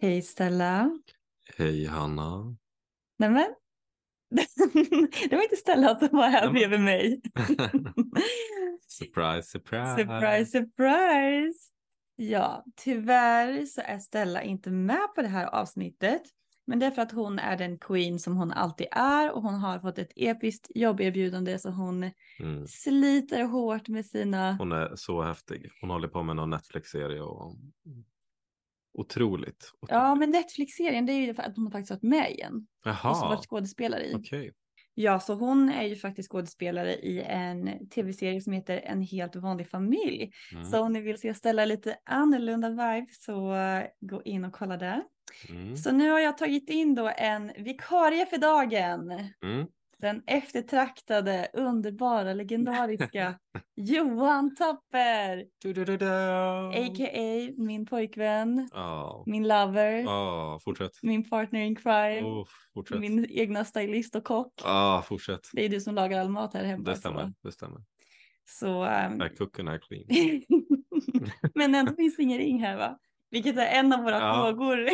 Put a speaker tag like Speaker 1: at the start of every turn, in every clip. Speaker 1: Hej Stella.
Speaker 2: Hej Hanna.
Speaker 1: Nämen. Det var inte Stella som var här
Speaker 2: Ja, men-
Speaker 1: bredvid mig.
Speaker 2: surprise, surprise.
Speaker 1: surprise, surprise. Ja, tyvärr så är Stella inte med på det här avsnittet. Men det är för att hon är den queen som hon alltid är och hon har fått ett episkt jobberbjudande så hon
Speaker 2: Mm.
Speaker 1: sliter hårt med sina...
Speaker 2: Hon är så häftig. Hon håller på med någon Netflix-serie och otroligt. otroligt.
Speaker 1: Ja, men Netflix-serien det är ju för att hon har faktiskt varit med igen. Och så
Speaker 2: Jaha,
Speaker 1: varit skådespelare i.
Speaker 2: Ah. okej.
Speaker 1: Ja, så hon är ju faktiskt skådespelare i en tv-serie som heter En helt vanlig familj.
Speaker 2: Mm,
Speaker 1: Så om ni vill se Stella lite annorlunda vibe så eh, gå in och kolla där.
Speaker 2: mm,
Speaker 1: Så nu har jag tagit in då en vikarie för dagen.
Speaker 2: mm.
Speaker 1: Den eftertraktade, underbara, legendariska Johan Tapper.
Speaker 2: Du-du-du-du.
Speaker 1: A.k.a. min pojkvän,
Speaker 2: Ja,
Speaker 1: min lover,
Speaker 2: ja, fortsätt.
Speaker 1: min partner in crime,
Speaker 2: Oh, fortsätt.
Speaker 1: min egna stylist och kock.
Speaker 2: Ja, fortsätt.
Speaker 1: Det är du som lagar all mat här hemma.
Speaker 2: Det
Speaker 1: så-
Speaker 2: stämmer, det stämmer.
Speaker 1: Så, ehm,
Speaker 2: Är kucken är clean.
Speaker 1: Men ändå finns ingen ring här va? Vilket är en av våra
Speaker 2: Ja.
Speaker 1: frågor.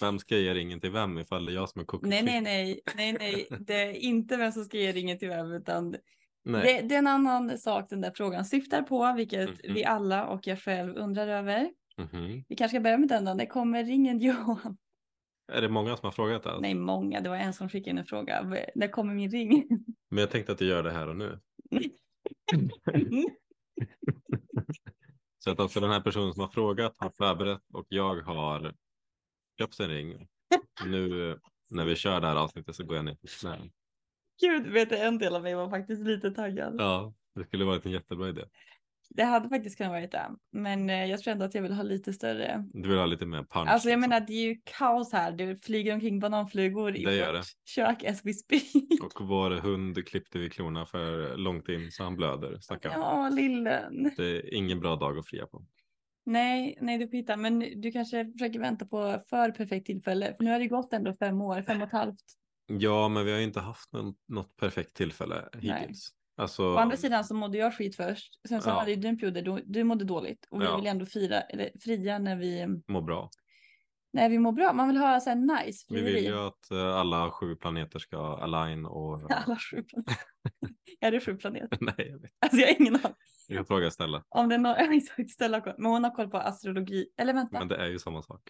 Speaker 2: Vem ska ge ringen till vem ifall det är jag som är kucken?
Speaker 1: Nej, nej, nej, nej, nej, det är inte vem som ska ge ringen till vem, utan
Speaker 2: nej.
Speaker 1: det, det är en annan sak den där frågan syftar på, vilket
Speaker 2: Mhm.
Speaker 1: vi alla och jag själv undrar över.
Speaker 2: Mhm.
Speaker 1: Vi kanske ska börja med den då. När kommer ringen
Speaker 2: Alltså.
Speaker 1: Johan?
Speaker 2: Är det många som har frågat det? här?
Speaker 1: Nej, många. Det var en som skickade in en fråga. V- När kommer min ring?
Speaker 2: Men jag tänkte att jag gör det här och nu. Så att alltså den här personen som har frågat har förberett och jag har köpt en ring. Nu när vi kör det här avsnittet så går jag ner till knä.
Speaker 1: Gud, vet du, en del av mig var faktiskt lite taggad.
Speaker 2: Ja, det skulle varit en jättebra idé.
Speaker 1: Det hade faktiskt kunnat vara det, men eh, jag tror ändå att jag vill ha lite större
Speaker 2: Du vill ha lite mer punch.
Speaker 1: Alltså jag
Speaker 2: liksom.
Speaker 1: menar det är ju kaos här. Du flyger omkring bananflugor i
Speaker 2: Det gör
Speaker 1: vårt
Speaker 2: det.
Speaker 1: kök as we speak.
Speaker 2: Och vår hund klippte vi klorna för långt in så han blöder. Stackarn.
Speaker 1: Ja, lillen.
Speaker 2: Det är ingen bra dag att fria på.
Speaker 1: Nej, nej du får hitta. Men du kanske försöker vänta på för perfekt tillfälle. För nu har det gått ändå fem år, fem och ett halvt.
Speaker 2: Ja, men vi har ju inte haft någon, något perfekt tillfälle
Speaker 1: Nej.
Speaker 2: hittills. Alltså,
Speaker 1: Å andra sidan så mådde jag skit först. Sen så
Speaker 2: Ja.
Speaker 1: hade ju du en period där du, du mådde dåligt. Och vi
Speaker 2: Ja.
Speaker 1: vill ändå fira, eller fria när vi,
Speaker 2: må bra.
Speaker 1: när vi mår bra. Man vill ha så här nice
Speaker 2: Vi
Speaker 1: frieri.
Speaker 2: vill ju att eh, alla sju planeter ska align och...
Speaker 1: Alla sju planeter. är det sju planeter?
Speaker 2: Nej, jag vet.
Speaker 1: Alltså jag har ingen aning.
Speaker 2: Jag kan fråga Stella.
Speaker 1: Om det är någon, exakt, ställa koll. Men hon har koll på astrologi. Eller vänta.
Speaker 2: Men det är ju samma sak.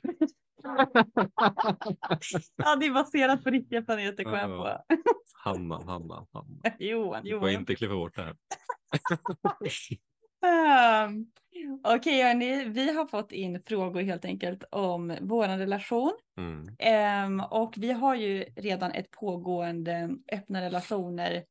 Speaker 1: Ja, det är baserat på riktiga planeter kom jag
Speaker 2: Ja.
Speaker 1: på.
Speaker 2: Hanna, Hanna, Hanna.
Speaker 1: Johan,
Speaker 2: Du får
Speaker 1: Johan.
Speaker 2: inte klippa bort det här.
Speaker 1: Ehm, Okej hörni, vi har fått in frågor helt enkelt om vår relation.
Speaker 2: Mm.
Speaker 1: Ehm, och vi har ju redan ett pågående öppna relationer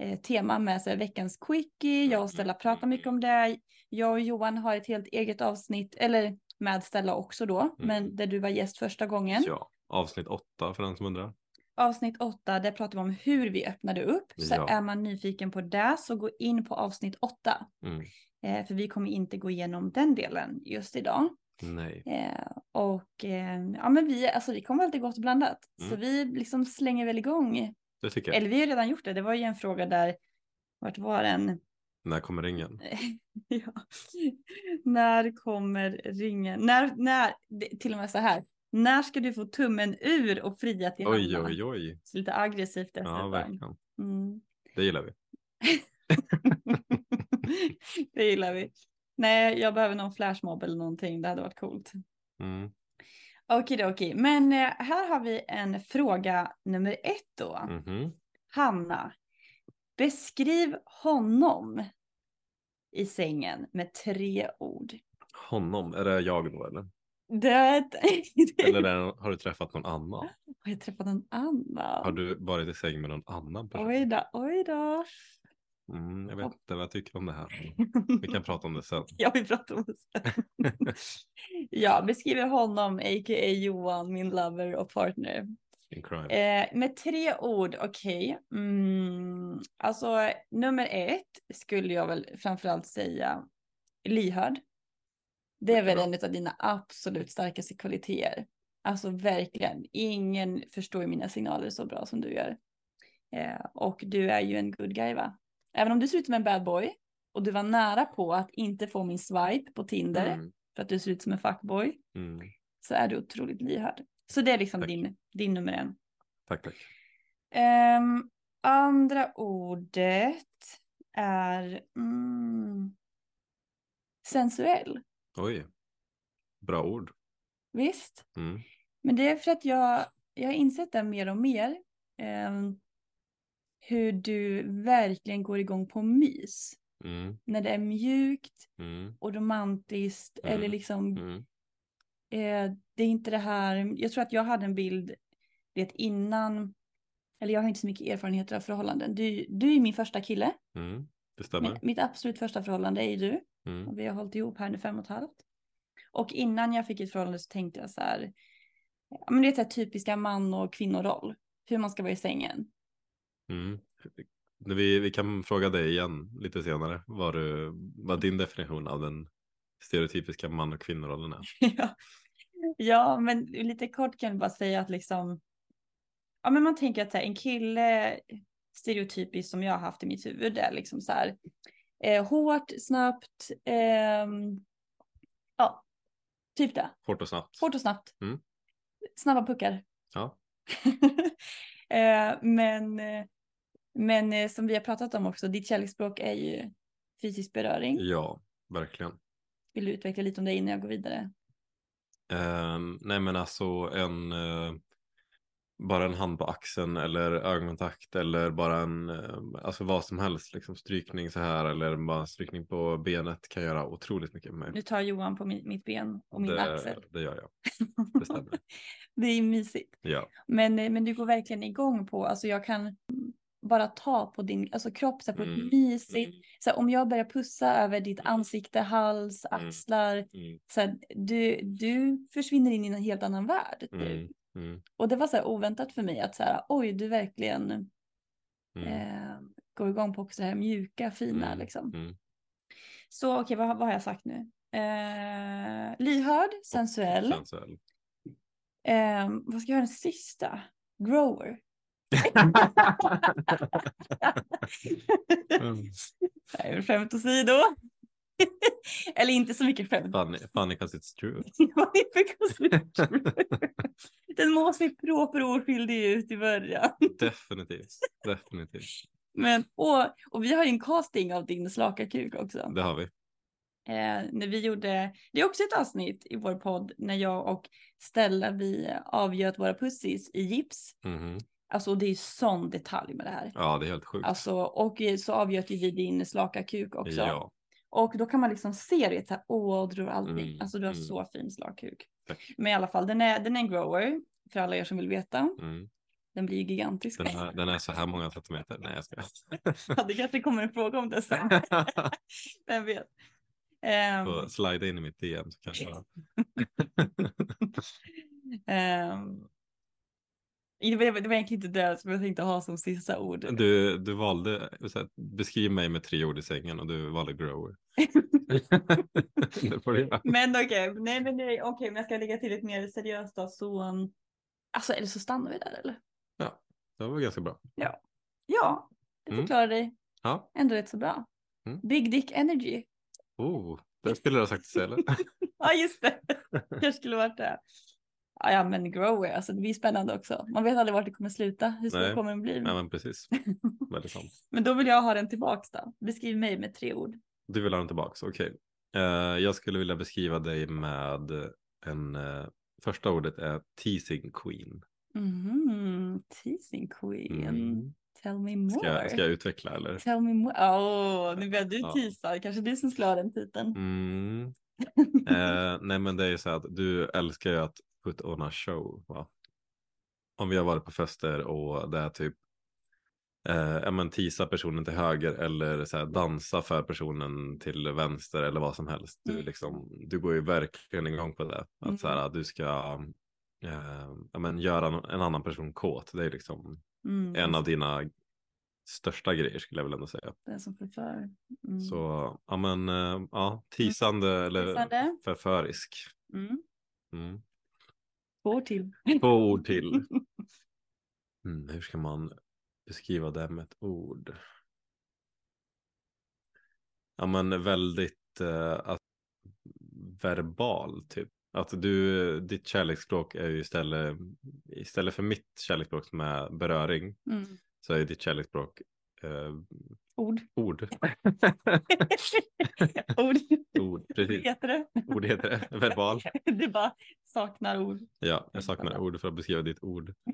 Speaker 1: eh, tema med så här, veckans quickie. Jag och Stella pratar mycket om det. Jag och Johan har ett helt eget avsnitt, eller med Stella också då, men där du var gäst första gången.
Speaker 2: Mm. Ja, avsnitt åtta för den som undrar.
Speaker 1: Avsnitt 8, där pratar vi om hur vi öppnade upp. Så
Speaker 2: Ja.
Speaker 1: är man nyfiken på det så gå in på avsnitt 8.
Speaker 2: Mm.
Speaker 1: Eh, för vi kommer inte gå igenom den delen just idag.
Speaker 2: Nej.
Speaker 1: Eh, och eh, ja, men vi, alltså, vi kommer alltid gott blandat. Så
Speaker 2: Mm.
Speaker 1: vi liksom slänger väl igång.
Speaker 2: Det tycker jag.
Speaker 1: Eller vi har ju redan gjort det. Det var ju en fråga där, vart var den?
Speaker 2: När kommer ringen?
Speaker 1: ja. När kommer ringen? När, när, det- till och med så här. När ska du få tummen ur och fria till
Speaker 2: Oj,
Speaker 1: Hanna?
Speaker 2: oj, oj.
Speaker 1: Så lite aggressivt
Speaker 2: Ja,
Speaker 1: dessutom.
Speaker 2: verkligen.
Speaker 1: Mm.
Speaker 2: Det gillar vi.
Speaker 1: det gillar vi. Nej, jag behöver någon flashmob eller någonting. Det hade varit coolt.
Speaker 2: Mm.
Speaker 1: Okej, då, okej. Men eh, här har vi en fråga nummer ett då.
Speaker 2: Mhm.
Speaker 1: Hanna, beskriv honom i sängen med tre ord.
Speaker 2: Honom, är det jag då eller?
Speaker 1: Det...
Speaker 2: Eller är det, har du träffat någon annan?
Speaker 1: Har jag träffat någon annan?
Speaker 2: Har du varit i säng med någon annan person?
Speaker 1: Oj då, oj då.
Speaker 2: Mm, jag vet inte vad jag tycker om det här. Vi kan prata om det sen.
Speaker 1: Ja, vi pratar om det sen. ja, beskriver honom, a.k.a. Johan, min lover och partner.
Speaker 2: In crime.
Speaker 1: Eh, med tre ord, okej. Mm, alltså, nummer ett skulle jag väl framförallt säga lyhörd. Det är väl en av dina absolut starkaste kvaliteter. Alltså verkligen, ingen förstår mina signaler så bra som du gör. Eh, och du är ju en good guy va? Även om du ser ut som en bad boy och du var nära på att inte få min swipe på Tinder
Speaker 2: Mm.
Speaker 1: för att du ser ut som en fuckboy
Speaker 2: Mm.
Speaker 1: så är du otroligt lyhörd. Så det är liksom
Speaker 2: Tack.
Speaker 1: din, din nummer en.
Speaker 2: Tack, tack.
Speaker 1: Ehm, andra ordet är mm, sensuell.
Speaker 2: Oj. Bra ord.
Speaker 1: Visst?
Speaker 2: Mm.
Speaker 1: Men det är för att jag, jag har insett det mer och mer. ehm, hur du verkligen går igång på mys.
Speaker 2: Mm.
Speaker 1: När det är mjukt
Speaker 2: Mm.
Speaker 1: och romantiskt
Speaker 2: Mm.
Speaker 1: eller liksom
Speaker 2: Mm.
Speaker 1: Eh, det är inte det här, jag tror att jag hade en bild det innan, eller jag har inte så mycket erfarenheter av förhållanden. Du, du är ju min första kille,
Speaker 2: Mm. Det
Speaker 1: men
Speaker 2: stämmer.
Speaker 1: mitt absolut första förhållande är ju du.
Speaker 2: Mm.
Speaker 1: Och vi har hållit ihop här nu fem och ett halvt. Och innan jag fick ett förhållande så tänkte jag så här, ja, men det är så här typiska man och kvinnoroll, hur man ska vara i sängen.
Speaker 2: Mm. Vi, vi kan fråga dig igen lite senare vad, du, vad din definition av den stereotypiska man och kvinnorollen är.
Speaker 1: ja. ja, men lite kort kan jag bara säga att liksom, ja men man tänker att så här, en kille stereotypiskt som jag har haft i mitt huvud är liksom så här eh, hårt, snabbt, ehm, ja, typ det.
Speaker 2: Hårt och snabbt.
Speaker 1: Hårt och snabbt.
Speaker 2: Mm.
Speaker 1: Snabba puckar.
Speaker 2: Ja.
Speaker 1: eh, men, eh, men eh, som vi har pratat om också, ditt kärleksspråk är ju fysisk beröring.
Speaker 2: Ja, verkligen.
Speaker 1: Vill du utveckla lite om det innan jag går vidare?
Speaker 2: Ehm, nej men alltså en eh, bara en hand på axeln eller ögonkontakt eller bara en eh, alltså vad som helst liksom strykning så här eller bara strykning på benet kan göra otroligt mycket med
Speaker 1: Nu
Speaker 2: mig.
Speaker 1: tar Johan på min, mitt ben och min axel.
Speaker 2: Det, det gör jag. Det stämmer.
Speaker 1: Det är mysigt.
Speaker 2: Ja.
Speaker 1: Men, eh, men du går verkligen igång på, alltså jag kan bara ta på din alltså kropp så här, på
Speaker 2: Mm.
Speaker 1: ett mysigt. Så här, om jag börjar pussa över ditt
Speaker 2: Mm.
Speaker 1: ansikte, hals,
Speaker 2: Mm.
Speaker 1: axlar.
Speaker 2: Mm,
Speaker 1: Så här, du, du försvinner in i en helt annan värld. typ.
Speaker 2: mm, mm,
Speaker 1: Och det var så här oväntat för mig att så här, oj, du verkligen
Speaker 2: mm,
Speaker 1: eh, går igång på också det här mjuka, fina
Speaker 2: Mm.
Speaker 1: liksom.
Speaker 2: mm.
Speaker 1: Så okej, vad, har- vad har jag sagt nu? Eh, lyhörd, sensuell.
Speaker 2: Sensuell.
Speaker 1: Eh, vad ska jag göra den sista? Grower.
Speaker 2: Mm.
Speaker 1: Nej, skämt åsido. Eller inte så mycket skämt.
Speaker 2: Funny, funny 'cause it's true.
Speaker 1: Vad är det för konstruktion? den måste ju proper oskyldig ut i början.
Speaker 2: Definitivt. Definitivt.
Speaker 1: Men, och, och vi har ju en casting av din slaka kuk också.
Speaker 2: Det har vi.
Speaker 1: Eh, när vi gjorde, det är också ett avsnitt i vår podd när jag och Stella vi avgöt våra pussis i gips.
Speaker 2: Mhm.
Speaker 1: Alltså det är ju sån detalj med det här.
Speaker 2: Ja, det är helt sjukt.
Speaker 1: Alltså, och eh, så avgöt ju vi din slaka kuk också.
Speaker 2: ja.
Speaker 1: Och då kan man liksom se det, så här, åh, du har allting.
Speaker 2: Mm,
Speaker 1: alltså du har
Speaker 2: mm.
Speaker 1: så fin slakkuk.
Speaker 2: Tack.
Speaker 1: Men i alla fall, den är, den är en grower, för alla er som vill veta.
Speaker 2: Mm.
Speaker 1: Den blir ju gigantisk.
Speaker 2: Den, är, den är så här många centimeter. Nej, jag skojar.
Speaker 1: Ja, det kanske kommer en fråga om det sen, vem vet. Ehm,
Speaker 2: Och slida in i mitt DM så kanske jag...
Speaker 1: ehm, det, var, det var egentligen inte det som jag tänkte ha som sista ord.
Speaker 2: Du, du valde, så här, beskriv mig med tre ord i sängen och du valde grower. Det får det göra.
Speaker 1: Men okej, nej men nej, okej, men jag ska lägga till ett mer seriöst då, så um, alltså eller så stannar vi där eller?
Speaker 2: det var ganska bra.
Speaker 1: Ja, det
Speaker 2: Mm.
Speaker 1: förklarar dig
Speaker 2: Ja,
Speaker 1: ändå rätt så bra.
Speaker 2: Mm.
Speaker 1: Big Dick Energy.
Speaker 2: oh, det skulle jag ha sagt istället.
Speaker 1: Ja, just det. Kanske skulle varit det. Ja, ja, men grower, alltså det blir spännande också. Man vet aldrig vart det kommer sluta, hur stor
Speaker 2: Nej.
Speaker 1: kommer den bli?
Speaker 2: Nej, men precis. Väldigt sant.
Speaker 1: Men då vill jag ha den tillbaks då. Beskriv mig med tre ord.
Speaker 2: Du vill ha den tillbaks, okej. Eh, jag skulle vilja beskriva dig med en, eh, första ordet är teasing queen.
Speaker 1: Mhm, teasing queen.
Speaker 2: Mm.
Speaker 1: Tell me
Speaker 2: Ska,
Speaker 1: more.
Speaker 2: jag- ska jag utveckla eller?
Speaker 1: Tell me more. Åh, nu börjar du
Speaker 2: Ja.
Speaker 1: teasa. Det kanske är du som skulle ha den titeln.
Speaker 2: Mm. Eh, nej men det är ju så att du älskar ju att put on a show va? Om vi har varit på fester och det är typ eh, ja, men tisa personen till höger eller så här, dansa för personen till vänster eller vad som helst. Du,
Speaker 1: Mm.
Speaker 2: liksom, du går ju verkligen igång på det. Att
Speaker 1: Mm.
Speaker 2: så här, du ska eh, ja, men, göra no- en annan person kåt. Det är liksom
Speaker 1: Mm,
Speaker 2: en av dina största grejer skulle jag väl ändå säga.
Speaker 1: Den som förför. Mm.
Speaker 2: Så ja men eh, ja, tisande eller
Speaker 1: Tisande.
Speaker 2: förförisk.
Speaker 1: Mm.
Speaker 2: Mm.
Speaker 1: Två år till.
Speaker 2: Två ord till. Mm, hur ska man beskriva det med ett ord? Ja men väldigt eh, att, verbal typ. Att du, ditt kärleksspråk är ju istället, istället för mitt kärleksspråk som är beröring
Speaker 1: Mm.
Speaker 2: så är ju ditt kärleksspråk eh,
Speaker 1: Ord.
Speaker 2: ord.
Speaker 1: Ord.
Speaker 2: ord, precis.
Speaker 1: Heter det?
Speaker 2: Ord heter det, verbal.
Speaker 1: Det bara saknar ord.
Speaker 2: Ja, jag saknar ord för att beskriva ditt ord.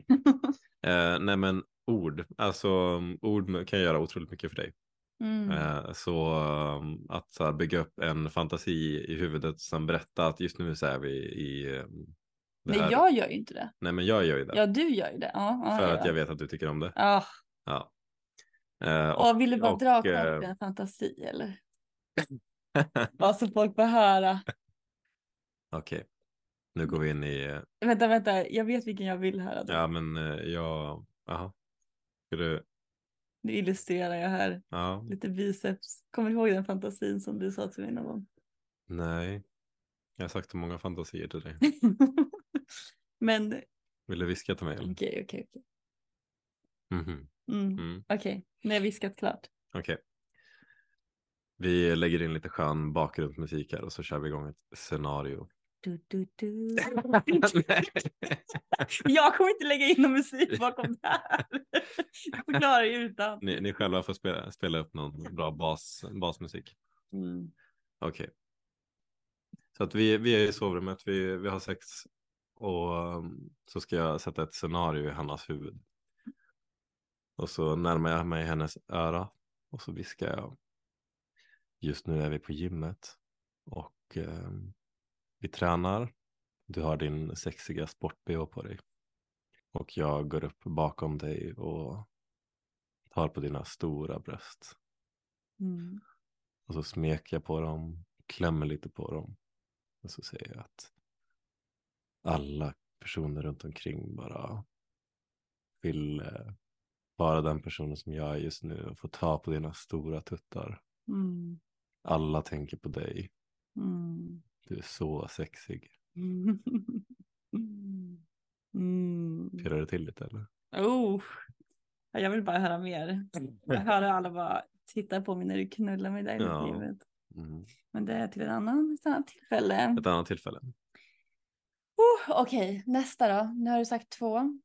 Speaker 2: Eh, nej men ord, alltså mm, ord kan göra otroligt mycket för dig.
Speaker 1: Mm.
Speaker 2: Eh, så um, att så här, bygga upp en fantasi i huvudet och sen berätta att just nu så är vi i um, det
Speaker 1: Nej,
Speaker 2: här.
Speaker 1: jag gör ju inte det.
Speaker 2: nej men jag gör ju det.
Speaker 1: Ja, du gör ju det. Ja, ja,
Speaker 2: för
Speaker 1: ja.
Speaker 2: att jag vet att du tycker om det.
Speaker 1: Ah,
Speaker 2: Ja. Eh,
Speaker 1: och, vill du bara dra
Speaker 2: och,
Speaker 1: klart
Speaker 2: eh,
Speaker 1: en fantasi eller? Bara så folk får höra.
Speaker 2: Okej, nu går vi in i, eh,
Speaker 1: Vänta, vänta. Jag vet vilken jag vill höra. Då.
Speaker 2: ja men eh, jag, jaha. Ska du,
Speaker 1: Nu illustrerar jag här.
Speaker 2: ja,
Speaker 1: Lite biceps. Kommer du ihåg den fantasin som du sa till mig någon gång?
Speaker 2: nej. Jag har sagt så många fantasier till dig.
Speaker 1: Men okej,
Speaker 2: Vill du viska till mig eller?
Speaker 1: okej, okej.
Speaker 2: Mhm.
Speaker 1: Mm.
Speaker 2: Mm.
Speaker 1: Okej, nu har jag viskat klart.
Speaker 2: Okej. Vi lägger in lite skön bakgrundsmusik här och så kör vi igång ett scenario.
Speaker 1: Du, du, du.
Speaker 2: Nej.
Speaker 1: jag kommer inte lägga in någon musik bakom det här. Jag förklarar ju utan.
Speaker 2: ni, ni själva får spela, spela upp någon bra bas, basmusik.
Speaker 1: Mm.
Speaker 2: Okej. Så att vi, vi är i sovrummet, vi, vi har sex och um, så ska jag sätta ett scenario i Hannas huvud. Och så närmar jag mig hennes öra och så viskar jag. Just nu är vi på gymmet och um, vi tränar. Du har din sexiga sport-bh på dig. Och jag går upp bakom dig och tar på dina stora bröst.
Speaker 1: Mm.
Speaker 2: Och så smeker jag på dem, klämmer lite på dem. Och så säger jag att alla personer runt omkring bara vill eh, vara den personen som jag är just nu och få ta på dina stora tuttar.
Speaker 1: Mm.
Speaker 2: Alla tänker på dig.
Speaker 1: Mm.
Speaker 2: Du är så sexig.
Speaker 1: Mm. Mm.
Speaker 2: Pirrar det till lite eller?
Speaker 1: Oh. Ja, Jag vill bara höra mer. Jag hör hur alla bara titta på mig när du knullar mig där inne
Speaker 2: Ja.
Speaker 1: i livet.
Speaker 2: Mm.
Speaker 1: Men det är till en annan, ett annat tillfälle.
Speaker 2: Ett annat tillfälle.
Speaker 1: Oh, Okej, nästa då. Nu har du sagt två.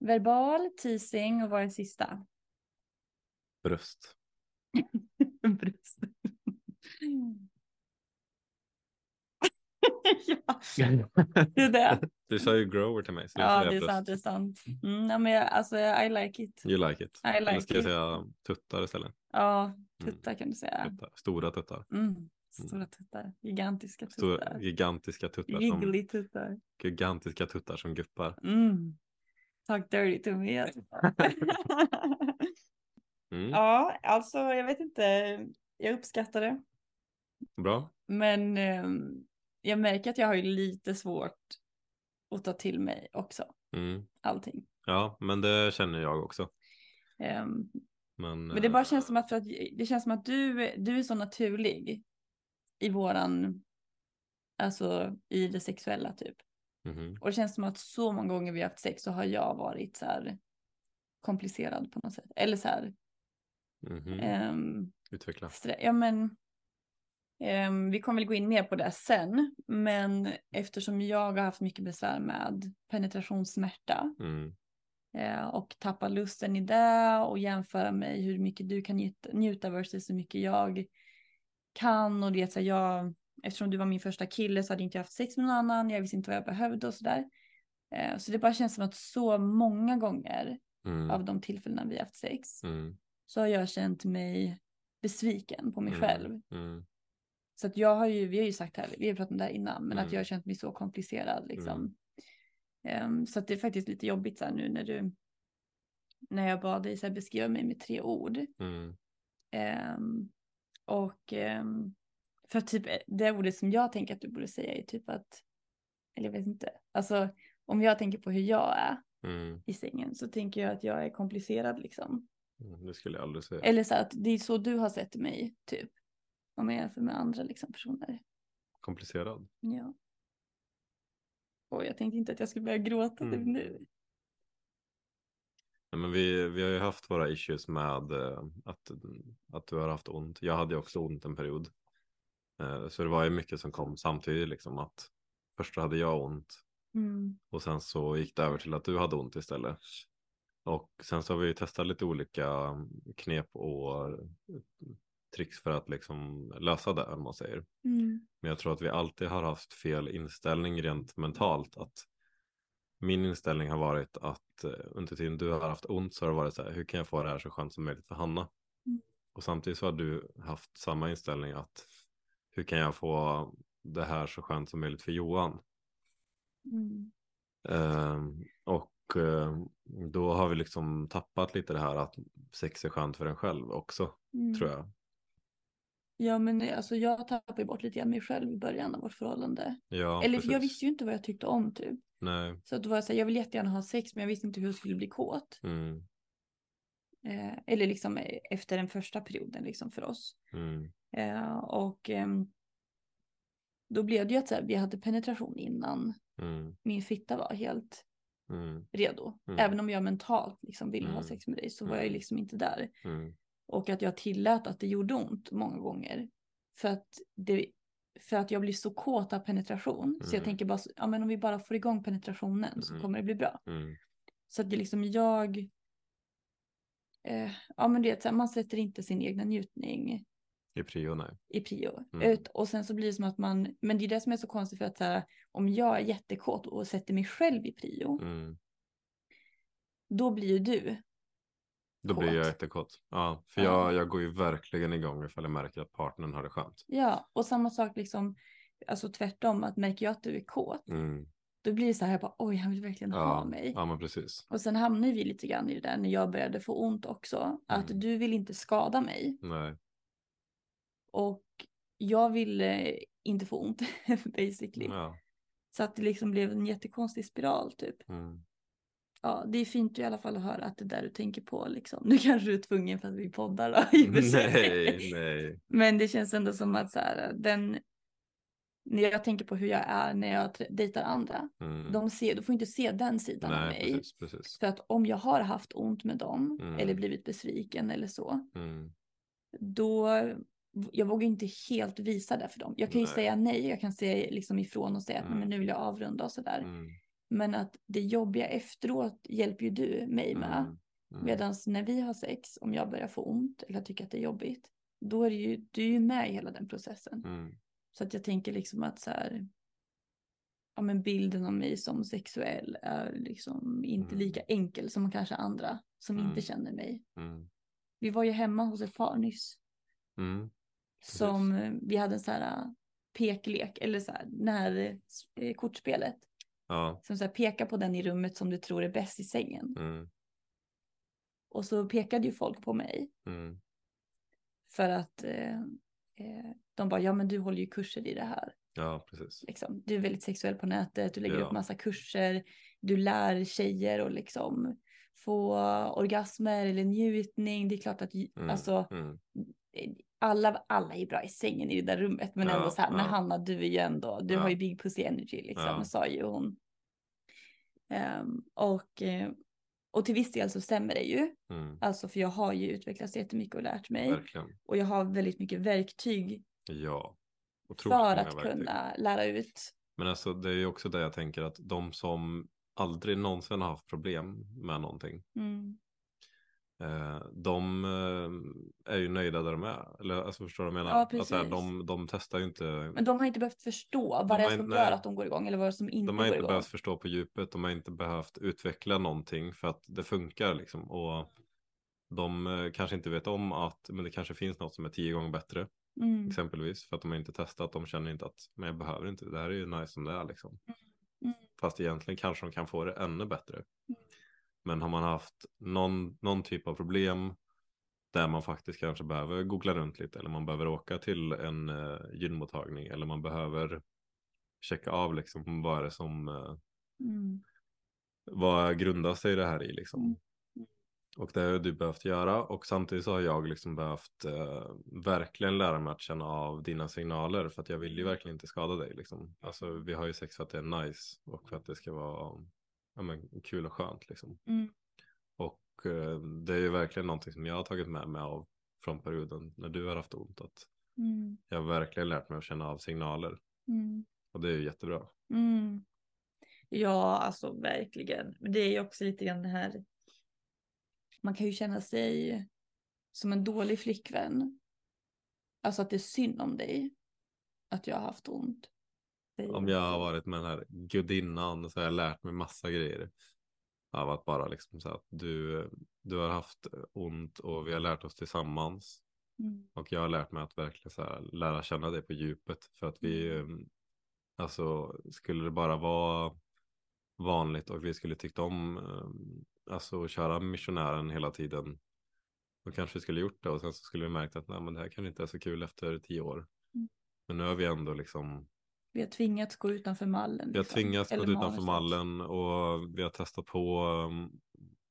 Speaker 1: Verbal, teasing och vad är sista?
Speaker 2: Bröst. Mm.
Speaker 1: Bröst. ja, det är det.
Speaker 2: Du sa ju grower till mig. Så jag
Speaker 1: Ja,
Speaker 2: säger
Speaker 1: det är
Speaker 2: bröst.
Speaker 1: sant. Det är sant. Mm, ja, men jag, alltså, I like it.
Speaker 2: You like it.
Speaker 1: I like
Speaker 2: eller ska jag
Speaker 1: it.
Speaker 2: säga tuttar istället?
Speaker 1: Ja,
Speaker 2: Mm.
Speaker 1: tuttar kan du säga.
Speaker 2: Tuttar. Stora tuttar.
Speaker 1: Mm, stora tuttar. Gigantiska
Speaker 2: Stora,
Speaker 1: tuttar.
Speaker 2: gigantiska tuttar. som-
Speaker 1: Giggly tuttar.
Speaker 2: gigantiska tuttar som guppar.
Speaker 1: Mm. Talk dirty to me. Alltså.
Speaker 2: Mm,
Speaker 1: Ja, alltså jag vet inte. Jag uppskattar det.
Speaker 2: Bra.
Speaker 1: Men ehm, jag märker att jag har ju lite svårt att ta till mig också.
Speaker 2: Mm.
Speaker 1: Allting.
Speaker 2: Ja, men det känner jag också.
Speaker 1: Ehm,
Speaker 2: Men,
Speaker 1: men det bara
Speaker 2: eh,
Speaker 1: känns som att, för att det känns som att du, du är så naturlig. i våran, alltså i det sexuella typ.
Speaker 2: Mhm.
Speaker 1: Och det känns som att så många gånger vi har haft sex så har jag varit så här komplicerad på något sätt. Eller så här,
Speaker 2: Mhm.
Speaker 1: ehm,
Speaker 2: Utveckla.
Speaker 1: Strä- Ja, men, ehm, vi kommer väl gå in mer på det sen, men eftersom jag har haft mycket besvär med penetrationssmärta
Speaker 2: Mm.
Speaker 1: eh, och tappa lusten i det och jämföra mig hur mycket du kan njut- njuta versus hur mycket jag kan och det så här, jag, eftersom du var min första kille så hade inte jag haft sex med någon annan, jag visste inte vad jag behövde och sådär. Eh, så det bara känns som att så många gånger
Speaker 2: Mm.
Speaker 1: av de tillfällena vi haft sex
Speaker 2: Mm.
Speaker 1: så har jag känt mig besviken på mig
Speaker 2: Mm.
Speaker 1: själv.
Speaker 2: Mm.
Speaker 1: Så att jag har ju, vi har ju sagt det här, vi har pratat om det här innan, men
Speaker 2: Mm.
Speaker 1: att jag har känt mig så komplicerad liksom.
Speaker 2: Mm.
Speaker 1: Ehm, så att det är faktiskt lite jobbigt så här nu när du, när jag bad dig så här, beskriva mig med tre ord.
Speaker 2: Mm.
Speaker 1: Ehm, och ehm, för typ det ordet som jag tänker att du borde säga är typ att, eller jag vet inte, alltså om jag tänker på hur jag är
Speaker 2: Mm.
Speaker 1: i sängen så tänker jag att jag är komplicerad liksom.
Speaker 2: Mm. Det skulle jag aldrig säga.
Speaker 1: Eller så här att det är så du har sett mig typ, om jag jämför med andra liksom personer.
Speaker 2: Komplicerad.
Speaker 1: Ja. Och jag tänkte inte att jag skulle börja gråta
Speaker 2: Mm.
Speaker 1: typ nu.
Speaker 2: Nej, men vi, vi har ju haft våra issues med eh, att, att du har haft ont. Jag hade ju också ont en period. Eh, så det var ju mycket som kom samtidigt. Liksom, att först så hade jag ont
Speaker 1: Mm.
Speaker 2: och sen så gick det över till att du hade ont istället. Och sen så har vi ju testat lite olika mm, knep och mm, tricks för att liksom lösa det, om man säger.
Speaker 1: Mm.
Speaker 2: Men jag tror att vi alltid har haft fel inställning rent mentalt. Att min inställning har varit att eh, under tiden du har haft ont så har det varit så här, hur kan jag få det här så skönt som möjligt för Hanna?
Speaker 1: Mm.
Speaker 2: Och samtidigt så har du haft samma inställning att hur kan jag få det här så skönt som möjligt för Johan?
Speaker 1: Mm.
Speaker 2: Ehm, och eh, då har vi liksom tappat lite det här att sex är skönt för en själv också,
Speaker 1: Mm.
Speaker 2: tror jag.
Speaker 1: Ja men eh, alltså jag tappade ju bort lite grann mig själv i början av vårt förhållande.
Speaker 2: Ja,
Speaker 1: Eller för jag
Speaker 2: precis.
Speaker 1: visste ju inte vad jag tyckte om typ.
Speaker 2: Nej.
Speaker 1: Så att då var jag så här, jag vill jättegärna ha sex men jag visste inte hur jag skulle bli kåt.
Speaker 2: Mm,
Speaker 1: Eh, eller liksom eh, efter den första perioden liksom för oss.
Speaker 2: mm,
Speaker 1: Eh, och ehm, då blev det ju att så här, vi hade penetration innan
Speaker 2: mm,
Speaker 1: min fitta var helt
Speaker 2: mm,
Speaker 1: redo.
Speaker 2: Mm.
Speaker 1: Även om jag mentalt liksom ville ha
Speaker 2: Mm.
Speaker 1: sex med dig så var jag ju
Speaker 2: Mm.
Speaker 1: liksom inte där.
Speaker 2: mm,
Speaker 1: Och att jag tillät att det gjorde ont många gånger. För att, det, för att jag blir så kåt av penetration. Så jag
Speaker 2: Mm.
Speaker 1: tänker bara, så- ja men om vi bara får igång penetrationen så
Speaker 2: Mm.
Speaker 1: kommer det bli bra.
Speaker 2: mm.
Speaker 1: Så att det liksom jag... Eh, ja men du vet, så här, man sätter inte sin egna njutning
Speaker 2: I prio, nej.
Speaker 1: i prio.
Speaker 2: Mm.
Speaker 1: Ut, och sen så blir det som att man, men det är det som är så konstigt för att så här, om jag är jättekåt och sätter mig själv i prio,
Speaker 2: Mm.
Speaker 1: då blir ju du.
Speaker 2: Då blir jag
Speaker 1: Kåt.
Speaker 2: jättekåt. Ja, för
Speaker 1: Ja.
Speaker 2: jag, jag går ju verkligen igång ifall jag märker att partnern har det skönt.
Speaker 1: Ja, och samma sak liksom, alltså tvärtom, att märker jag att du är kåt,
Speaker 2: Mm.
Speaker 1: då blir det så här, jag bara oj, han vill verkligen ha
Speaker 2: Ja,
Speaker 1: mig.
Speaker 2: ja, men precis.
Speaker 1: Och sen hamnar vi lite grann i det där när jag började få ont också, att
Speaker 2: Mm.
Speaker 1: du vill inte skada mig
Speaker 2: Nej.
Speaker 1: och jag vill eh, inte få ont basically.
Speaker 2: Ja.
Speaker 1: Så att det liksom blev en jättekonstig spiral typ.
Speaker 2: Mm.
Speaker 1: Ja, det är fint i alla fall att höra att det är där du tänker på liksom. Nu kanske du är tvungen för att vi poddar då. i och för sig.
Speaker 2: Nej, nej.
Speaker 1: Men det känns ändå som att så här, den, när jag tänker på hur jag är när jag trä- dejtar andra,
Speaker 2: Mm.
Speaker 1: de ser, du får inte se den sidan av
Speaker 2: nej,
Speaker 1: mig.
Speaker 2: precis, precis.
Speaker 1: För att om jag har haft ont med dem
Speaker 2: Mm.
Speaker 1: eller blivit besviken eller så,
Speaker 2: Mm.
Speaker 1: då jag vågar inte helt visa det för dem. Jag kan ju
Speaker 2: Nej.
Speaker 1: säga nej, jag kan säga liksom ifrån och säga att
Speaker 2: Mm.
Speaker 1: nej, men nu vill jag avrunda och sådär.
Speaker 2: Mm.
Speaker 1: Men att det jobbiga efteråt hjälper ju du mig med.
Speaker 2: Mm. Mm.
Speaker 1: Medan när vi har sex, om jag börjar få ont eller tycker att det är jobbigt, då är det ju, du är ju med i hela den processen.
Speaker 2: Mm.
Speaker 1: Så att jag tänker liksom att så här, ja men bilden av mig som sexuell är liksom inte
Speaker 2: Mm.
Speaker 1: lika enkel som kanske andra som
Speaker 2: Mm.
Speaker 1: inte känner mig.
Speaker 2: Mm.
Speaker 1: Vi var ju hemma hos ett par nyss
Speaker 2: Mm. Precis.
Speaker 1: som eh, vi hade en så här eh, peklek eller så här, det här eh, kortspelet
Speaker 2: Ja.
Speaker 1: som så här pekar på den i rummet som du tror är bäst i sängen.
Speaker 2: Mm.
Speaker 1: Och så pekade ju folk på mig
Speaker 2: Mm.
Speaker 1: för att eh, eh, de bara, ja men du håller ju kurser i det här.
Speaker 2: Ja, precis.
Speaker 1: liksom, du är väldigt sexuell på nätet, du lägger
Speaker 2: Ja.
Speaker 1: upp massa kurser, du lär tjejer och liksom få orgasmer eller njutning. Det är klart att
Speaker 2: Mm.
Speaker 1: alltså,
Speaker 2: Mm.
Speaker 1: eh, alla, alla är bra i sängen i det där rummet, men
Speaker 2: Ja,
Speaker 1: ändå så här, men
Speaker 2: ja.
Speaker 1: Hanna du är ju ändå, du
Speaker 2: Ja.
Speaker 1: har ju big pussy energy liksom,
Speaker 2: Ja.
Speaker 1: sa ju hon. Ehm, och, eh, och till viss del så stämmer det ju,
Speaker 2: Mm,
Speaker 1: alltså för jag har ju utvecklats jättemycket och lärt mig.
Speaker 2: verkligen.
Speaker 1: Och jag har väldigt mycket verktyg
Speaker 2: Ja. Otroligt
Speaker 1: för
Speaker 2: många
Speaker 1: att
Speaker 2: verktyg.
Speaker 1: kunna lära ut.
Speaker 2: Men alltså det är ju också det jag tänker att de som aldrig någonsin har haft problem med någonting.
Speaker 1: Mm.
Speaker 2: Eh, de eh, är ju nöjda där de är. Eller alltså förstår du vad jag menar?
Speaker 1: Ja,
Speaker 2: Att, så här,
Speaker 1: precis.
Speaker 2: de, de testar ju inte.
Speaker 1: Men de har inte behövt förstå
Speaker 2: De
Speaker 1: vad det
Speaker 2: har
Speaker 1: är som
Speaker 2: inte-
Speaker 1: gör att de går igång eller vad som inte
Speaker 2: De har
Speaker 1: går
Speaker 2: inte
Speaker 1: igång.
Speaker 2: behövt förstå på djupet. De har inte behövt utveckla någonting för att det funkar liksom. Och de eh, kanske inte vet om att men det kanske finns något som är tio gånger bättre.
Speaker 1: Mm.
Speaker 2: Exempelvis för att de har inte testat. De känner inte att men jag behöver inte. Det här är ju nice som det är liksom.
Speaker 1: Mm.
Speaker 2: Fast egentligen kanske de kan få det ännu bättre.
Speaker 1: Mm.
Speaker 2: Men har man haft någon, någon typ av problem där man faktiskt kanske behöver googla runt lite eller man behöver åka till en eh, gynmottagning eller man behöver checka av liksom vad är det som eh,
Speaker 1: Mm.
Speaker 2: vad grundar sig det här i liksom.
Speaker 1: Mm.
Speaker 2: Och det har du behövt göra och samtidigt så har jag liksom behövt eh, verkligen lära mig att känna av dina signaler för att jag vill ju verkligen inte skada dig liksom. Alltså vi har ju sex för att det är nice och för att det ska vara ja, men, kul och skönt liksom.
Speaker 1: Mm.
Speaker 2: Och eh, det är ju verkligen någonting som jag har tagit med mig av från perioden när du har haft ont att
Speaker 1: Mm.
Speaker 2: jag har verkligen lärt mig att känna av signaler
Speaker 1: Mm.
Speaker 2: och det är ju jättebra.
Speaker 1: Mm. Ja, alltså verkligen. Men det är ju också lite grann det här. Man kan ju känna sig som en dålig flickvän. Alltså att det är synd om dig. Att jag har haft ont. Säger
Speaker 2: Om jag har varit med den här gudinnan så har jag lärt mig massa grejer. Av att bara liksom så här att du, du har haft ont och vi har lärt oss tillsammans.
Speaker 1: Mm.
Speaker 2: Och jag har lärt mig att verkligen så här lära känna dig på djupet. För att vi, eh, alltså skulle det bara vara vanligt och vi skulle tyckt om, eh, alltså att köra missionären hela tiden. Då kanske vi skulle gjort det och sen så skulle vi märkt att nej men det här kanske inte är så kul efter tio år.
Speaker 1: Mm.
Speaker 2: Men nu har vi ändå liksom
Speaker 1: Vi har tvingats gå utanför mallen.
Speaker 2: jag
Speaker 1: liksom.
Speaker 2: tvingas gå
Speaker 1: Eller
Speaker 2: utanför
Speaker 1: manuset.
Speaker 2: mallen och vi har testat på um,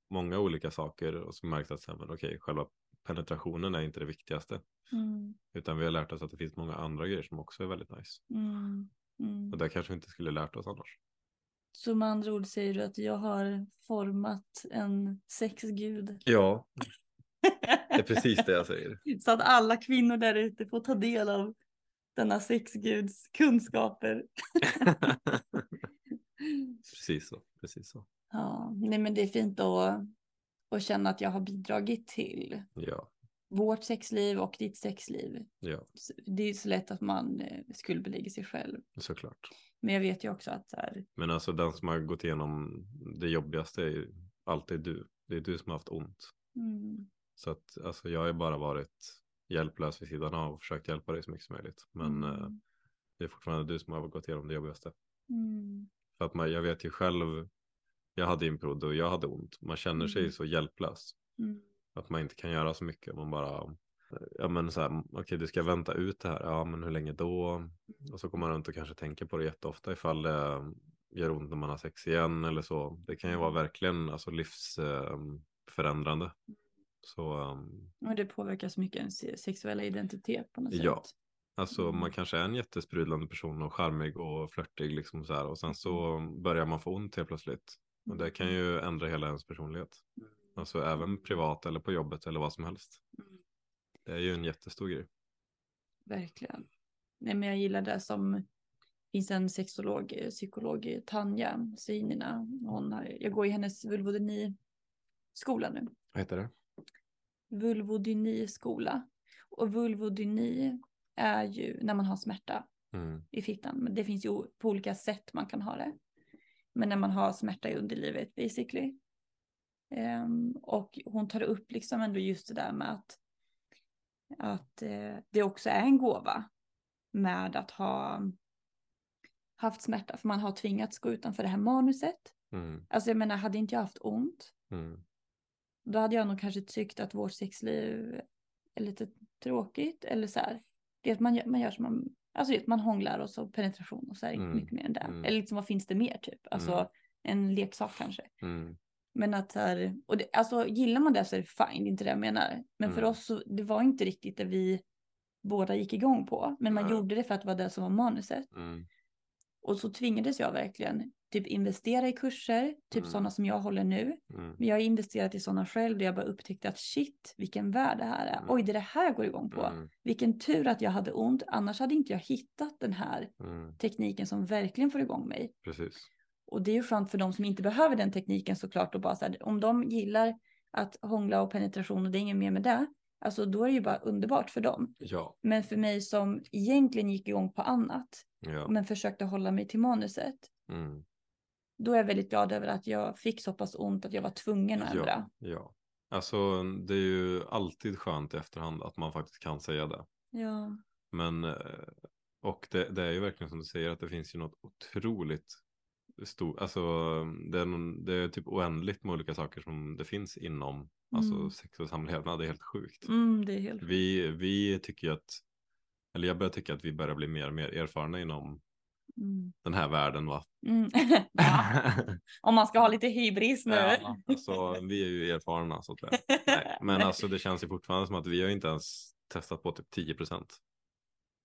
Speaker 2: många olika saker och så märkt att så här, men okej, själva penetrationen är inte det viktigaste.
Speaker 1: Mm.
Speaker 2: Utan vi har lärt oss att det finns många andra grejer som också är väldigt nice.
Speaker 1: Mm. Mm.
Speaker 2: Och det kanske vi inte skulle lärt oss annars.
Speaker 1: Så med andra ord säger du att jag har format en sexgud.
Speaker 2: Ja, det är precis det jag säger.
Speaker 1: Så att alla kvinnor där ute får ta del av denna sexguds kunskaper.
Speaker 2: precis så, precis så.
Speaker 1: Ja, nej men det är fint att, att känna att jag har bidragit till
Speaker 2: Ja,
Speaker 1: vårt sexliv och ditt sexliv.
Speaker 2: ja,
Speaker 1: Så Det är ju så lätt att man eh, skuldbelägger sig själv.
Speaker 2: såklart.
Speaker 1: Men jag vet ju också att så här,
Speaker 2: Men alltså den som har gått igenom det jobbigaste är ju alltid du. Det är du som har haft ont.
Speaker 1: mm,
Speaker 2: Så att alltså, jag har ju bara varit hjälplös vid sidan av och försökt hjälpa dig så mycket som möjligt. Men
Speaker 1: Mm.
Speaker 2: eh, det är fortfarande du som har gått igenom det jobbigaste.
Speaker 1: mm,
Speaker 2: För att man, jag vet ju själv, jag hade en period då jag hade ont. Man känner sig
Speaker 1: Mm.
Speaker 2: så hjälplös.
Speaker 1: mm,
Speaker 2: Att man inte kan göra så mycket. Man bara, ja men så här, okej du ska vänta ut det här. Ja men hur länge då? Och så går man runt och kanske tänker på det jätteofta ifall det gör ont när man har sex igen eller så. Det kan ju
Speaker 1: Mm.
Speaker 2: vara verkligen alltså, livsförändrande. Så ehm,
Speaker 1: och det påverkar så mycket ens sexuella identitet på något sätt.
Speaker 2: Ja. Alltså
Speaker 1: Mm.
Speaker 2: man kanske är en jättesprudlande person och charmig och flörtig liksom så här och sen så börjar man få ont helt plötsligt. Och det kan ju ändra hela ens personlighet. Alltså även privat eller på jobbet eller vad som helst.
Speaker 1: Mm.
Speaker 2: Det är ju en jättestor grej.
Speaker 1: Verkligen. Nej, men jag gillar det som finns en sexolog, eh, psykolog, Tanja Seinina. Hon har, jag går i hennes vulvodyni-skola nu.
Speaker 2: Vad heter det?
Speaker 1: Vulvodyni-skola. Och vulvodyni är ju när man har smärta
Speaker 2: Mm.
Speaker 1: i fittan. Men det finns ju o- på olika sätt man kan ha det. Men när man har smärta i underlivet basically. Ehm, och hon tar upp liksom ändå just det där med att, att eh, det också är en gåva med att ha haft smärta. För man har tvingats gå utanför det här manuset.
Speaker 2: Mm.
Speaker 1: Alltså jag menar, hade inte jag haft ont,
Speaker 2: Mm.
Speaker 1: då hade jag nog kanske tyckt att vårt sexliv är lite tråkigt. Eller så här, det är att man gör, man gör som man, alltså det är att man hånglar och så penetration och så här, inte
Speaker 2: Mm,
Speaker 1: mycket mer än det.
Speaker 2: mm.
Speaker 1: Eller liksom vad finns det mer typ? Alltså
Speaker 2: Mm.
Speaker 1: en leksak kanske.
Speaker 2: Mm.
Speaker 1: Men att så här, och det, alltså gillar man det så är det fine, det är inte det jag menar. Men för
Speaker 2: Mm.
Speaker 1: oss så, det var inte riktigt det vi båda gick igång på. Men man
Speaker 2: Nej.
Speaker 1: gjorde det för att det var det som var manuset.
Speaker 2: Mm.
Speaker 1: Och så tvingades jag verkligen typ investera i kurser, typ
Speaker 2: Mm.
Speaker 1: sådana som jag håller nu.
Speaker 2: Mm.
Speaker 1: Men jag har investerat i sådana själv där jag bara upptäckte att shit, vilken värld det här är.
Speaker 2: Mm.
Speaker 1: Oj, det är det här går igång på.
Speaker 2: Mm.
Speaker 1: Vilken tur att jag hade ont, annars hade inte jag hittat den här
Speaker 2: Mm.
Speaker 1: tekniken som verkligen får igång mig.
Speaker 2: Precis.
Speaker 1: Och det är ju skönt för de som inte behöver den tekniken såklart och bara så här, om de gillar att hångla och penetration och det är inget mer med det, alltså då är det ju bara underbart för dem.
Speaker 2: Ja.
Speaker 1: Men för mig som egentligen gick igång på annat,
Speaker 2: ja.
Speaker 1: men försökte hålla mig till manuset,
Speaker 2: Mm.
Speaker 1: då är jag väldigt glad över att jag fick så pass ont att jag var tvungen att ändra.
Speaker 2: ja. ja. Alltså det är ju alltid skönt i efterhand att man faktiskt kan säga det.
Speaker 1: Ja.
Speaker 2: Men, eh, och det, det är ju verkligen som du säger att det finns ju något otroligt stort, alltså det är, någon, det är typ oändligt med olika saker som det finns inom, alltså
Speaker 1: Mm.
Speaker 2: sex och samlevnad, det är helt sjukt.
Speaker 1: Mm, det är helt
Speaker 2: Vi, vi tycker ju att, eller jag börjar tycka att vi börjar bli mer och mer erfarna inom
Speaker 1: mm.
Speaker 2: den här världen va?
Speaker 1: Mm. ja. Om man ska ha lite hybris nu.
Speaker 2: Ja, alltså vi är ju erfarna så att säga. Nej, men alltså det känns ju fortfarande som att vi har ju inte ens testat på typ 10 procent.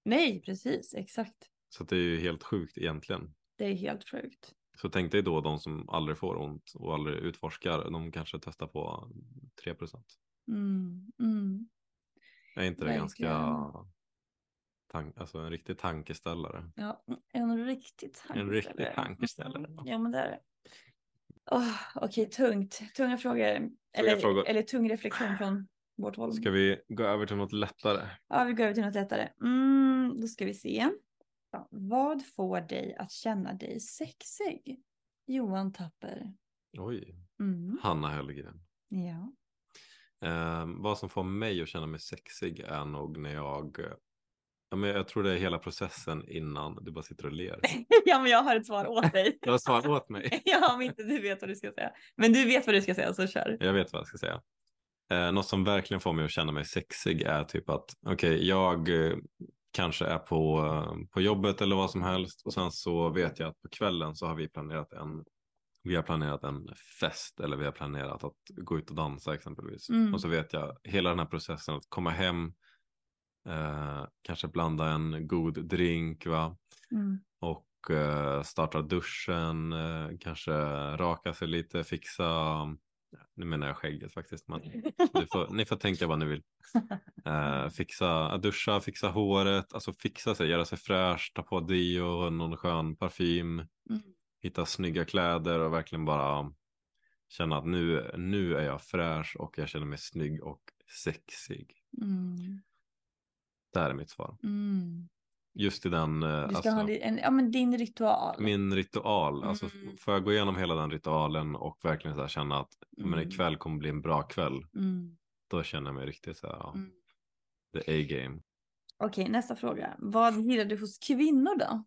Speaker 1: Nej, precis, exakt.
Speaker 2: Så att det är ju helt sjukt egentligen.
Speaker 1: Det är helt sjukt.
Speaker 2: Så tänk dig då de som aldrig får ont och aldrig utforskar. De kanske testar på 3 procent.
Speaker 1: Mm, mm.
Speaker 2: Är inte det ganska
Speaker 1: Verkligen.
Speaker 2: tan- alltså en riktig tankeställare?
Speaker 1: Ja, en riktig tankeställare.
Speaker 2: En riktig tankeställare.
Speaker 1: Mm, Ja, men det är det. Åh, Okej, tungt. Tunga frågor. eller,
Speaker 2: frågor.
Speaker 1: eller tung reflektion från vårt håll.
Speaker 2: Ska vi gå över till något lättare?
Speaker 1: Ja, vi går över till något lättare. Mm, då ska vi se. Ja, vad får dig att känna dig sexig? Johan Tapper.
Speaker 2: Oj,
Speaker 1: Mm,
Speaker 2: Hanna Hellgren.
Speaker 1: ja.
Speaker 2: Eh, vad som får mig att känna mig sexig är nog när jag Ja, men jag tror det är hela processen innan du bara sitter och ler.
Speaker 1: ja, men jag har ett svar åt dig.
Speaker 2: Jag har svarat åt mig.
Speaker 1: ja, om inte du vet vad du ska säga. Men du vet vad du ska säga, så kör.
Speaker 2: Jag vet vad jag ska säga. Eh, något som verkligen får mig att känna mig sexig är typ att okej, jag eh, kanske är på, eh, på jobbet eller vad som helst och sen så vet jag att på kvällen så har vi planerat en vi har planerat en fest eller vi har planerat att gå ut och dansa exempelvis.
Speaker 1: Mm.
Speaker 2: Och så vet jag hela den här processen att komma hem, eh, kanske blanda en god drink, va?
Speaker 1: Mm.
Speaker 2: och eh, starta duschen, eh, kanske raka sig lite, fixa, nu menar jag skägget faktiskt, men du får, ni får tänka vad ni vill. Eh, fixa, duscha, fixa håret, alltså fixa sig, göra sig fräsch, ta på deo, någon skön parfym,
Speaker 1: Mm.
Speaker 2: hitta snygga kläder och verkligen bara känna att nu, nu är jag fräsch och jag känner mig snygg och sexig.
Speaker 1: Mm.
Speaker 2: Det här är mitt svar.
Speaker 1: Mm.
Speaker 2: Just i den... eh,
Speaker 1: Du ska
Speaker 2: alltså-
Speaker 1: ha di- en, ja, men din ritual.
Speaker 2: min ritual. Alltså,
Speaker 1: Mm.
Speaker 2: Får jag gå igenom hela den ritualen och verkligen så här känna att men
Speaker 1: Mm.
Speaker 2: ikväll kommer bli en bra kväll.
Speaker 1: Mm.
Speaker 2: Då känner jag mig riktigt så här, ja,
Speaker 1: Mm.
Speaker 2: the A-game.
Speaker 1: Okej, nästa fråga. Vad gillar du hos kvinnor då?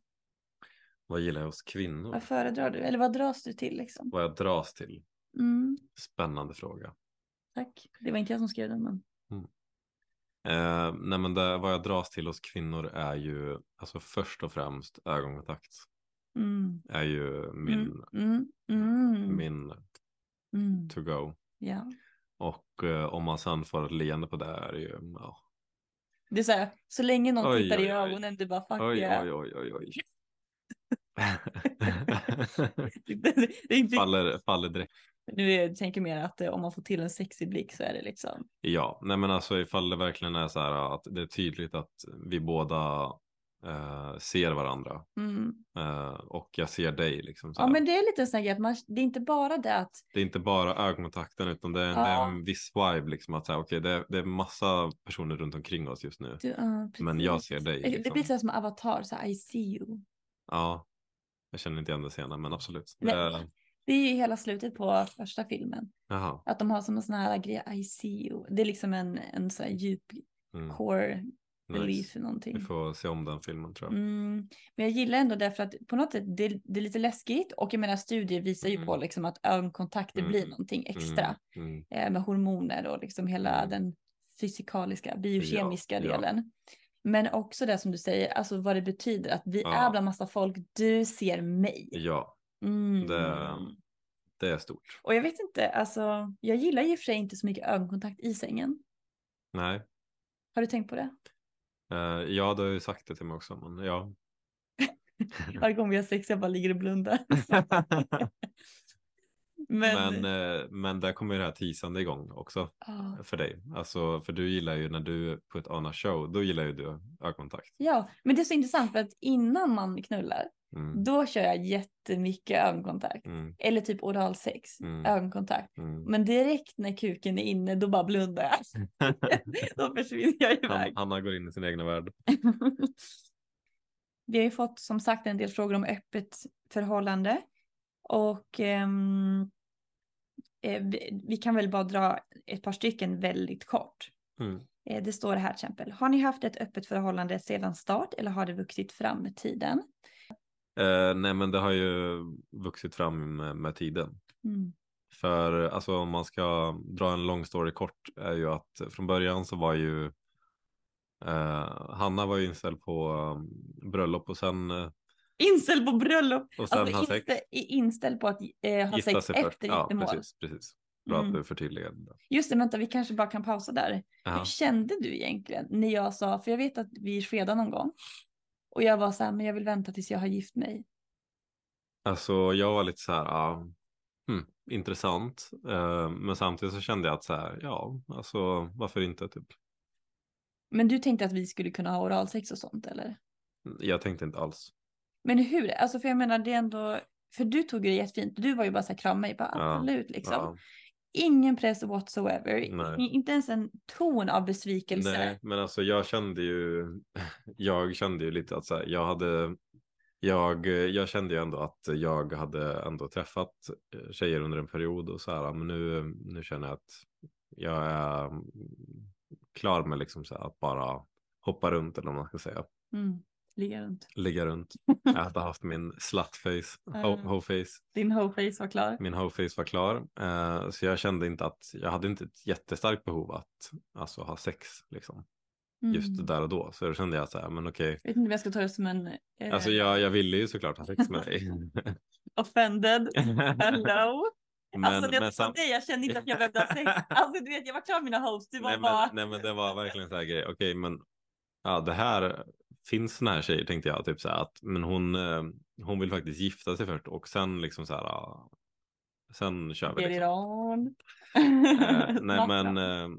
Speaker 2: Vad gillar jag hos kvinnor?
Speaker 1: Vad föredrar du? Eller vad dras du till liksom?
Speaker 2: Vad jag dras till?
Speaker 1: Mm,
Speaker 2: Spännande fråga.
Speaker 1: tack. Det var inte jag som skrev den, men.
Speaker 2: Eh, nej men det, vad jag dras till hos kvinnor är ju, alltså först och främst ögonkontakt.
Speaker 1: Mm,
Speaker 2: Är ju min,
Speaker 1: mm, mm,
Speaker 2: min
Speaker 1: mm,
Speaker 2: to go.
Speaker 1: ja.
Speaker 2: Och eh, om man sen får ett leende på det här är ju, ja.
Speaker 1: Det är så här, så länge någon
Speaker 2: Oj,
Speaker 1: tittar i
Speaker 2: oj, oj.
Speaker 1: ögonen, du bara fuck
Speaker 2: Oj,
Speaker 1: yeah.
Speaker 2: oj, oj, oj, oj.
Speaker 1: Det, det är inte,
Speaker 2: faller, faller direkt.
Speaker 1: nu är, jag tänker mer att eh, om man får till en sexig blick så är det liksom.
Speaker 2: Ja, nej men alltså ifall det verkligen är så här att det är tydligt att vi båda eh, ser varandra
Speaker 1: Mm.
Speaker 2: eh, och jag ser dig liksom. Så
Speaker 1: Ja,
Speaker 2: här.
Speaker 1: men det är lite en sån här grej att man, det är inte bara det att
Speaker 2: Det är inte bara ögonkontakten utan det är, det är en viss vibe liksom att säga okej det, är- det är massa personer runt omkring oss just nu.
Speaker 1: du, ja,
Speaker 2: Men jag
Speaker 1: precis.
Speaker 2: ser dig,
Speaker 1: Det- Det
Speaker 2: liksom.
Speaker 1: blir så här som avatar, så här, I see you.
Speaker 2: Ja, jag känner inte igen det senare men absolut.
Speaker 1: Nej.
Speaker 2: Det-
Speaker 1: Det är ju hela slutet på första filmen.
Speaker 2: Jaha.
Speaker 1: Att de har som en sån här grej, I see you. Det är liksom en, en sån här djup
Speaker 2: Mm,
Speaker 1: core belief
Speaker 2: nice.
Speaker 1: i någonting.
Speaker 2: Vi får se om den filmen tror jag.
Speaker 1: Mm, men jag gillar ändå det för att på något sätt det, det är lite läskigt och jag menar studier visar ju
Speaker 2: Mm.
Speaker 1: på liksom att ögonkontakt det
Speaker 2: Mm.
Speaker 1: blir någonting extra
Speaker 2: Mm, mm.
Speaker 1: eh, med hormoner och liksom hela
Speaker 2: Mm.
Speaker 1: den fysikaliska, biokemiska
Speaker 2: Ja, ja.
Speaker 1: delen. Men också det som du säger, alltså vad det betyder att vi
Speaker 2: Ja.
Speaker 1: är bland massa folk, du ser mig.
Speaker 2: Ja,
Speaker 1: Mm.
Speaker 2: det, det är stort.
Speaker 1: Och jag vet inte, alltså, jag gillar ju i och för sig inte så mycket ögonkontakt i sängen.
Speaker 2: Nej,
Speaker 1: Har du tänkt på det?
Speaker 2: Eh, ja, du har ju sagt det till mig också, men ja.
Speaker 1: Varje gång vi har sex jag bara ligger och blundar. Men,
Speaker 2: men, eh, men där kommer ju det här teasande igång också
Speaker 1: ah.
Speaker 2: för dig. Alltså, för du gillar ju när du put on a show, då gillar ju du ögonkontakt.
Speaker 1: ja, men det är så intressant för att innan man knullar,
Speaker 2: Mm,
Speaker 1: då kör jag jättemycket ögonkontakt.
Speaker 2: mm,
Speaker 1: Eller typ oralsex,
Speaker 2: Mm.
Speaker 1: ögonkontakt.
Speaker 2: mm.
Speaker 1: Men direkt när kuken är inne, då bara blundar jag. då försvinner jag
Speaker 2: Han,
Speaker 1: iväg.
Speaker 2: Hanna går in i sin egna värld.
Speaker 1: Vi har ju fått som sagt en del frågor om öppet förhållande. Och ehm, eh, vi, vi kan väl bara dra ett par stycken väldigt kort.
Speaker 2: Mm.
Speaker 1: Eh, Det står här till exempel. Har ni haft ett öppet förhållande sedan start eller har det vuxit fram med tiden?
Speaker 2: Eh, nej, men det har ju vuxit fram med, med tiden. För alltså om man ska dra en lång story kort är ju att från början så var ju eh, Hanna var ju inställd på eh, bröllop och sen, eh,
Speaker 1: Inställd på bröllop.
Speaker 2: och sen ha
Speaker 1: Alltså
Speaker 2: sex.
Speaker 1: instä- inställd på att eh, ha sex efter
Speaker 2: Ja,
Speaker 1: giftermål.
Speaker 2: precis, precis. Bra
Speaker 1: Mm.
Speaker 2: att du förtydligade det.
Speaker 1: Just det, vänta, vi kanske bara kan pausa där.
Speaker 2: Jaha.
Speaker 1: Hur kände du egentligen när jag sa, för jag vet att vi skedade någon gång. Och jag var så här, men jag vill vänta tills jag har gift mig.
Speaker 2: Alltså jag var lite så här, ja, hmm, intressant. Eh, men samtidigt så kände jag att så här, ja, alltså varför inte typ.
Speaker 1: Men du tänkte att vi skulle kunna ha oralsex och sånt eller?
Speaker 2: Jag tänkte inte alls.
Speaker 1: Men hur, alltså för jag menar det är ändå, för du tog ju det jättefint, du var ju bara så här krama mig, bara
Speaker 2: Ja,
Speaker 1: absolut liksom.
Speaker 2: Ja.
Speaker 1: Ingen press whatsoever,
Speaker 2: Nej.
Speaker 1: I- inte ens en ton av besvikelse.
Speaker 2: Nej, men alltså jag kände ju, jag kände ju lite att så här, jag hade, jag, jag kände ju ändå att jag hade ändå träffat eh, tjejer under en period och så här, men nu, nu känner jag att jag är mm, klar med liksom så här, att bara hoppa runt eller vad man ska säga,
Speaker 1: Mm. Ligga runt.
Speaker 2: ligga runt, att ha haft min slutface, ho,
Speaker 1: Ja.
Speaker 2: ho-face,
Speaker 1: Din hoeface var klar.
Speaker 2: min ho-face var klar, eh, så jag kände inte att, jag hade inte ett jättestarkt behov att alltså ha sex liksom
Speaker 1: Mm.
Speaker 2: just där och då. Så då kände jag så här, men okej.
Speaker 1: Jag vet inte om jag ska ta det som en eh,
Speaker 2: Alltså jag, jag ville ju såklart ha sex med dig.
Speaker 1: offended. Hello.
Speaker 2: men,
Speaker 1: alltså det
Speaker 2: men
Speaker 1: är som
Speaker 2: sam-
Speaker 1: dig, jag kände inte att jag behövde ha sex. Alltså du vet, jag var klar med mina hosts, du var
Speaker 2: nej,
Speaker 1: bara...
Speaker 2: men, nej men det var verkligen så här grej. Okej men ja det här finns såna här tjejer tänkte jag. Typ så här att men hon, eh, hon vill faktiskt gifta sig först och sen liksom så här. ja, Sen kör vi.
Speaker 1: Get
Speaker 2: liksom.
Speaker 1: it on.
Speaker 2: Eh, nej
Speaker 1: Snabbt.
Speaker 2: men. eh,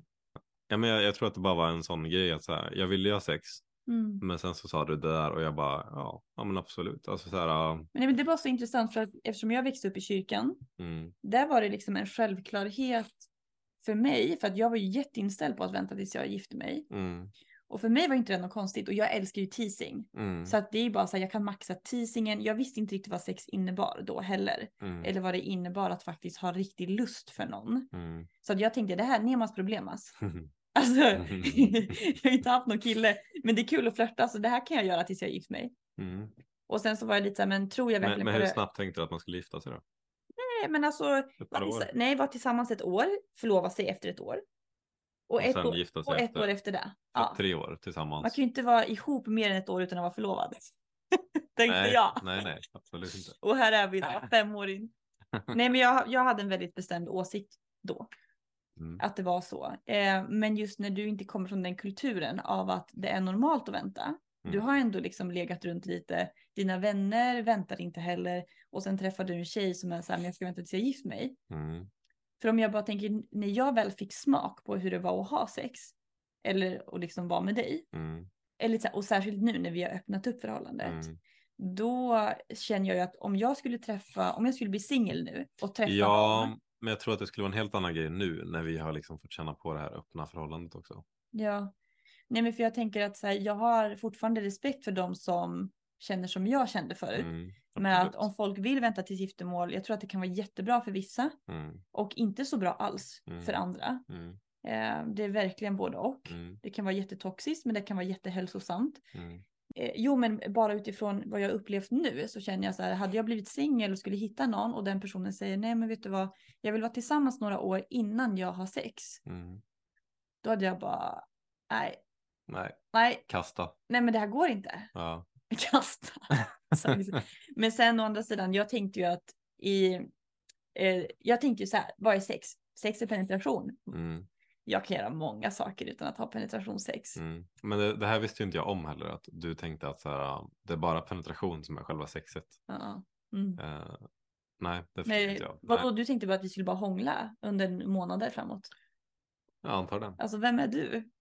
Speaker 2: Ja, men jag, jag tror att det bara var en sån grej att så här, jag ville ju ha sex
Speaker 1: Mm.
Speaker 2: men sen så sa du det där och jag bara ja, ja men absolut. Alltså så här, ja,
Speaker 1: Men, nej, men det var så intressant för att eftersom jag växte upp i kyrkan,
Speaker 2: mm,
Speaker 1: där var det liksom en självklarhet för mig, för att jag var ju jätteinställd på att vänta tills jag gifte mig.
Speaker 2: mm,
Speaker 1: Och för mig var inte det något konstigt och jag älskar ju teasing.
Speaker 2: mm,
Speaker 1: Så att det är ju bara så här, jag kan maxa teasingen. Jag visste inte riktigt vad sex innebar då heller.
Speaker 2: mm,
Speaker 1: Eller vad det innebar att faktiskt ha riktig lust för någon.
Speaker 2: mm.
Speaker 1: Så att jag tänkte det här, nemas problemas. Alltså, jag har ju inte haft någon kille. Men det är kul att flörta, så det här kan jag göra tills jag är gift mig.
Speaker 2: Mm.
Speaker 1: Och sen så var jag lite så här, men tror jag
Speaker 2: Men,
Speaker 1: verkligen
Speaker 2: men
Speaker 1: på
Speaker 2: hur
Speaker 1: det?
Speaker 2: snabbt tänkte du att man skulle gifta sig då?
Speaker 1: Nej, men alltså,
Speaker 2: Ett
Speaker 1: var
Speaker 2: par år?
Speaker 1: tillsa- nej, var tillsammans ett år, förlova sig efter ett år. Och,
Speaker 2: Och
Speaker 1: ett,
Speaker 2: sen
Speaker 1: år,
Speaker 2: gifta sig
Speaker 1: och ett
Speaker 2: efter?
Speaker 1: år efter det.
Speaker 2: Ja.
Speaker 1: Ja.
Speaker 2: Tre år
Speaker 1: Man
Speaker 2: tillsammans?
Speaker 1: kan ju inte vara ihop mer än ett år utan att vara förlovad. Tänkte
Speaker 2: nej,
Speaker 1: jag.
Speaker 2: nej, nej, absolut inte.
Speaker 1: Och här är vi idag, fem år in. Nej, men jag, jag hade en väldigt bestämd åsikt då,
Speaker 2: Mm.
Speaker 1: att det var så. Eh, men just när du inte kommer från den kulturen av att det är normalt att vänta. Du
Speaker 2: mm,
Speaker 1: har ändå liksom legat runt lite, dina vänner väntar inte heller och sen träffar du en tjej som är så här, men jag ska vänta tills jag är gift mig.
Speaker 2: Mm.
Speaker 1: För om jag bara tänker, när jag väl fick smak på hur det var att ha sex, eller att liksom vara med dig,
Speaker 2: Mm.
Speaker 1: eller, så här- och särskilt nu när vi har öppnat upp förhållandet,
Speaker 2: Mm.
Speaker 1: då känner jag ju att om jag skulle träffa, om jag skulle bli singel nu och träffa någon,
Speaker 2: Ja, men jag tror att det skulle vara en helt annan grej nu när vi har liksom fått känna på det här öppna förhållandet också.
Speaker 1: ja, nej men för jag tänker att så här, jag har fortfarande respekt för de som känner som jag kände förut.
Speaker 2: Mm.
Speaker 1: Med att
Speaker 2: absolut.
Speaker 1: om folk vill vänta till giftermål, jag tror att det kan vara jättebra för vissa
Speaker 2: Mm.
Speaker 1: och inte så bra alls
Speaker 2: Mm.
Speaker 1: för andra.
Speaker 2: Mm.
Speaker 1: Eh, det är verkligen både och.
Speaker 2: Mm.
Speaker 1: Det kan vara jättetoxiskt men det kan vara jättehälsosamt.
Speaker 2: Mm.
Speaker 1: Eh, jo men bara utifrån vad jag upplevt nu så känner jag så här, hade jag blivit singel och skulle hitta någon och den personen säger nej men vet du vad, jag vill vara tillsammans några år innan jag har sex.
Speaker 2: Mm.
Speaker 1: Då hade jag bara, nej,
Speaker 2: Nej,
Speaker 1: nej,
Speaker 2: kasta.
Speaker 1: nej men det här går inte.
Speaker 2: Ja.
Speaker 1: Kasta. Så liksom. Men sen å andra sidan, jag tänkte ju att i, eh, jag tänkte ju så här, vad är sex? Sex är penetration.
Speaker 2: Mm.
Speaker 1: jag kan göra många saker utan att ha penetrationssex.
Speaker 2: Mm. Men det, det här visste ju inte jag om heller, att du tänkte att så här, det är bara penetration som är själva sexet.
Speaker 1: Ja. Mm.
Speaker 2: Eh, nej, det förstod
Speaker 1: Nej,
Speaker 2: inte jag.
Speaker 1: vadå,
Speaker 2: Nej,
Speaker 1: du tänkte bara att vi skulle bara hångla under månader framåt?
Speaker 2: jag antar det.
Speaker 1: Alltså vem är du?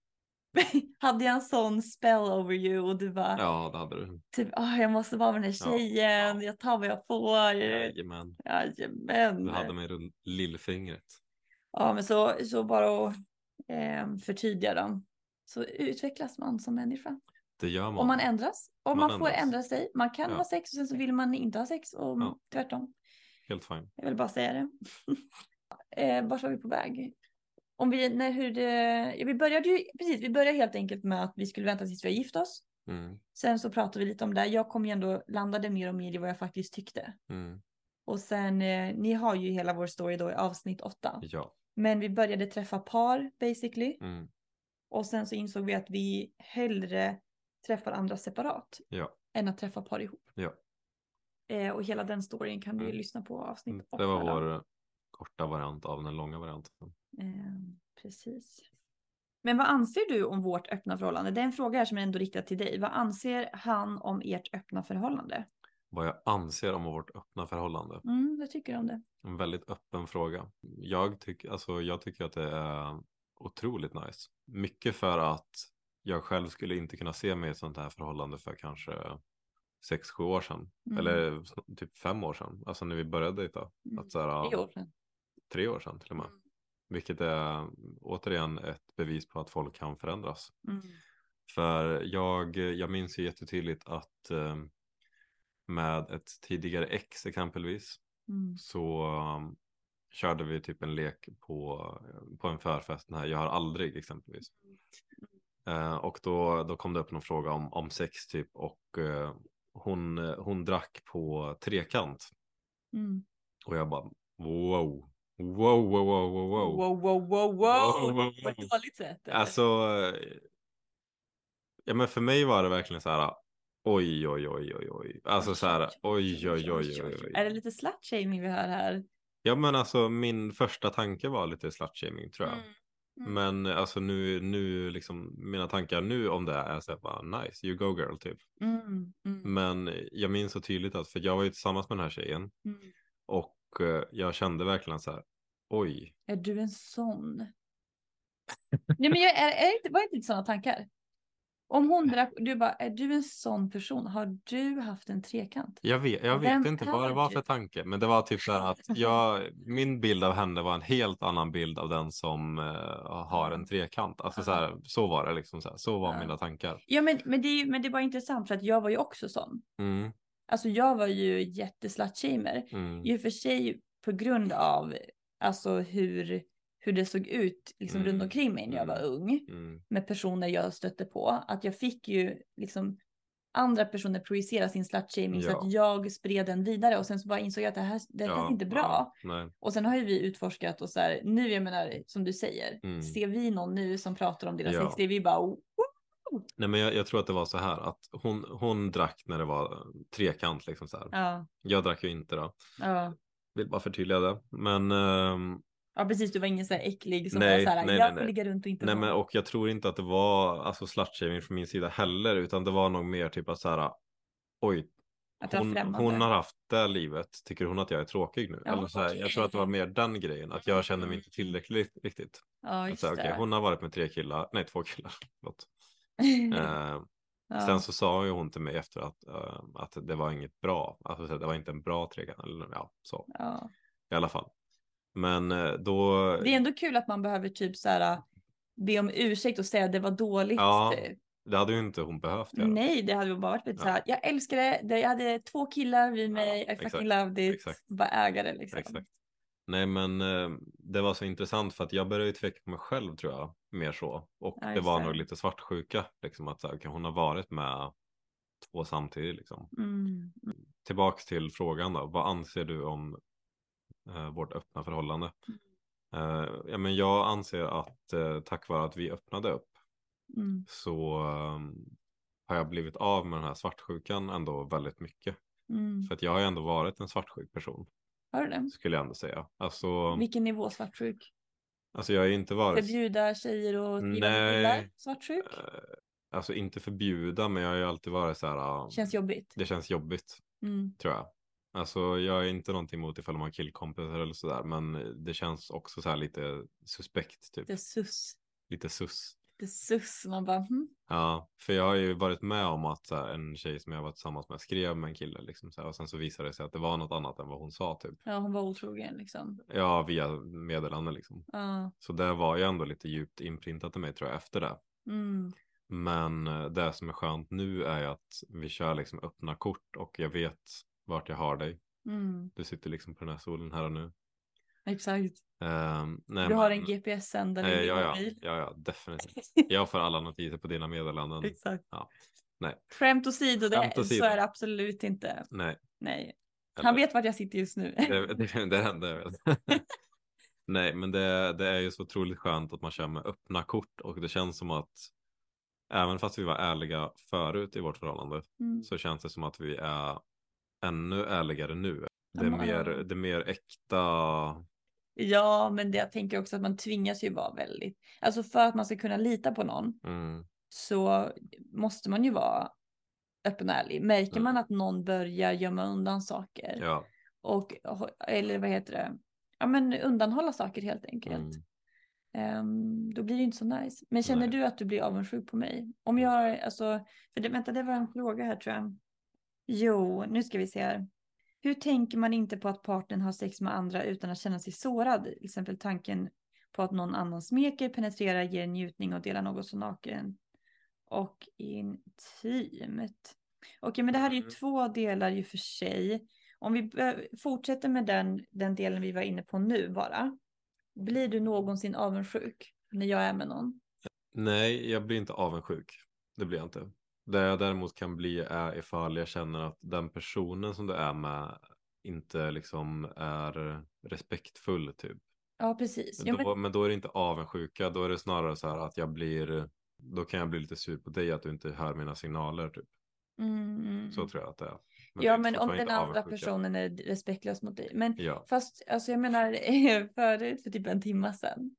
Speaker 1: Hade jag en sån spell over you och du bara,
Speaker 2: Ja, det hade du.
Speaker 1: typ, "Ah, jag måste vara med den här
Speaker 2: Ja,
Speaker 1: tjejen, jag tar vad jag får.
Speaker 2: Jajamän.
Speaker 1: Jajamän.
Speaker 2: Du hade mig runt lillfingret.
Speaker 1: Ja, men så, så bara att eh, förtydliga dem. Så utvecklas man som människa.
Speaker 2: Det gör man.
Speaker 1: Om man ändras, om man,
Speaker 2: Man
Speaker 1: får
Speaker 2: ändras.
Speaker 1: ändra sig. Man kan
Speaker 2: Ja.
Speaker 1: ha sex och sen så vill man inte ha sex och
Speaker 2: Ja.
Speaker 1: tvärtom.
Speaker 2: Helt fine.
Speaker 1: Jag vill bara säga det. eh, vart var vi på väg? Om vi, nej, hur det, ja, vi började ju, precis, vi började helt enkelt med att vi skulle vänta tills vi har gift oss.
Speaker 2: Mm.
Speaker 1: Sen så pratade vi lite om det. här. Jag kom ju ändå, landade mer och mer i vad jag faktiskt tyckte.
Speaker 2: Mm.
Speaker 1: Och sen, eh, ni har ju hela vår story då i avsnitt åtta.
Speaker 2: Ja.
Speaker 1: Men vi började träffa par basically.
Speaker 2: Mm.
Speaker 1: Och sen så insåg vi att vi hellre träffar andra separat
Speaker 2: Ja.
Speaker 1: än att träffa par ihop.
Speaker 2: Ja.
Speaker 1: Eh, och hela den storyn kan du ju
Speaker 2: Mm.
Speaker 1: lyssna på i avsnitt åtta.
Speaker 2: Det var
Speaker 1: då.
Speaker 2: vår korta variant av den långa varianten.
Speaker 1: Eh, precis. Men vad anser du om vårt öppna förhållande? Det är en fråga här som är ändå riktad till dig. Vad anser han om ert öppna förhållande?
Speaker 2: Vad jag anser om vårt öppna förhållande.
Speaker 1: Mm, vad tycker du om det?
Speaker 2: En väldigt öppen fråga. Jag, tyck, alltså, jag tycker att det är otroligt nice. Mycket för att jag själv skulle inte kunna se mig i ett sånt här förhållande för kanske 6-7 år sedan.
Speaker 1: Mm.
Speaker 2: Eller s- typ 5 år sedan. Alltså när vi började dejta. Att, så här, Alltså,
Speaker 1: Tre
Speaker 2: ja,
Speaker 1: år sedan.
Speaker 2: Tre år sedan till och med.
Speaker 1: Mm.
Speaker 2: Vilket är återigen ett bevis på att folk kan förändras.
Speaker 1: Mm.
Speaker 2: För jag, jag minns ju jättetydligt att eh, med ett tidigare ex exempelvis
Speaker 1: Mm.
Speaker 2: så um, körde vi typ en lek på, på en förfest, den här jag har aldrig exempelvis. Eh, och då, då kom det upp någon fråga om, om sex typ och eh, hon, hon drack på trekant
Speaker 1: Mm.
Speaker 2: och jag bara wow, wow, wow, wow, wow, wow.
Speaker 1: wow, wow, wow,
Speaker 2: Wow, wow,
Speaker 1: På ett
Speaker 2: wow.
Speaker 1: dåligt sätt. eller?
Speaker 2: Alltså, eh, ja men för mig var det verkligen så här, oj, oj, oj, oj, oj, alltså så här, oj, oj, oj, oj, oj.
Speaker 1: Är det lite slutshaming vi hör här?
Speaker 2: Ja men alltså min första tanke var lite slutshaming tror jag.
Speaker 1: Mm.
Speaker 2: Men alltså nu, nu liksom mina tankar nu om det är så här bara nice, you go girl typ.
Speaker 1: Mm. Mm.
Speaker 2: Men jag minns så tydligt att, för jag var ju tillsammans med den här tjejen
Speaker 1: Mm.
Speaker 2: och eh, jag kände verkligen så här, oj,
Speaker 1: Är du en sån? Nej men jag är, är inte, var det inte sådana tankar? Om hon drack, du bara, är du en sån person? Har du haft en trekant?
Speaker 2: jag vet, jag
Speaker 1: Vem
Speaker 2: vet inte vad
Speaker 1: är
Speaker 2: det var
Speaker 1: du?
Speaker 2: för tanke. Men det var typ så här att jag, min bild av henne var en helt annan bild av den som eh, har en trekant. Alltså så här, så var det liksom, så, här, så var
Speaker 1: Mm. Ja.
Speaker 2: mina tankar.
Speaker 1: Ja men, men, det, är ju- men det var intressant för att jag var ju också sån.
Speaker 2: Mm,
Speaker 1: Alltså jag var ju jätteslutshamer.
Speaker 2: mm,
Speaker 1: I och för sig på grund av alltså hur, hur det såg ut liksom
Speaker 2: Mm.
Speaker 1: runt omkring mig när jag var
Speaker 2: Mm.
Speaker 1: ung.
Speaker 2: mm,
Speaker 1: med personer jag stötte på. Att jag fick ju liksom andra personer projicera sin slutshaming så
Speaker 2: Ja.
Speaker 1: att jag spred den vidare och sen så bara insåg jag att det här, det här
Speaker 2: Ja,
Speaker 1: känns inte bra.
Speaker 2: ja, nej.
Speaker 1: Och sen har ju vi utforskat och så här, nu jag menar som du säger,
Speaker 2: Mm.
Speaker 1: ser vi någon nu som pratar om deras
Speaker 2: Ja.
Speaker 1: sexliv, vi bara oh,
Speaker 2: Nej men jag, jag tror att det var så här att hon, hon drack när det var eh, trekant liksom så här.
Speaker 1: ja,
Speaker 2: Jag drack ju inte då.
Speaker 1: ja.
Speaker 2: Vill bara förtydliga det. Men, ehm,
Speaker 1: ja precis du var ingen så här äcklig som
Speaker 2: Nej,
Speaker 1: var så här,
Speaker 2: nej,
Speaker 1: jag
Speaker 2: nej,
Speaker 1: får
Speaker 2: nej.
Speaker 1: ligga runt och inte
Speaker 2: nej
Speaker 1: vara
Speaker 2: men och jag tror inte att det var alltså slutshaming från min sida heller utan det var nog mer typ att så här oj
Speaker 1: att jag
Speaker 2: hon,
Speaker 1: främmande.
Speaker 2: hon har haft det livet tycker hon att jag är tråkig nu
Speaker 1: Ja, Mm.
Speaker 2: eller så här, jag tror att det var mer den grejen att jag känner mig inte tillräckligt riktigt.
Speaker 1: ja,
Speaker 2: Att
Speaker 1: just
Speaker 2: så här,
Speaker 1: det.
Speaker 2: alltså, okej, hon har varit med tre killar, nej två killar, förlåt.
Speaker 1: Mm.
Speaker 2: Eh,
Speaker 1: ja.
Speaker 2: Sen så sa ju hon till mig efter att, eh, att det var inget bra, alltså så här, det var inte en bra trekant eller ja så
Speaker 1: ja.
Speaker 2: i alla fall. Men eh, då,
Speaker 1: Det är ändå kul att man behöver typ så här be om ursäkt och säga det var dåligt.
Speaker 2: Ja,
Speaker 1: typ.
Speaker 2: det hade ju inte hon behövt göra.
Speaker 1: Nej, det hade väl bara varit lite så här. Jag älskar det. det. Jag hade två killar vid mig. I
Speaker 2: exakt,
Speaker 1: fucking loved it.
Speaker 2: exakt.
Speaker 1: Bara äga det liksom.
Speaker 2: Exakt. Nej men eh, det var så intressant för att jag började ju tveka på mig själv tror jag. Mer så. Och
Speaker 1: Ja,
Speaker 2: det
Speaker 1: just
Speaker 2: var
Speaker 1: det.
Speaker 2: nog lite svartsjuka. Liksom att så här, okej, hon har varit med två samtidigt liksom.
Speaker 1: Mm.
Speaker 2: Tillbaks till frågan då. Vad anser du om eh, vårt öppna förhållande?
Speaker 1: Mm.
Speaker 2: Eh, ja, men jag anser att eh, tack vare att vi öppnade upp
Speaker 1: Mm.
Speaker 2: så eh, har jag blivit av med den här svartsjukan ändå väldigt mycket.
Speaker 1: Mm.
Speaker 2: För att jag har ju ändå varit en svartsjuk person
Speaker 1: Hör du det?
Speaker 2: skulle jag ändå säga. Alltså,
Speaker 1: Vilken nivå svartsjuk?
Speaker 2: Alltså jag är inte vare sig...
Speaker 1: Förbjuda tjejer och skriva med
Speaker 2: Nej.
Speaker 1: killar? Svartsjuk?
Speaker 2: eh, Alltså inte förbjuda men jag har ju alltid varit så här. ah,
Speaker 1: Känns jobbigt.
Speaker 2: Det känns jobbigt
Speaker 1: Mm.
Speaker 2: tror jag. Alltså jag är inte någonting emot ifall de har killkompisar eller sådär. Men det känns också så här lite suspekt typ.
Speaker 1: Det sus.
Speaker 2: Lite sus.
Speaker 1: Det sus. Man bara, hm.
Speaker 2: Ja, för jag har ju varit med om att så här, en tjej som jag var tillsammans med skrev med en kille liksom, så här, och sen så visade det sig att det var något annat än vad hon sa typ.
Speaker 1: ja hon var otrogen liksom.
Speaker 2: Ja, via meddelande liksom.
Speaker 1: Ja.
Speaker 2: Så det var ju ändå lite djupt inprintat i mig tror jag efter det.
Speaker 1: Mm.
Speaker 2: Men eh, det som är skönt nu är ju att vi kör liksom öppna kort och jag vet vart jag har dig.
Speaker 1: Mm.
Speaker 2: Du sitter liksom på den här solen här och nu.
Speaker 1: Exakt.
Speaker 2: Ehm, nej,
Speaker 1: Du har
Speaker 2: men-
Speaker 1: en GPS-sändare
Speaker 2: Eh,
Speaker 1: i din
Speaker 2: ja, ja,
Speaker 1: mobil.
Speaker 2: ja, ja, definitivt. Jag får alla notiser på dina meddelanden.
Speaker 1: Exakt.
Speaker 2: Mm. Ja. Nej.
Speaker 1: Skämt åsido, det,
Speaker 2: Skämt åsido.
Speaker 1: så är det absolut inte.
Speaker 2: Nej.
Speaker 1: Nej.
Speaker 2: eller-
Speaker 1: Han vet vart jag sitter just nu.
Speaker 2: det, det, det hände jag vet. Nej, men det, det är ju så otroligt skönt att man kör med öppna kort och det känns som att även fast vi var ärliga förut i vårt förhållande
Speaker 1: Mm.
Speaker 2: så känns det som att vi är ännu ärligare nu. Det
Speaker 1: Ja,
Speaker 2: är
Speaker 1: men-
Speaker 2: mer, det är mer äkta.
Speaker 1: Ja, men det, jag tänker också att man tvingas ju vara väldigt. Alltså för att man ska kunna lita på någon
Speaker 2: Mm,
Speaker 1: så måste man ju vara öppen och ärlig. Märker man att någon börjar gömma undan saker
Speaker 2: ja.
Speaker 1: och eller vad heter det? Ja, men undanhålla saker helt enkelt.
Speaker 2: Mm.
Speaker 1: Ehm, då blir det inte så nice. Men känner
Speaker 2: Nej.
Speaker 1: du att du blir avundsjuk på mig? Om jag, alltså, för det, vänta det var en fråga här tror jag. Jo, nu ska vi se här. Hur tänker man inte på att partnern har sex med andra utan att känna sig sårad? Till exempel tanken på att någon annan smeker, penetrerar, ger njutning och delar något så naken och intimt. Okej, men det här är ju
Speaker 2: Mm.
Speaker 1: två delar ju för sig. Om vi bör- fortsätter med den, den delen vi var inne på nu bara. Blir du någonsin avundsjuk när jag är med någon?
Speaker 2: Nej, jag blir inte avundsjuk. Det blir jag inte. Det jag däremot kan bli är ifall jag känner att den personen som du är med inte liksom är respektfull typ.
Speaker 1: Ja, precis. Jo,
Speaker 2: Men då,
Speaker 1: men,
Speaker 2: men då är det inte avundsjuka, då är det snarare så här att jag blir, då kan jag bli lite sur på dig att du inte hör mina signaler typ.
Speaker 1: mm, mm.
Speaker 2: Så tror jag att det är. det
Speaker 1: ja,
Speaker 2: är
Speaker 1: men om
Speaker 2: fortfarande
Speaker 1: den
Speaker 2: inte
Speaker 1: andra
Speaker 2: avundsjuka.
Speaker 1: personen är respektlös mot dig. Men
Speaker 2: Ja,
Speaker 1: fast, alltså jag menar, förut, för typ en timme sedan,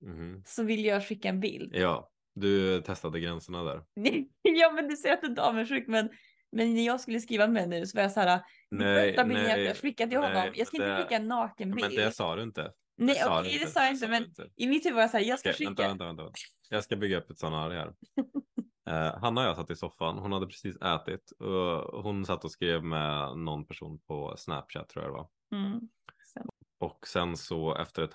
Speaker 2: mhm.
Speaker 1: så ville jag skicka en bild.
Speaker 2: ja, du testade gränserna där.
Speaker 1: ja, men du säger att du inte är avundsjuk, men, men när jag skulle skriva med nu så var jag så här,
Speaker 2: Nej,
Speaker 1: "Första bilden
Speaker 2: nej,
Speaker 1: jag skickade till honom,
Speaker 2: nej,
Speaker 1: jag ska inte
Speaker 2: det-
Speaker 1: skicka en nakenbild.
Speaker 2: men det sa du inte.
Speaker 1: Nej,
Speaker 2: sa
Speaker 1: okej,
Speaker 2: du
Speaker 1: det sa jag inte, men
Speaker 2: inte.
Speaker 1: i mitt huvud var jag så här, jag ska
Speaker 2: Okej,
Speaker 1: skicka.
Speaker 2: vänta, vänta, vänta. Jag ska bygga upp ett scenario här. Eh, Hanna och jag satt i soffan, hon hade precis ätit och hon satt och skrev med någon person på Snapchat tror jag det var.
Speaker 1: Mm.
Speaker 2: Och sen så efter ett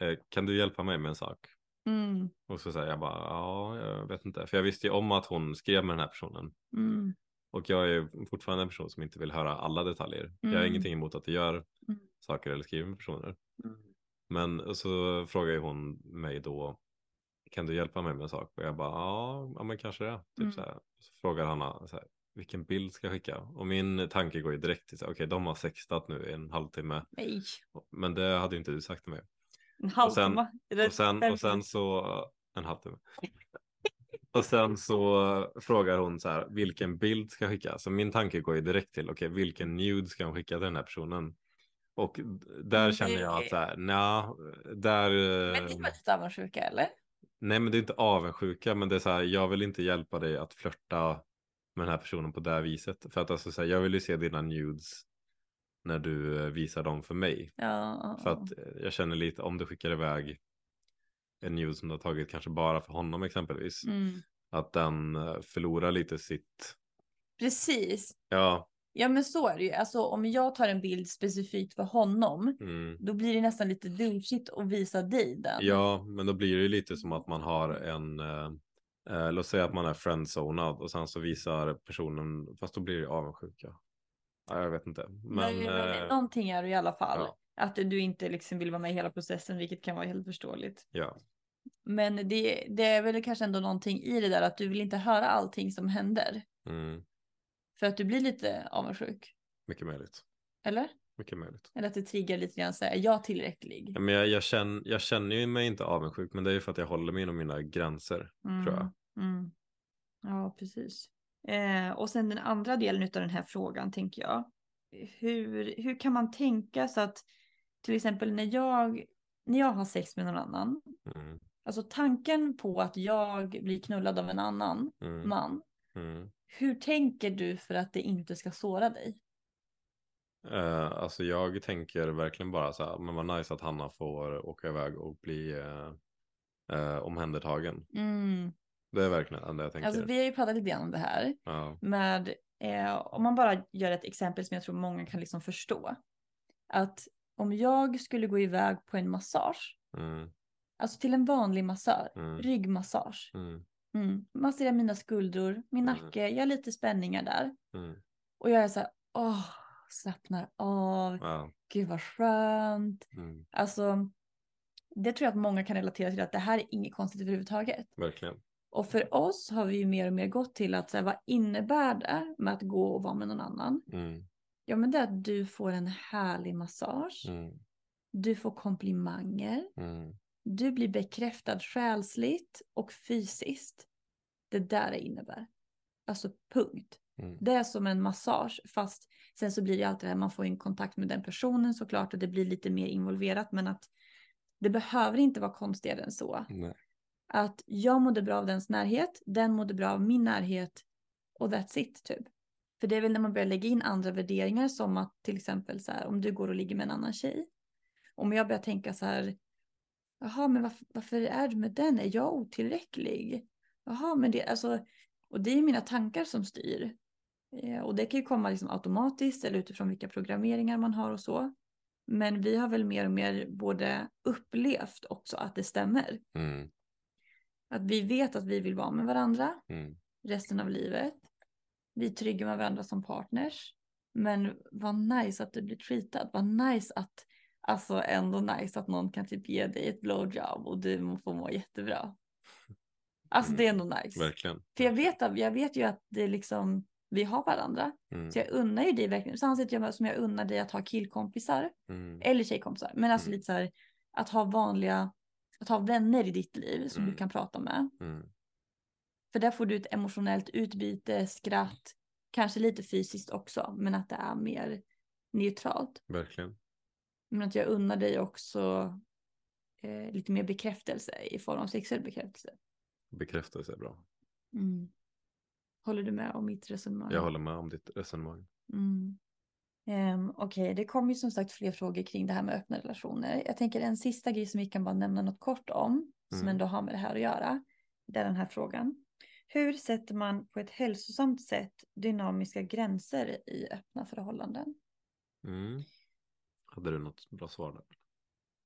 Speaker 2: eh, Kan du hjälpa mig med en sak?
Speaker 1: Mm.
Speaker 2: Och så säger jag bara ja, jag vet inte. För jag visste ju om att hon skrev med den här personen.
Speaker 1: Mm.
Speaker 2: Och jag är ju fortfarande en person som inte vill höra alla detaljer. Jag har
Speaker 1: Mm.
Speaker 2: ingenting emot att du gör
Speaker 1: Mm.
Speaker 2: saker eller skriver med personer. Men så frågar ju hon mig då Kan du hjälpa mig med en sak? Och jag bara ja, ja men kanske det. Typ
Speaker 1: Mm.
Speaker 2: så, här. så frågar Hanna så här, vilken bild ska jag skicka? Och min tanke går ju direkt till så här, okej de har sextat nu i en halvtimme.
Speaker 1: Nej,
Speaker 2: Men det hade ju inte du sagt till mig.
Speaker 1: en
Speaker 2: sen-
Speaker 1: halvtimme.
Speaker 2: Och sen, och sen så, en halvtimme. Och sen så frågar hon så här, vilken bild ska jag skicka? Så min tanke går ju direkt till, okej, vilken nude ska hon skicka till den här personen? Och d- där känner jag att så här, nja, där...
Speaker 1: Men
Speaker 2: eh,
Speaker 1: ni var lite avundsjuka eller?
Speaker 2: Nej, men det är inte avundsjuka, men det är så här, jag vill inte hjälpa dig att flörta med den här personen på det här viset. För att alltså så här, jag vill ju se dina nudes när du eh, visar dem för mig.
Speaker 1: Ja,
Speaker 2: För att eh, jag känner lite om du skickar iväg en nude som du har tagit kanske bara för honom exempelvis.
Speaker 1: mm.
Speaker 2: Att den eh, förlorar lite sitt,
Speaker 1: Precis.
Speaker 2: ja,
Speaker 1: Ja men så är det ju. Alltså om jag tar en bild specifikt för honom,
Speaker 2: mm.
Speaker 1: då blir det nästan lite douchigt att visa dig den.
Speaker 2: ja, men då blir det ju lite som att man har en, eh, eh, låt säga att man är friendzonad och sen så visar personen, fast då blir det ju avundsjuka. Ja, jag vet inte. Men,
Speaker 1: Men, men
Speaker 2: eh,
Speaker 1: någonting är det i alla fall.
Speaker 2: ja.
Speaker 1: Att du inte liksom vill vara med i hela processen, vilket kan vara helt förståeligt.
Speaker 2: ja,
Speaker 1: Men det, det är väl kanske ändå någonting i det där att du vill inte höra allting som händer.
Speaker 2: mm.
Speaker 1: För att du blir lite avundsjuk.
Speaker 2: mycket möjligt.
Speaker 1: Eller?
Speaker 2: Mycket möjligt.
Speaker 1: Eller att det triggar lite grann så här, är jag tillräcklig?
Speaker 2: Ja, men jag, jag, känner, jag känner ju mig inte avundsjuk, men det är ju för att jag håller mig inom mina gränser. tror jag.
Speaker 1: Mm. Ja, precis. Eh, och sen den andra delen av den här frågan tänker jag. Hur, hur kan man tänka så att till exempel när jag, när jag har sex med någon annan,
Speaker 2: Mm.
Speaker 1: alltså tanken på att jag blir knullad av en annan
Speaker 2: Mm.
Speaker 1: man,
Speaker 2: Mm.
Speaker 1: hur tänker du för att det inte ska såra dig?
Speaker 2: Eh, alltså jag tänker verkligen bara så här, men vad nice att Hanna får åka iväg och bli eh, eh, omhändertagen. Det är verkligen det jag
Speaker 1: Mm.
Speaker 2: tänker.
Speaker 1: Alltså vi har ju pratat lite grann om det här
Speaker 2: ja.
Speaker 1: med, eh, om man bara gör ett exempel som jag tror många kan liksom förstå. Att om jag skulle gå iväg på en massage
Speaker 2: mm,
Speaker 1: Alltså till en vanlig massör.
Speaker 2: Mm.
Speaker 1: Ryggmassage.
Speaker 2: mm,
Speaker 1: Mm. Masserar mina skuldror, min
Speaker 2: Mm.
Speaker 1: nacke, jag har lite spänningar där.
Speaker 2: mm.
Speaker 1: Och jag är så här, åh, slappnar av,
Speaker 2: Ja.
Speaker 1: gud vad skönt.
Speaker 2: Mm,
Speaker 1: Alltså, det tror jag att många kan relatera till att det här är inget konstigt överhuvudtaget.
Speaker 2: verkligen.
Speaker 1: Och för oss har vi ju mer och mer gått till att så här, vad innebär det med att gå och vara med någon annan?
Speaker 2: Mm,
Speaker 1: Ja, men det är att du får en härlig massage,
Speaker 2: mm,
Speaker 1: du får komplimanger,
Speaker 2: mm,
Speaker 1: Du blir bekräftad själsligt och fysiskt. Det där det innebär. Alltså punkt.
Speaker 2: mm,
Speaker 1: Det är som en massage fast sen så blir det alltid det här man får en kontakt med den personen såklart och det blir lite mer involverat men att det behöver inte vara konstigare än så.
Speaker 2: nej.
Speaker 1: Att jag mådde bra av dens närhet, den mådde bra av min närhet och that's it typ. För det är väl när man börjar lägga in andra värderingar som att till exempel så här om du går och ligger med en annan tjej. Om jag börjar tänka så här, jaha men varför, varför är du med den, är jag otillräcklig? Jaha men det, alltså, och det är mina tankar som styr. Eh, och det kan ju komma liksom automatiskt eller utifrån vilka programmeringar man har och så. Men vi har väl mer och mer både upplevt också att det stämmer.
Speaker 2: Mm,
Speaker 1: Att vi vet att vi vill vara med varandra
Speaker 2: mm,
Speaker 1: resten av livet. Vi är trygga med varandra som partners. Men vad nice att du blir treatad. Vad nice att, alltså ändå nice att någon kan typ ge dig ett blowjob och du får må jättebra. Alltså det är ändå nice.
Speaker 2: Mm. verkligen.
Speaker 1: För jag vet, att- jag vet ju att det liksom, vi har varandra.
Speaker 2: Mm,
Speaker 1: Så jag unnar ju dig verkligen, samma sätt jag- som jag unnar dig att ha killkompisar
Speaker 2: mm,
Speaker 1: eller tjejkompisar. Men alltså
Speaker 2: Mm.
Speaker 1: lite så här, att ha vanliga, att ha vänner i ditt liv som
Speaker 2: Mm.
Speaker 1: du kan prata med.
Speaker 2: mm,
Speaker 1: För där får du ett emotionellt utbyte, skratt, kanske lite fysiskt också, men att det är mer neutralt.
Speaker 2: verkligen.
Speaker 1: Men att jag unnar dig också eh, lite mer bekräftelse i form av sexuell bekräftelse.
Speaker 2: Bekräftelse är bra.
Speaker 1: Håller du med om mitt resonemang?
Speaker 2: Mm. Jag håller med om ditt resonemang.
Speaker 1: Mm. Ehm, Okej, det kommer ju som sagt fler frågor kring det här med öppna relationer. Jag tänker en sista grej som vi kan bara nämna något kort om, som
Speaker 2: Mm.
Speaker 1: ändå har med det här att göra, det är den här frågan. Hur sätter man på ett hälsosamt sätt dynamiska gränser i öppna förhållanden?
Speaker 2: Mm. Hade du något bra svar där?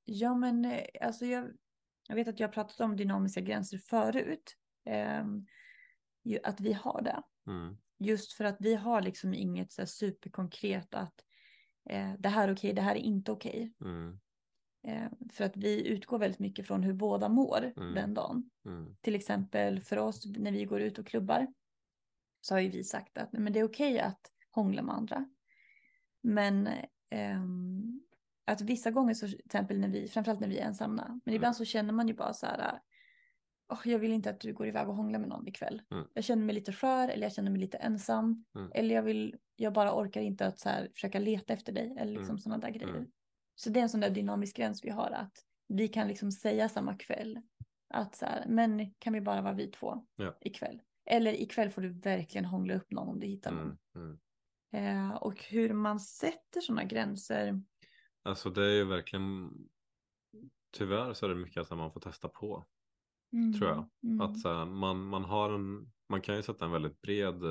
Speaker 1: Ja, men eh, alltså jag, jag vet att jag har pratat om dynamiska gränser förut, ehm, ju, att vi har det.
Speaker 2: Mm,
Speaker 1: Just för att vi har liksom inget så här superkonkret att eh, det här är okej, det här är inte okej.
Speaker 2: mm,
Speaker 1: Eh, för att vi utgår väldigt mycket från hur båda mår
Speaker 2: Mm.
Speaker 1: den dagen.
Speaker 2: mm,
Speaker 1: Till exempel för oss när vi går ut och klubbar så har ju vi sagt att "Nej, men det är okej att hångla med andra. Men ehm, att vissa gånger, så, till exempel när vi, framförallt när vi är ensamma, men ibland så känner man ju bara så här, "Åh, jag vill inte att du går iväg och hånglar med någon ikväll.
Speaker 2: Mm.
Speaker 1: Jag känner mig lite skör eller jag känner mig lite ensam.
Speaker 2: Mm.
Speaker 1: Eller jag, vill, jag bara orkar inte att så här, försöka leta efter dig eller liksom
Speaker 2: Mm.
Speaker 1: sådana där grejer.
Speaker 2: Mm.
Speaker 1: Så det är en sån där dynamisk gräns vi har att vi kan liksom säga samma kväll att så här, men kan vi bara vara vi två
Speaker 2: Ja.
Speaker 1: ikväll? Eller ikväll får du verkligen hångla upp någon om du hittar någon.
Speaker 2: Mm, mm.
Speaker 1: Eh, och hur man sätter sådana gränser.
Speaker 2: Alltså det är ju verkligen Tyvärr så är det mycket som man får testa på. Tror jag.
Speaker 1: Mm.
Speaker 2: Att så här, man, man, har en, man kan ju sätta en väldigt bred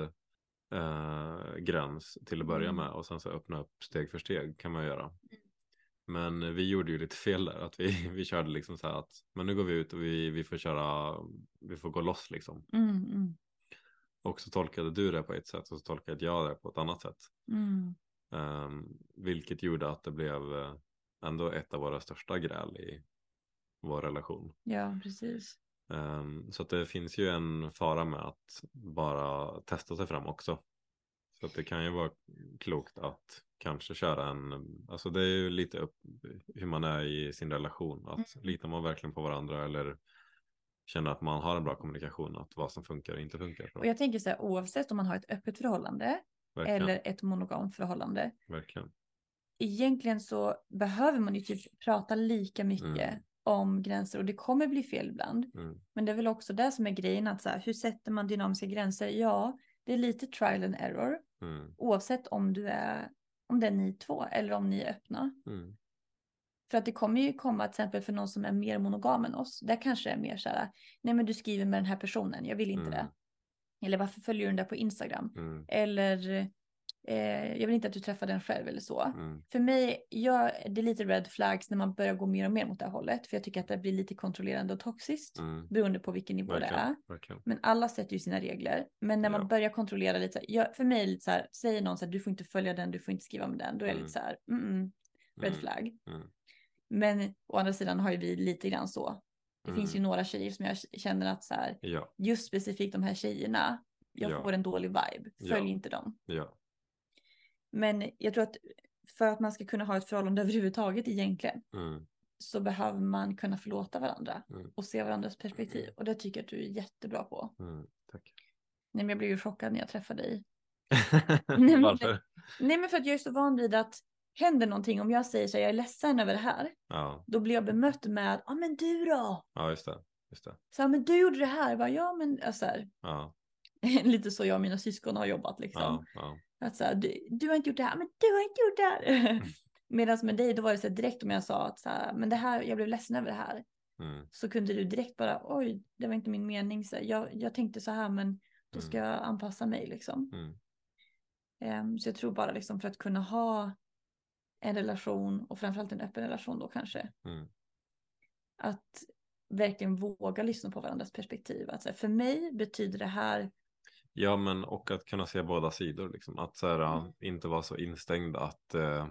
Speaker 2: eh, gräns till att börja
Speaker 1: Mm.
Speaker 2: med och sen så öppna upp steg för steg kan man göra. Men vi gjorde ju lite fel där, att vi, vi körde liksom så här att men nu går vi ut och vi, vi får köra, vi får gå loss liksom.
Speaker 1: Mm, mm,
Speaker 2: Och så tolkade du det på ett sätt och så tolkade jag det på ett annat sätt.
Speaker 1: mm.
Speaker 2: Ehm, vilket gjorde att det blev eh, ändå ett av våra största gräl i vår relation.
Speaker 1: Ja, precis.
Speaker 2: Ehm, så att det finns ju en fara med att bara testa sig fram också. Så att det kan ju vara klokt att kanske köra en, alltså det är ju lite upp hur man är i sin relation. Att
Speaker 1: Mm.
Speaker 2: litar man verkligen på varandra eller känner att man har en bra kommunikation, att vad som funkar och inte funkar.
Speaker 1: Och jag tänker så här, oavsett om man har ett öppet förhållande
Speaker 2: Verkligen,
Speaker 1: eller ett monogamt förhållande.
Speaker 2: verkligen.
Speaker 1: Egentligen så behöver man ju typ prata lika mycket
Speaker 2: Mm.
Speaker 1: om gränser och det kommer bli fel ibland.
Speaker 2: Mm.
Speaker 1: Men det är väl också det som är grejen, att så här, hur sätter man dynamiska gränser? Ja, det är lite trial and error,
Speaker 2: Mm.
Speaker 1: oavsett om du är, om det är ni två eller om ni är öppna.
Speaker 2: Mm.
Speaker 1: För att det kommer ju komma till exempel för någon som är mer monogam än oss. Där kanske det är mer så här, nej men du skriver med den här personen, jag vill inte
Speaker 2: Mm.
Speaker 1: det. Eller varför följer du den där på Instagram?
Speaker 2: Mm.
Speaker 1: Eller eh, jag vill inte att du träffar den själv eller så.
Speaker 2: Mm.
Speaker 1: För mig, jag, det är lite red flags när man börjar gå mer och mer mot det här hållet. För jag tycker att det blir lite kontrollerande och toxiskt.
Speaker 2: Mm.
Speaker 1: Beroende på vilken nivå det är.
Speaker 2: Verkligen, verkligen.
Speaker 1: Men alla sätter ju sina regler. Men när man
Speaker 2: Ja.
Speaker 1: börjar kontrollera lite, så här- jag, för mig är det lite så här, säger någon så här, du får inte följa den, du får inte skriva med den, då är det
Speaker 2: Mm.
Speaker 1: lite så här, mm, mm, red
Speaker 2: Mm.
Speaker 1: flag.
Speaker 2: Mm.
Speaker 1: Men å andra sidan har ju vi lite grann så. Det finns ju
Speaker 2: Mm.
Speaker 1: några tjejer som jag känner att så här,
Speaker 2: Ja,
Speaker 1: just specifikt de här tjejerna, jag
Speaker 2: Ja.
Speaker 1: får en dålig vibe,
Speaker 2: Ja.
Speaker 1: följ inte dem.
Speaker 2: ja.
Speaker 1: Men jag tror att för att man ska kunna ha ett förhållande överhuvudtaget egentligen
Speaker 2: Mm.
Speaker 1: så behöver man kunna förlåta varandra
Speaker 2: Mm.
Speaker 1: och se varandras perspektiv. Och det tycker jag att du är jättebra på.
Speaker 2: Mm. Tack.
Speaker 1: Nej, men jag blev ju chockad när jag träffade dig. Nej, men-
Speaker 2: Varför?
Speaker 1: Nej, men för att jag är så van vid att händer någonting, om jag säger så här, jag är ledsen över det här,
Speaker 2: Ja,
Speaker 1: då blir jag bemött med, ja men du då?
Speaker 2: ja just det. Just det.
Speaker 1: Så här, men du gjorde det här, jag bara, ja men, ja, så här,
Speaker 2: Ja,
Speaker 1: lite så jag och mina syskon har jobbat liksom.
Speaker 2: ja, ja.
Speaker 1: Att så här, du, du har inte gjort det här, men du har inte gjort det här. Medan med dig, då var det så här, direkt om jag sa att så här, men det här, jag blev ledsen över det här.
Speaker 2: Mm.
Speaker 1: Så kunde du direkt bara, oj, det var inte min mening. Så här, jag, jag tänkte så här, men då ska jag anpassa mig liksom.
Speaker 2: Mm.
Speaker 1: Ehm, så jag tror bara liksom för att kunna ha en relation och framförallt en öppen relation då kanske.
Speaker 2: Mm.
Speaker 1: Att verkligen våga lyssna på varandras perspektiv. Att så här, för mig betyder det här,
Speaker 2: Ja, men och att kunna se båda sidor. Liksom. Att så här,
Speaker 1: Mm.
Speaker 2: inte vara så instängd att eh,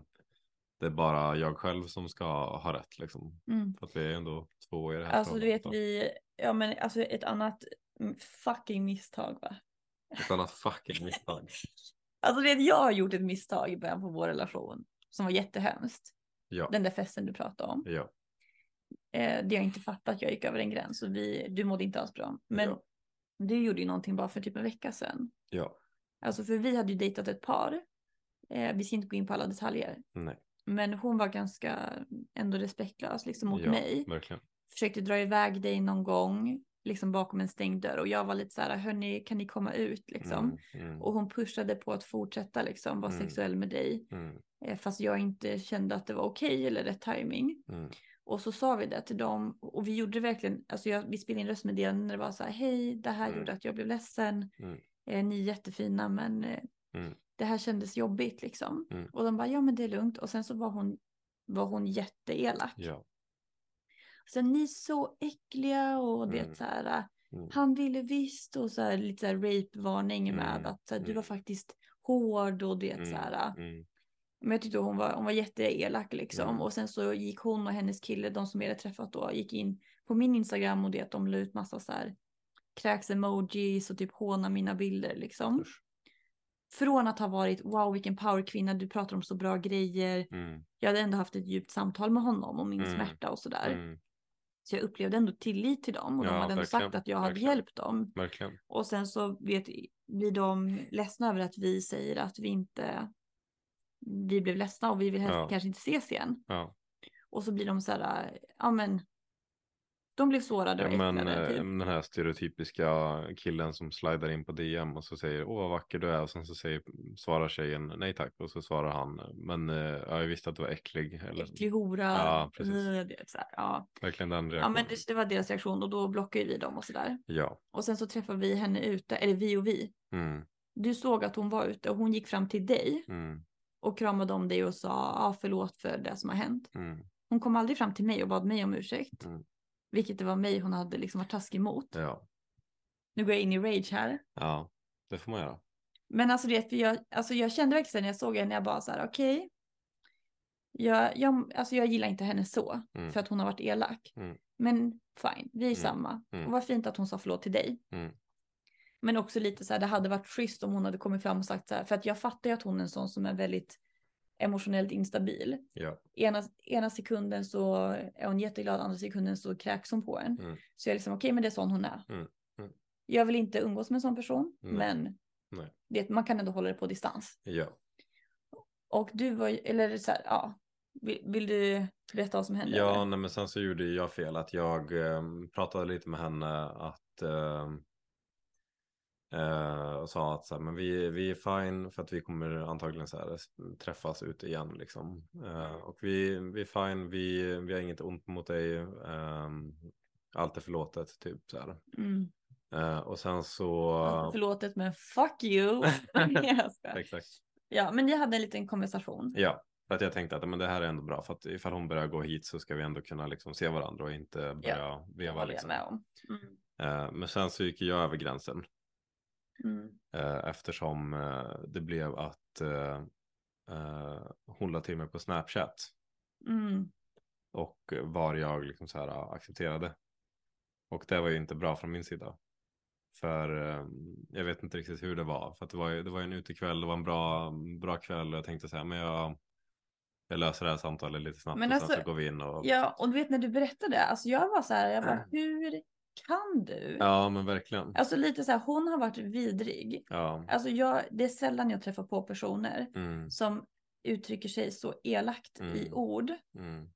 Speaker 2: det är bara jag själv som ska ha rätt. Liksom.
Speaker 1: mm,
Speaker 2: För att vi är ändå två i det här
Speaker 1: alltså du vet
Speaker 2: förhållandet, va?
Speaker 1: vi, ja men alltså ett annat mm, fucking misstag va.
Speaker 2: Ett annat fucking misstag.
Speaker 1: Alltså det är att jag har gjort ett misstag i början på vår relation som var jättehemskt.
Speaker 2: Ja,
Speaker 1: Den där festen du pratade om.
Speaker 2: ja.
Speaker 1: Eh, det jag inte fattat, att jag gick över en gräns och vi, du mådde inte alls bra. Men
Speaker 2: Ja.
Speaker 1: du gjorde ju någonting bara för typ en vecka sedan.
Speaker 2: ja.
Speaker 1: Alltså för vi hade ju dejtat ett par. Eh, vi ska inte gå in på alla detaljer.
Speaker 2: Nej.
Speaker 1: Men hon var ganska ändå respektlös liksom mot
Speaker 2: ja,
Speaker 1: mig.
Speaker 2: Verkligen.
Speaker 1: Försökte dra iväg dig någon gång. Liksom bakom en stängd dörr. Och jag var lite så här, hörni kan ni komma ut liksom?
Speaker 2: Mm, mm,
Speaker 1: Och hon pushade på att fortsätta liksom vara
Speaker 2: Mm.
Speaker 1: sexuell med dig.
Speaker 2: mm,
Speaker 1: Eh, Fast jag inte kände att det var okej eller rätt timing.
Speaker 2: mm,
Speaker 1: Och så sa vi det till dem. Och vi gjorde verkligen, alltså jag, vi spelade in röstmeddelanden när det var så här, hej, det här
Speaker 2: Mm.
Speaker 1: gjorde att jag blev ledsen.
Speaker 2: Mm.
Speaker 1: Eh, ni är jättefina, men eh,
Speaker 2: Mm.
Speaker 1: det här kändes jobbigt liksom.
Speaker 2: Mm.
Speaker 1: Och de bara, ja men det är lugnt. Och sen så var hon, var hon jätteelak.
Speaker 2: ja.
Speaker 1: Sen ni är så äckliga och det
Speaker 2: Mm.
Speaker 1: så här, eh,
Speaker 2: Mm,
Speaker 1: han ville visst och så här, lite så här rape-varning
Speaker 2: Mm.
Speaker 1: med att så här, du var
Speaker 2: Mm.
Speaker 1: faktiskt hård och det så här. eh, äh,
Speaker 2: mm,
Speaker 1: Men jag tyckte hon var, hon var jätteelak liksom.
Speaker 2: Mm.
Speaker 1: Och sen så gick hon och hennes kille, de som jag hade träffat då, gick in på min Instagram och det att de la ut massa så här kräks-emojis och typ håna mina bilder liksom.
Speaker 2: Usch.
Speaker 1: Från att ha varit wow vilken powerkvinna, du pratar om så bra grejer.
Speaker 2: mm,
Speaker 1: Jag hade ändå haft ett djupt samtal med honom om min
Speaker 2: Mm.
Speaker 1: smärta och sådär.
Speaker 2: mm,
Speaker 1: Så jag upplevde ändå tillit till dem och de
Speaker 2: Ja,
Speaker 1: hade ändå sagt
Speaker 2: verkligen,
Speaker 1: att jag hade
Speaker 2: verkligen.
Speaker 1: hjälpt dem.
Speaker 2: verkligen.
Speaker 1: Och sen så vet, blir de ledsna över att vi säger att vi inte, vi blev ledsna och vi vill helst
Speaker 2: Ja.
Speaker 1: kanske inte ses igen.
Speaker 2: Ja,
Speaker 1: Och så blir de så här, ja men, De blev sårade och
Speaker 2: men
Speaker 1: äcklade.
Speaker 2: eh,
Speaker 1: typ.
Speaker 2: den här stereotypiska killen som slidar in på DM och så säger åh vad vacker du är och sen så säger, svarar tjejen nej tack och så svarar han men eh, ja, jag visste att du var äcklig. Eller,
Speaker 1: Äcklig hora.
Speaker 2: Ja, precis.
Speaker 1: eh, det- Så här, ja.
Speaker 2: Verkligen den
Speaker 1: ja,
Speaker 2: reaktionen.
Speaker 1: men det, det var deras reaktion och då blockade ju vi dem och sådär.
Speaker 2: Ja.
Speaker 1: Och sen så träffade vi henne ute, eller vi och vi.
Speaker 2: Mm,
Speaker 1: Du såg att hon var ute och hon gick fram till dig
Speaker 2: mm,
Speaker 1: och kramade om dig och sa ah, förlåt för det som har hänt.
Speaker 2: mm,
Speaker 1: Hon kom aldrig fram till mig och bad mig om ursäkt.
Speaker 2: Mm.
Speaker 1: Vilket det var mig hon hade liksom varit taskig mot.
Speaker 2: ja.
Speaker 1: Nu går jag in i rage här.
Speaker 2: ja, det får man göra.
Speaker 1: Men alltså, det, för jag, alltså jag kände verkligen så här när jag såg henne, jag bara så här okej. Jag, jag, alltså jag gillar inte henne så,
Speaker 2: Mm.
Speaker 1: för att hon har varit elak.
Speaker 2: Mm.
Speaker 1: Men fine, vi är
Speaker 2: Mm.
Speaker 1: samma.
Speaker 2: Mm.
Speaker 1: Och vad fint att hon sa förlåt till dig.
Speaker 2: Mm.
Speaker 1: Men också lite så här, det hade varit schysst om hon hade kommit fram och sagt så här, för att jag fattar ju att hon är en sån som är väldigt emotionellt instabil.
Speaker 2: Ja.
Speaker 1: Ena, ena sekunden så är hon jätteglad, andra sekunden så kräks hon på en.
Speaker 2: Mm.
Speaker 1: Så jag är liksom, okej, men det är sån hon är.
Speaker 2: Mm. Mm.
Speaker 1: Jag vill inte umgås med en sån person,
Speaker 2: Nej.
Speaker 1: men
Speaker 2: Nej.
Speaker 1: Det, man kan ändå hålla det på distans.
Speaker 2: Ja.
Speaker 1: Och du var ju, eller så här, ja, vill, vill du berätta vad som hände?
Speaker 2: Ja,
Speaker 1: eller?
Speaker 2: nej, men sen så gjorde ju jag fel att jag ehm, pratade lite med henne att ehm, eh, och sa att så här, men vi, vi är fine för att vi kommer antagligen så här, s- träffas ute igen liksom. Eh, och vi, vi är fine, vi, vi har inget ont mot dig. ehm, allt är förlåtet typ så här.
Speaker 1: Mm.
Speaker 2: Eh, och sen så.
Speaker 1: Allt är Förlåtet, men fuck you. Jag skojar.
Speaker 2: Exakt.
Speaker 1: ja, men ni hade en liten konversation.
Speaker 2: Ja, för att jag tänkte att men det här är ändå bra för att ifall hon börjar gå hit så ska vi ändå kunna liksom se varandra och inte börja
Speaker 1: det
Speaker 2: veva
Speaker 1: håller
Speaker 2: liksom.
Speaker 1: jag med om. Mm.
Speaker 2: Eh, Men sen så gick jag över gränsen
Speaker 1: Mm.
Speaker 2: eh, eftersom eh, det blev att eh, eh, hon la till mig på Snapchat
Speaker 1: Mm.
Speaker 2: och var jag liksom så här accepterade. Och det var ju inte bra från min sida. För eh, jag vet inte riktigt hur det var. För att det var ju det var ju en utekväll, det var en bra, bra kväll och jag tänkte så här, men jag, jag löser det här samtalet lite snabbt
Speaker 1: Men
Speaker 2: och
Speaker 1: alltså,
Speaker 2: sen så går vi in och...
Speaker 1: Ja, och du vet när du berättade, alltså jag var så här, jag bara, hur kan du?
Speaker 2: Ja, men verkligen.
Speaker 1: Alltså lite så här, hon har varit vidrig.
Speaker 2: Ja.
Speaker 1: Alltså jag, det är sällan jag träffar på personer
Speaker 2: Mm,
Speaker 1: som uttrycker sig så elakt i
Speaker 2: Mm.
Speaker 1: ord.
Speaker 2: mm,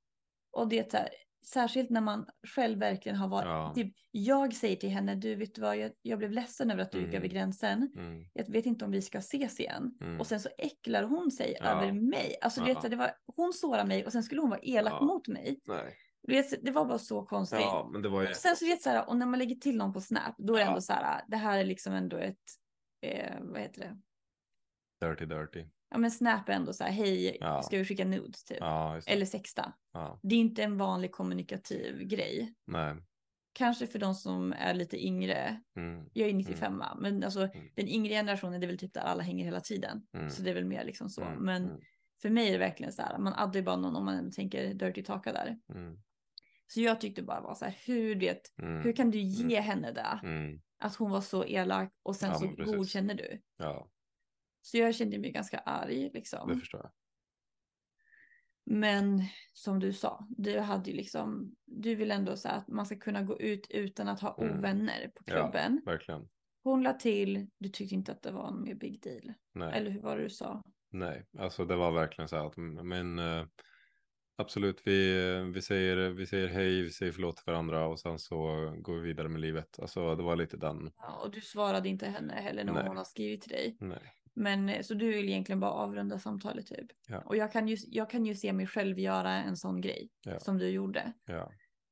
Speaker 1: Och det är så här, särskilt när man själv verkligen har varit,
Speaker 2: Ja.
Speaker 1: typ, jag säger till henne, du vet du vad, jag, jag blev ledsen över att du gick
Speaker 2: Mm.
Speaker 1: över gränsen.
Speaker 2: mm,
Speaker 1: Jag vet inte om vi ska ses igen.
Speaker 2: mm.
Speaker 1: Och sen så äcklar hon sig
Speaker 2: Ja.
Speaker 1: över mig. Alltså du vet,
Speaker 2: Ja.
Speaker 1: så här, det var, hon sårar mig och sen skulle hon vara elak
Speaker 2: Ja.
Speaker 1: mot mig.
Speaker 2: Nej.
Speaker 1: Du vet, så- det var bara så konstigt.
Speaker 2: Ja, men det var ju...
Speaker 1: Och sen så vet så här, och när man lägger till någon på Snap, då är det
Speaker 2: Ja.
Speaker 1: ändå så här, det här är liksom ändå ett, eh, vad heter det?
Speaker 2: Dirty, dirty.
Speaker 1: Ja men Snap är ändå så här, hej,
Speaker 2: Ja.
Speaker 1: ska vi skicka nudes typ?
Speaker 2: Ja, just det.
Speaker 1: Eller sexta.
Speaker 2: Ja,
Speaker 1: Det är inte en vanlig kommunikativ grej.
Speaker 2: nej.
Speaker 1: kanske för de som är lite yngre,
Speaker 2: Mm,
Speaker 1: jag är 95 men alltså
Speaker 2: Mm.
Speaker 1: den yngre generationen det är väl typ där alla hänger hela tiden.
Speaker 2: Mm.
Speaker 1: Så det är väl mer liksom så.
Speaker 2: mm,
Speaker 1: men
Speaker 2: mm,
Speaker 1: för mig är det verkligen så här, man addar ju bara någon om man ändå tänker Dirty Taka där.
Speaker 2: mm,
Speaker 1: Så jag tyckte bara var så här, hur, vet,
Speaker 2: mm,
Speaker 1: hur kan du ge henne det?
Speaker 2: mm,
Speaker 1: Att hon var så elak och sen
Speaker 2: Ja,
Speaker 1: så
Speaker 2: men precis.
Speaker 1: godkänner du.
Speaker 2: Ja,
Speaker 1: Så jag kände mig ganska arg liksom.
Speaker 2: det förstår jag.
Speaker 1: Men som du sa, du hade ju liksom, du vill ändå säga att man ska kunna gå ut utan att ha
Speaker 2: Mm.
Speaker 1: ovänner på
Speaker 2: Ja.
Speaker 1: klubben.
Speaker 2: Verkligen.
Speaker 1: Hon la till, du tyckte inte att det var någon mer big deal.
Speaker 2: Nej.
Speaker 1: Eller hur var det du sa?
Speaker 2: Nej, alltså det var verkligen så här att mm, men eh, absolut vi, vi, säger, vi säger hej, vi säger förlåt till varandra och sen så går vi vidare med livet. Alltså det var lite den,
Speaker 1: Ja, och du svarade inte henne heller när
Speaker 2: Nej.
Speaker 1: hon har skrivit till dig.
Speaker 2: nej.
Speaker 1: Men eh, så du vill egentligen bara avrunda samtalet typ.
Speaker 2: Ja.
Speaker 1: Och jag kan, ju, jag kan ju se mig själv göra en sån grej
Speaker 2: Ja.
Speaker 1: som du gjorde.
Speaker 2: Ja.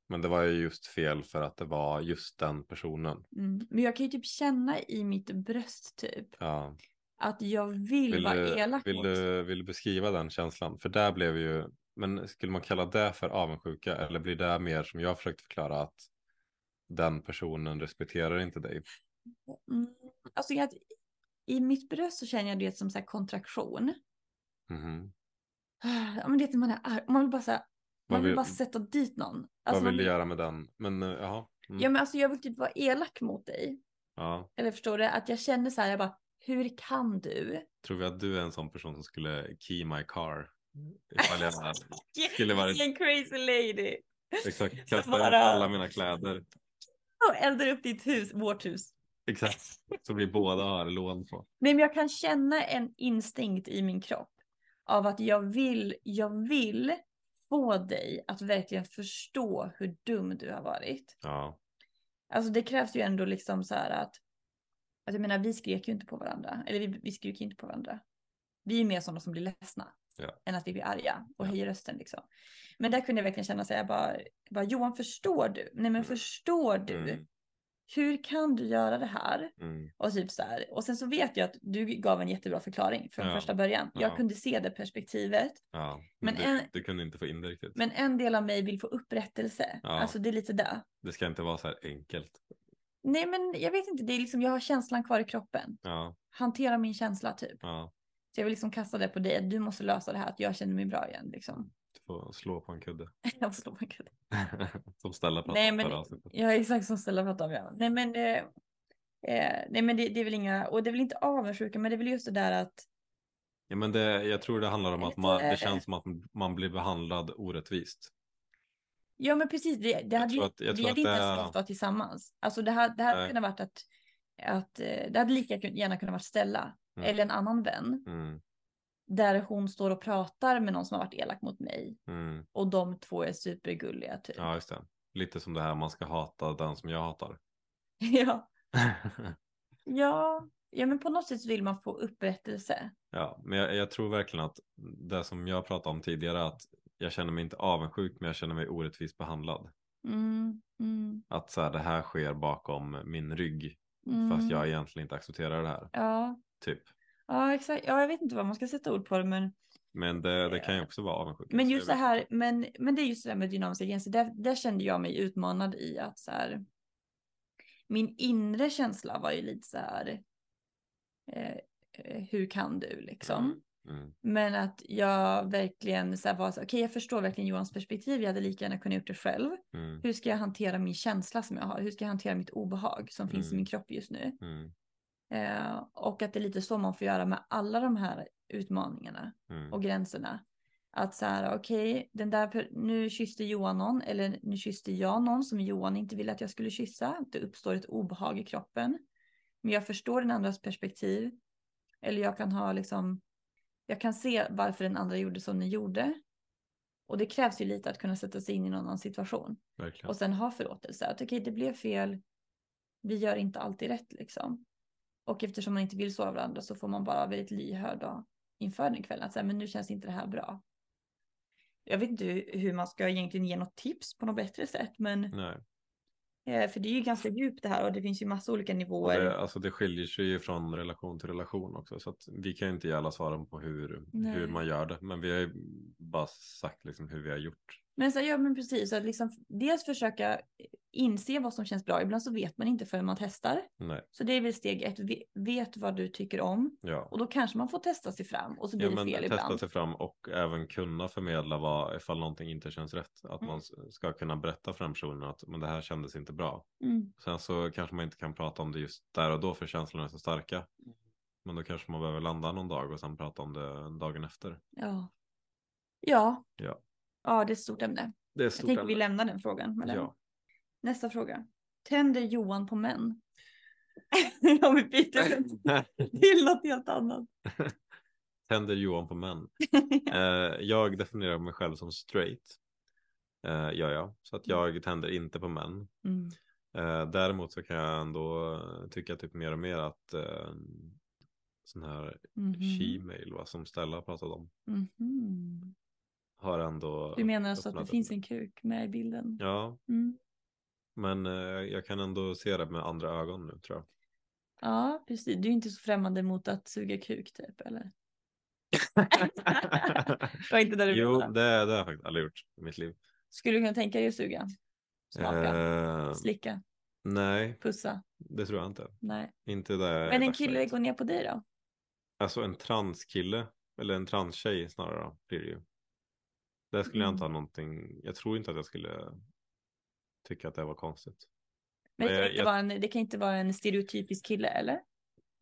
Speaker 2: Men det var ju just fel för att det var just den personen.
Speaker 1: Mm. Men jag kan ju typ känna i mitt bröst typ
Speaker 2: Ja.
Speaker 1: att jag vill,
Speaker 2: Vill
Speaker 1: vara
Speaker 2: du,
Speaker 1: elak
Speaker 2: vill,
Speaker 1: mot.
Speaker 2: du, vill du beskriva den känslan? För där blev ju, men skulle man kalla det för avundsjuka eller blir det mer som jag försökt förklara att den personen respekterar inte dig?
Speaker 1: Mm. Alltså jag, i mitt bröst så känner jag det som så här kontraktion. Ah,
Speaker 2: Mhm.
Speaker 1: Ja, men det är att man är arg. Man vill bara säga,
Speaker 2: Vad
Speaker 1: man vill
Speaker 2: vill-
Speaker 1: bara sätta dit någon. Alltså,
Speaker 2: Vad
Speaker 1: man
Speaker 2: vill du göra med den? Men eh, jaha. Mm.
Speaker 1: Ja men alltså jag vill typ vara elak mot dig.
Speaker 2: ja.
Speaker 1: Eller förstår du? Att jag känner så här, jag bara, hur kan du?
Speaker 2: Tror vi att du är en sån person som skulle key my car? Ifall jag skulle vara
Speaker 1: Vilken crazy lady.
Speaker 2: exakt,
Speaker 1: Så
Speaker 2: kasta
Speaker 1: bara-
Speaker 2: ut alla mina kläder.
Speaker 1: Och eldar upp ditt hus, vårt hus.
Speaker 2: Exakt, så vi båda har lån på.
Speaker 1: Nej men jag kan känna en instinkt i min kropp. Av att jag vill, jag vill få dig att verkligen förstå hur dum du har varit.
Speaker 2: Ja.
Speaker 1: Alltså det krävs ju ändå liksom så här att, att jag menar vi skrek ju inte på varandra, eller vi, vi skrek ju inte på varandra. Vi är mer sådana som blir ledsna
Speaker 2: Ja.
Speaker 1: än att vi blir arga och
Speaker 2: Ja.
Speaker 1: höjer rösten liksom. Men där kunde jag verkligen känna så här, jag bara, bara Johan förstår du? Nej men förstår du?
Speaker 2: Mm.
Speaker 1: Hur kan du göra det här?
Speaker 2: Mm.
Speaker 1: Och typ så här. Och sen så vet jag att du gav en jättebra förklaring från
Speaker 2: Ja.
Speaker 1: första början. Jag
Speaker 2: Ja.
Speaker 1: kunde se det perspektivet.
Speaker 2: ja. Men,
Speaker 1: Men
Speaker 2: du,
Speaker 1: en-
Speaker 2: du kunde inte få in det riktigt.
Speaker 1: Men en del av mig vill få upprättelse.
Speaker 2: Ja.
Speaker 1: Alltså det är lite det.
Speaker 2: Det ska inte vara så här enkelt.
Speaker 1: Nej men jag vet inte, det är liksom jag har känslan kvar i kroppen.
Speaker 2: Ja,
Speaker 1: Hantera min känsla typ.
Speaker 2: ja.
Speaker 1: Så jag vill liksom kasta det på dig, att du måste lösa det här, att jag känner mig bra igen liksom.
Speaker 2: Du får slå på en kudde.
Speaker 1: Jag måste slå på en kudde.
Speaker 2: som Stella pratade
Speaker 1: Nej,
Speaker 2: om
Speaker 1: men-
Speaker 2: förra avsnittet.
Speaker 1: Ja exakt som Stella pratade om ja. Nej men, eh, eh, nej, men det, det är väl inga, och det är väl inte avundsjuka men det är väl just det där att
Speaker 2: Ja, men det, jag tror det handlar om att
Speaker 1: Lite-
Speaker 2: man, det känns som att man blir behandlad orättvist.
Speaker 1: Ja men precis, det, det
Speaker 2: Jag
Speaker 1: hade, ju-
Speaker 2: tror att- jag
Speaker 1: vi
Speaker 2: tror
Speaker 1: hade
Speaker 2: att
Speaker 1: inte
Speaker 2: det-
Speaker 1: ens fått vara tillsammans. Alltså det, här, det hade
Speaker 2: Nej.
Speaker 1: kunnat varit att, att eh, det hade lika kun- gärna kunnat varit Stella
Speaker 2: Mm.
Speaker 1: eller en annan vän
Speaker 2: Mm,
Speaker 1: där hon står och pratar med någon som har varit elak mot mig
Speaker 2: mm.
Speaker 1: och de två är supergulliga typ.
Speaker 2: Ja, just det. Lite som det här man ska hata den som jag hatar.
Speaker 1: ja. ja, ja men på något sätt så vill man få upprättelse.
Speaker 2: Ja, men jag, jag tror verkligen att det som jag pratade om tidigare att jag känner mig inte avundsjuk men jag känner mig orättvist behandlad.
Speaker 1: Mm, mm,
Speaker 2: Att så här, det här sker bakom min rygg
Speaker 1: mm.
Speaker 2: fast jag egentligen inte accepterar det här.
Speaker 1: Ja,
Speaker 2: Typ.
Speaker 1: ja exakt. Ja jag vet inte vad man ska sätta ord på det men
Speaker 2: Men det, det kan ju också vara avundsjuka.
Speaker 1: Eh. Men
Speaker 2: så
Speaker 1: just det
Speaker 2: jag vet
Speaker 1: här, men, men det är just det där med dynamiska gränser, där, där kände jag mig utmanad i att så här, min inre känsla var ju lite så här, eh, eh, hur kan du liksom?
Speaker 2: inte. Mm.
Speaker 1: Men att jag verkligen så här var så okej jag förstår verkligen Johans perspektiv, jag hade lika gärna kunnat gjort det själv.
Speaker 2: Mm.
Speaker 1: Hur ska jag hantera min känsla som jag har? Hur ska jag hantera mitt obehag som finns i
Speaker 2: Mm.
Speaker 1: min kropp just nu?
Speaker 2: Mm.
Speaker 1: Eh, och att det är lite så man får göra med alla de här utmaningarna
Speaker 2: Mm.
Speaker 1: och gränserna. Att så här, okej, den där, per- nu kysste Johan någon eller nu kysste jag någon som Johan inte ville att jag skulle kyssa. Det uppstår ett obehag i kroppen. Men jag förstår den andras perspektiv. Eller jag kan ha liksom, jag kan se varför den andra gjorde som den gjorde. Och det krävs ju lite att kunna sätta sig in i någon annan situation.
Speaker 2: Verkligen.
Speaker 1: Och sen ha förlåtelse. Att okej, det blev fel. Vi gör inte alltid rätt liksom. Och eftersom man inte vill såra varandra så får man bara vara väldigt lyhörd och inför den kvällen. Att säga, men nu känns inte det här bra. Jag vet inte hur hur man ska egentligen ge något tips på något bättre sätt. Men
Speaker 2: Nej.
Speaker 1: eh, för det är ju ganska djupt det här och det finns ju massa olika
Speaker 2: Och
Speaker 1: nivåer.
Speaker 2: Mm. det, alltså det skiljer sig ju från relation till relation också. Så att vi kan ju inte ge alla svaren på hur,
Speaker 1: Nej.
Speaker 2: hur man gör det. Men vi har ju bara sagt liksom hur vi har gjort.
Speaker 1: Men så här, ja men precis. Så att liksom dels försöka inse vad som känns bra. Ibland så vet man inte förrän man testar.
Speaker 2: Nej,
Speaker 1: Så det är väl steg ett. Ve- Vet vad du tycker om.
Speaker 2: ja.
Speaker 1: Och då kanske man får testa sig fram och så blir
Speaker 2: Ja, men
Speaker 1: det fel
Speaker 2: testa
Speaker 1: ibland.
Speaker 2: sig fram och även kunna förmedla vad, ifall någonting inte känns rätt. Att
Speaker 1: Mm.
Speaker 2: man s- ska kunna berätta för den personen att men det här kändes inte bra.
Speaker 1: Mm.
Speaker 2: Sen så kanske man inte kan prata om det just där och då för känslorna är så starka.
Speaker 1: Mm.
Speaker 2: Men då kanske man behöver landa någon dag och sen prata om det dagen efter.
Speaker 1: Ja. Ja.
Speaker 2: Ja.
Speaker 1: Ja, det är ett stort ämne.
Speaker 2: Det är
Speaker 1: Jag
Speaker 2: stort
Speaker 1: tänker vi
Speaker 2: ämne.
Speaker 1: lämnar den frågan. Med den.
Speaker 2: Ja.
Speaker 1: Nästa fråga. Tänder Johan på män? Om vi byter till något helt annat.
Speaker 2: Tänder Johan på män. Eh, jag definierar mig själv som straight. Eh, gör jag. Så att jag tänder inte på män.
Speaker 1: Mm.
Speaker 2: Eh, däremot så kan jag ändå eh, tycka typ mer och mer att eh, sån här
Speaker 1: Mhm.
Speaker 2: she-mail va, som Stella pratade om
Speaker 1: Mhm.
Speaker 2: har ändå.
Speaker 1: Du menar alltså att det
Speaker 2: öppnat
Speaker 1: finns
Speaker 2: upp.
Speaker 1: en kuk med i bilden?
Speaker 2: Ja,
Speaker 1: Mm.
Speaker 2: men eh, jag kan ändå se det med andra ögon nu tror jag.
Speaker 1: Ja, precis. Du är inte så främmande mot att suga kuk typ, eller? Det var inte det du
Speaker 2: jo,
Speaker 1: menade.
Speaker 2: det, det har jag faktiskt aldrig gjort i mitt liv.
Speaker 1: Skulle du kunna tänka dig att suga? Smaka?
Speaker 2: Eh,
Speaker 1: Slicka?
Speaker 2: nej,
Speaker 1: Pussa?
Speaker 2: det tror jag inte.
Speaker 1: Nej.
Speaker 2: Inte där.
Speaker 1: Men en kille går ner på dig då?
Speaker 2: Alltså en transkille, eller en transtjej snarare då, blir det ju. Där skulle jag
Speaker 1: Mm.
Speaker 2: inte ha någonting, jag tror inte att jag skulle tycka att det var konstigt.
Speaker 1: Men det
Speaker 2: Men
Speaker 1: kan,
Speaker 2: jag-
Speaker 1: inte
Speaker 2: Eh, jag-
Speaker 1: vara en, det kan inte vara en stereotypisk kille, eller?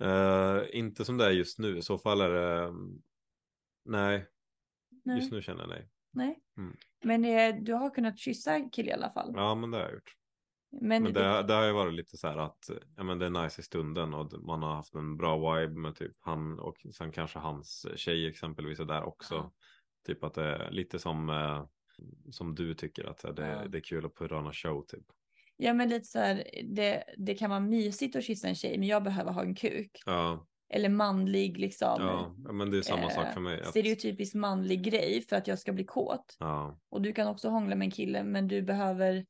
Speaker 2: Eh, inte som det är just nu, i så fall är det, mm, nej,
Speaker 1: Nej.
Speaker 2: just nu känner jag nej.
Speaker 1: Nej.
Speaker 2: Mm.
Speaker 1: Men eh, du har kunnat kyssa kille i alla fall.
Speaker 2: Ja men det har jag gjort.
Speaker 1: Men,
Speaker 2: Men
Speaker 1: det,
Speaker 2: det, det har ju varit lite så här att, ja men det är nice i stunden och man har haft en bra vibe med typ han och sen kanske hans tjej exempelvis är där också.
Speaker 1: Ja.
Speaker 2: Typ att det är lite som eh, som du tycker att så här, det,
Speaker 1: Ja.
Speaker 2: det är kul att purra on a show typ.
Speaker 1: Ja men lite så här, det, det kan vara mysigt att kyssa en tjej men jag behöver ha en kuk.
Speaker 2: Ja,
Speaker 1: Eller manlig liksom.
Speaker 2: ja, ja, men det är samma
Speaker 1: eh,
Speaker 2: sak för mig. Att,
Speaker 1: Stereotypiskt manlig grej för att jag ska bli kåt.
Speaker 2: ja,
Speaker 1: Och du kan också hångla med en kille men du behöver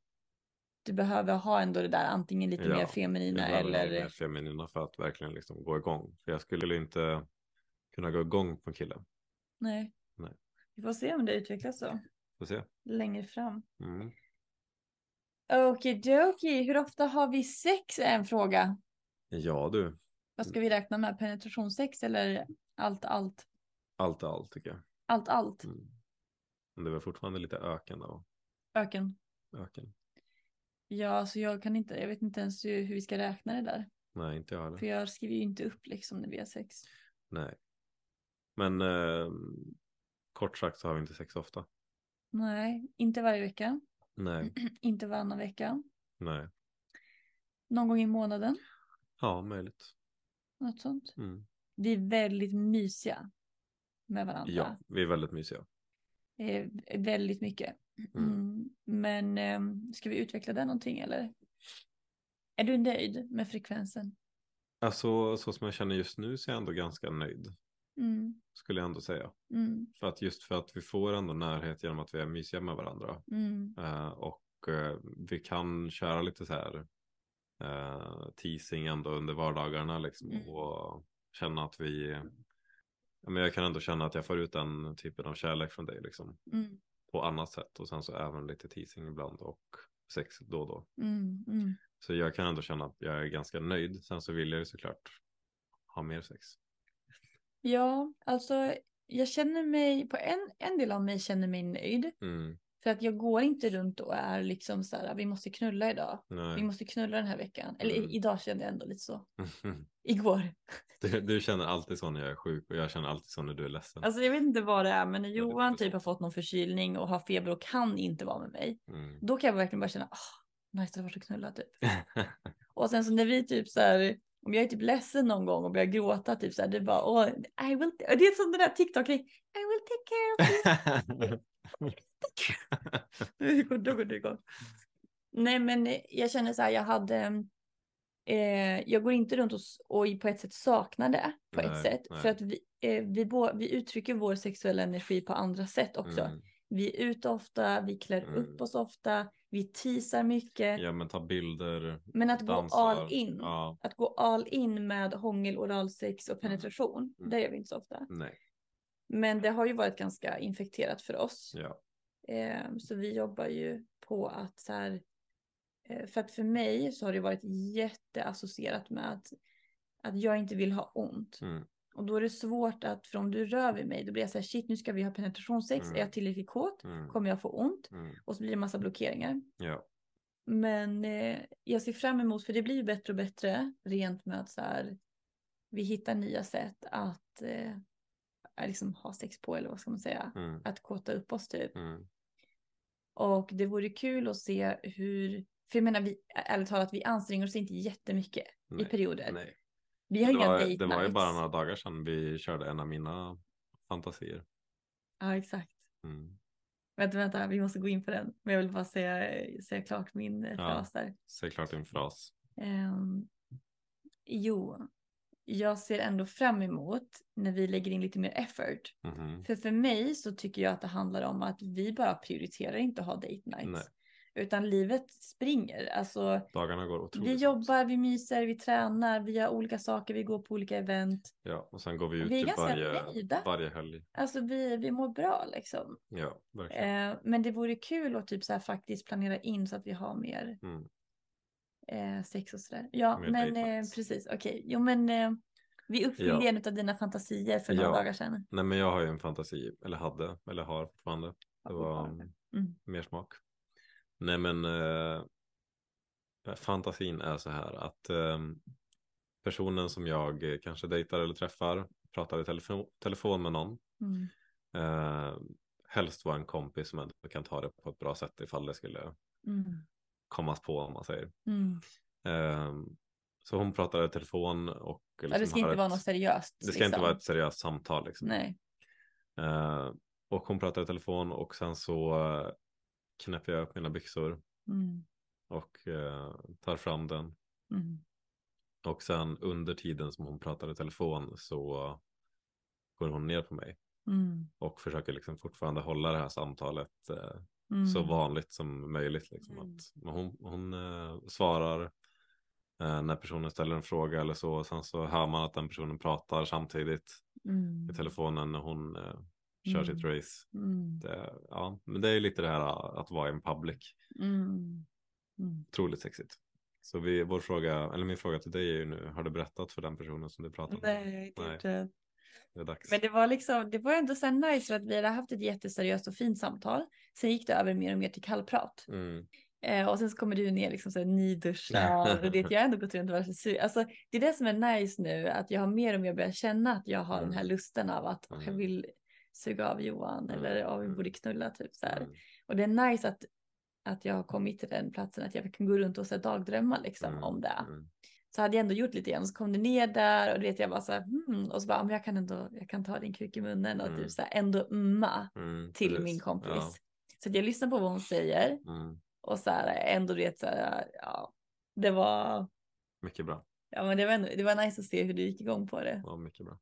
Speaker 1: du behöver ha ändå det där antingen lite
Speaker 2: Ja,
Speaker 1: mer feminina
Speaker 2: jag behöver
Speaker 1: eller
Speaker 2: eller... mer feminina för att verkligen liksom gå igång. För jag skulle ju inte kunna gå igång på en kille.
Speaker 1: nej.
Speaker 2: Nej.
Speaker 1: Vi får se om det utvecklas så
Speaker 2: Får se.
Speaker 1: längre fram.
Speaker 2: Mm.
Speaker 1: Okidoki, hur ofta har vi sex är en fråga.
Speaker 2: Ja du,
Speaker 1: Vad ska vi
Speaker 2: Mm.
Speaker 1: räkna med? Penetrationssex eller allt, allt?
Speaker 2: allt är allt tycker jag.
Speaker 1: Allt, allt.
Speaker 2: Mm. Men det var fortfarande lite öken då.
Speaker 1: Öken.
Speaker 2: Öken.
Speaker 1: Ja, alltså jag kan inte, jag vet inte ens hur, hur vi ska räkna det där.
Speaker 2: Nej, inte jag heller.
Speaker 1: För jag skriver ju inte upp liksom när vi har sex.
Speaker 2: Nej. Men eh, kort sagt så har vi inte sex ofta.
Speaker 1: Nej, inte varje vecka.
Speaker 2: Nej,
Speaker 1: Inte varannan vecka.
Speaker 2: nej.
Speaker 1: Någon gång i månaden.
Speaker 2: Ja, möjligt.
Speaker 1: Något sånt.
Speaker 2: Mm.
Speaker 1: Vi är väldigt mysiga med varandra.
Speaker 2: Ja, vi är väldigt mysiga.
Speaker 1: Eh, väldigt mycket.
Speaker 2: Mm.
Speaker 1: Mm. Men ehm, ska vi utveckla det någonting eller? Är du nöjd med frekvensen?
Speaker 2: Alltså så som jag känner just nu så är jag ändå ganska nöjd.
Speaker 1: Mm,
Speaker 2: Skulle jag ändå säga.
Speaker 1: mm,
Speaker 2: För att just för att vi får ändå närhet genom att vi är mysiga med varandra.
Speaker 1: mm,
Speaker 2: Eh, och eh, vi kan köra lite så här eh, teasing ändå under vardagarna liksom.
Speaker 1: Mm.
Speaker 2: Och känna att vi... Ja, men jag kan ändå känna att jag får ut den typen av kärlek från dig liksom.
Speaker 1: mm,
Speaker 2: På annat sätt. Och sen så även lite teasing ibland och sex då och då.
Speaker 1: mm, mm.
Speaker 2: Så jag kan ändå känna att jag är ganska nöjd. Sen så vill jag ju såklart ha mer sex.
Speaker 1: Ja, alltså jag känner mig, på en, en del av mig känner mig nöjd.
Speaker 2: Mm,
Speaker 1: För att jag går inte runt och är liksom så här, vi måste knulla idag. Vi
Speaker 2: nej.
Speaker 1: måste knulla den här veckan. Eller i-
Speaker 2: Mm.
Speaker 1: idag kände jag ändå lite så. Igår.
Speaker 2: Du, du känner alltid så när jag är sjuk och jag känner alltid så när du är ledsen.
Speaker 1: Alltså jag vet inte vad det är, men när
Speaker 2: Ja, det
Speaker 1: Johan
Speaker 2: förstår
Speaker 1: typ har fått någon förkylning och har feber och kan inte vara med mig.
Speaker 2: Mm.
Speaker 1: Då kan jag verkligen bara känna, oh, nice det hade varit att knulla typ. Och sen så när vi typ så här, om jag är typ ledsen någon gång och börjar gråta typ så här, det är bara, åh, I will, det är som den där TikTok, I will take care of Nu går- Då går det igång. Nej, men eh, jag känner så här, jag hade... Eh, jag går inte runt och, s- och på ett sätt saknar det. På
Speaker 2: Nej,
Speaker 1: ett sätt.
Speaker 2: nej.
Speaker 1: För att vi, eh, vi, bå- vi uttrycker vår sexuella energi på andra sätt också.
Speaker 2: Mm.
Speaker 1: Vi är ute ofta, vi klär
Speaker 2: Mm.
Speaker 1: upp oss ofta, vi teasar mycket.
Speaker 2: Ja men ta bilder,
Speaker 1: Men att
Speaker 2: dansa.
Speaker 1: gå all in.
Speaker 2: Ja,
Speaker 1: Att gå all in med hångel, oralsex och penetration.
Speaker 2: Mm.
Speaker 1: Det gör vi inte så ofta.
Speaker 2: nej.
Speaker 1: Men det har ju varit ganska infekterat för oss.
Speaker 2: Ja.
Speaker 1: Eh, så vi jobbar ju på att så här, eh, för att för mig så har det varit jätteassocierat med att, att jag inte vill ha ont.
Speaker 2: Mm.
Speaker 1: Och då är det svårt att, för om du rör vid mig, då blir jag så här, shit nu ska vi ha penetrationssex,
Speaker 2: Mm.
Speaker 1: är jag tillräckligt kåt?
Speaker 2: Mm.
Speaker 1: Kommer jag få ont?
Speaker 2: Mm.
Speaker 1: Och så blir det massa blockeringar.
Speaker 2: Ja.
Speaker 1: Men eh, jag ser fram emot, för det blir ju bättre och bättre, rent med att så här, vi hittar nya sätt att eh, liksom ha sex på, eller vad ska man säga?
Speaker 2: Mm.
Speaker 1: Att kåta upp oss typ.
Speaker 2: Mm.
Speaker 1: Och det vore kul att se hur, för jag menar vi, ärligt talat, vi anstränger oss inte jättemycket
Speaker 2: Nej.
Speaker 1: i perioder.
Speaker 2: Nej.
Speaker 1: Vi har
Speaker 2: Det
Speaker 1: inga
Speaker 2: var,
Speaker 1: date
Speaker 2: det var ju
Speaker 1: nights.
Speaker 2: bara några dagar sedan vi körde en av mina fantasier.
Speaker 1: Ja, exakt.
Speaker 2: Mm.
Speaker 1: Vänta, vänta, vi måste gå in på den. Men jag vill bara säga, säga klart min eh,
Speaker 2: Ja.
Speaker 1: fras där.
Speaker 2: Säg klart din fras.
Speaker 1: Ehm, jo, jag ser ändå fram emot när vi lägger in lite mer effort.
Speaker 2: Mhm.
Speaker 1: För för mig så tycker jag att det handlar om att vi bara prioriterar inte att ha date nights.
Speaker 2: Nej.
Speaker 1: Utan livet springer. Alltså,
Speaker 2: Dagarna går otroligt
Speaker 1: Vi
Speaker 2: snabbt.
Speaker 1: jobbar, vi myser, vi tränar, vi gör olika saker, vi går på olika event.
Speaker 2: Ja, och sen går vi ut
Speaker 1: Vi är
Speaker 2: typ
Speaker 1: ganska
Speaker 2: varje,
Speaker 1: nöjda.
Speaker 2: varje helg.
Speaker 1: Alltså vi, vi mår bra liksom.
Speaker 2: Ja, verkligen.
Speaker 1: Eh, men det vore kul att typ så här faktiskt planera in så att vi har mer
Speaker 2: Mm.
Speaker 1: eh, sex och sådär. Ja,
Speaker 2: Mer
Speaker 1: men
Speaker 2: date
Speaker 1: eh,
Speaker 2: nights.
Speaker 1: precis, okej. Jo, men eh, vi uppfyllde
Speaker 2: Ja.
Speaker 1: en av dina fantasier för några
Speaker 2: Ja.
Speaker 1: dagar sedan.
Speaker 2: Nej men jag har ju en fantasi, eller hade, eller har fortfarande. Det var
Speaker 1: fortfarande. Mm.
Speaker 2: mer smak. Nej men eh, fantasin är så här att eh, personen som jag eh, kanske dejtar eller träffar pratar i telefo- telefon med någon.
Speaker 1: Mm.
Speaker 2: Eh, helst vara en kompis som ändå kan ta det på ett bra sätt ifall det skulle
Speaker 1: Mm.
Speaker 2: kommas på om man säger.
Speaker 1: Mm.
Speaker 2: Eh, så hon pratar i telefon och liksom
Speaker 1: ja, det ska
Speaker 2: har
Speaker 1: inte vara liksom.
Speaker 2: ett,
Speaker 1: något seriöst.
Speaker 2: det ska inte vara ett seriöst samtal. Liksom.
Speaker 1: Nej.
Speaker 2: Eh, Och hon pratade i telefon och sen så eh, knäpper jag upp mina byxor
Speaker 1: Mm.
Speaker 2: och eh, tar fram den.
Speaker 1: Mm.
Speaker 2: Och sen under tiden som hon pratar i telefon så går hon ner på mig
Speaker 1: Mm.
Speaker 2: och försöker liksom fortfarande hålla det här samtalet eh,
Speaker 1: Mm.
Speaker 2: så vanligt som möjligt. Liksom,
Speaker 1: Mm.
Speaker 2: att men hon hon eh, svarar eh, när personen ställer en fråga eller så. Och sen så hör man att den personen pratar samtidigt
Speaker 1: Mm.
Speaker 2: i telefonen när hon eh, kör sitt race.
Speaker 1: Mm.
Speaker 2: Det, ja, men det är lite det här eh, att vara en public.
Speaker 1: Mm. Mm.
Speaker 2: Otroligt sexigt. Så vi, vår fråga, eller min fråga till dig är ju nu, har du berättat för den personen som du pratar med?
Speaker 1: Nej, det är
Speaker 2: Nej.
Speaker 1: inte.
Speaker 2: Det är dags.
Speaker 1: Men det var liksom, det var ändå så här nice för att vi hade haft ett jätteseriöst och fint samtal. Sen gick det över mer och mer till kallprat.
Speaker 2: Mm.
Speaker 1: Eh, och sen så kommer du ner liksom så här nyduschad och det jag har ändå gått runt och varit så sur. Alltså det är det som är nice nu att jag har mer och mer börjat känna att jag har den här
Speaker 2: Mm.
Speaker 1: lusten av att
Speaker 2: Mm.
Speaker 1: jag vill suga av Johan
Speaker 2: Mm.
Speaker 1: eller av vi
Speaker 2: Mm.
Speaker 1: borde knulla typ så här.
Speaker 2: Mm.
Speaker 1: Och det är nice att, att jag har kommit till den platsen att jag kan gå runt och så här, dagdrömma liksom
Speaker 2: Mm.
Speaker 1: om det
Speaker 2: Mm.
Speaker 1: så hade jag ändå gjort lite grann. Så kom du ner där och du vet jag bara så här, hmm, och så bara, "Ja, men jag kan ändå, jag kan ta din kuk i munnen och
Speaker 2: Mm.
Speaker 1: typ så här ändå umma
Speaker 2: Mm,
Speaker 1: till
Speaker 2: precis.
Speaker 1: min kompis.
Speaker 2: Ja.
Speaker 1: Så att jag lyssnar på vad hon säger
Speaker 2: Mm.
Speaker 1: och så här ändå du vet så här, ja, det var,
Speaker 2: Mycket bra.
Speaker 1: ja men det var, ändå, det var nice att se hur du gick igång på det.
Speaker 2: Ja, mycket bra.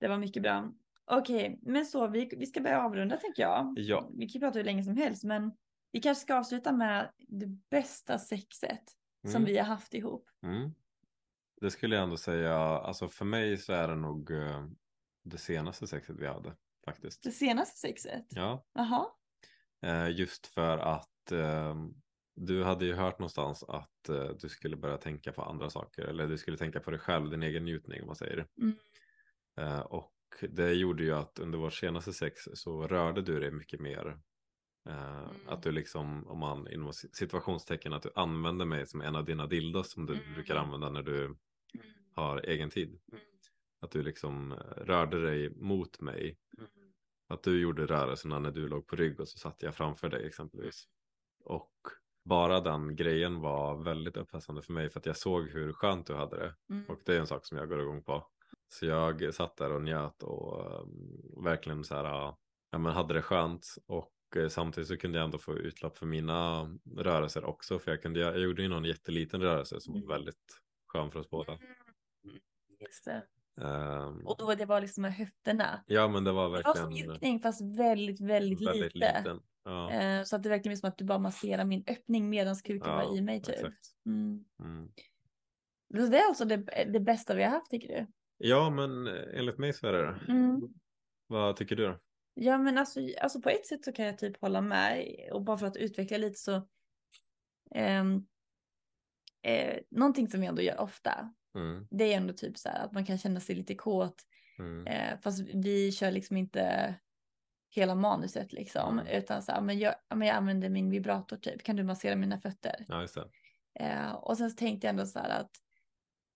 Speaker 1: Det var mycket bra. Okej, men så vi, vi ska börja avrunda tänker jag.
Speaker 2: Ja.
Speaker 1: Vi kan ju prata hur länge som helst, men vi kanske ska avsluta med det bästa sexet som
Speaker 2: Mm.
Speaker 1: vi har haft ihop.
Speaker 2: Mm. Det skulle jag ändå säga, alltså för mig så är det nog eh, det senaste sexet vi hade faktiskt.
Speaker 1: Det senaste sexet.
Speaker 2: Ja,
Speaker 1: Jaha.
Speaker 2: eh, just för att eh, du hade ju hört någonstans att eh, du skulle börja tänka på andra saker eller du skulle tänka på dig själv, din egen njutning om man säger.
Speaker 1: Mm.
Speaker 2: Eh, och det gjorde ju att under vårt senaste sex så rörde du dig mycket mer. Eh, Att
Speaker 1: Mm.
Speaker 2: du liksom, om man inom situationstecken, att du använder mig som en av dina dildos som du
Speaker 1: Mm.
Speaker 2: brukar använda när du har egen tid. Att du liksom eh, rörde dig mot mig.
Speaker 1: Mm.
Speaker 2: Att du gjorde rörelserna när du låg på rygg och så satt jag framför dig exempelvis.
Speaker 1: Mm.
Speaker 2: Och bara den grejen var väldigt upphetsande för mig för att jag såg hur skönt du hade det.
Speaker 1: Mm.
Speaker 2: Och det är en sak som jag går igång på. Så jag satt där och njöt och eh, verkligen så här, ja, ja, men hade det skönt. Och eh, samtidigt så kunde jag ändå få utlopp för mina rörelser också. För jag, kunde, jag gjorde ju någon jätteliten rörelse som
Speaker 1: Mm.
Speaker 2: var väldigt skön för oss båda.
Speaker 1: Just det.
Speaker 2: Ehm,
Speaker 1: Och då det var liksom med höfterna.
Speaker 2: Ja men det var
Speaker 1: Det var som
Speaker 2: verkligen
Speaker 1: mjukning fast väldigt, väldigt,
Speaker 2: väldigt
Speaker 1: lite.
Speaker 2: liten. Ja,
Speaker 1: Eh, Så att det verkligen är som att du bara masserar min öppning medan kuken
Speaker 2: Ja,
Speaker 1: var i mig typ.
Speaker 2: exakt.
Speaker 1: Mm.
Speaker 2: Mm.
Speaker 1: Så det är alltså det, det bästa vi har haft tycker du?
Speaker 2: ja men eh, enligt mig så är det det.
Speaker 1: Mm.
Speaker 2: Vad tycker du då?
Speaker 1: Ja men alltså, alltså på ett sätt så kan jag typ hålla med och bara för att utveckla lite så. ehm, eh, någonting som jag ändå gör ofta.
Speaker 2: Mm.
Speaker 1: Det är ändå typ så här att man kan känna sig lite kåt
Speaker 2: Mm.
Speaker 1: Eh, fast vi kör liksom inte hela manuset liksom.
Speaker 2: Mm.
Speaker 1: Utan så här, men jag, ja, men jag använder min vibrator typ. Kan du massera mina fötter?
Speaker 2: Ja just det.
Speaker 1: Eh, och sen så tänkte jag ändå så här att.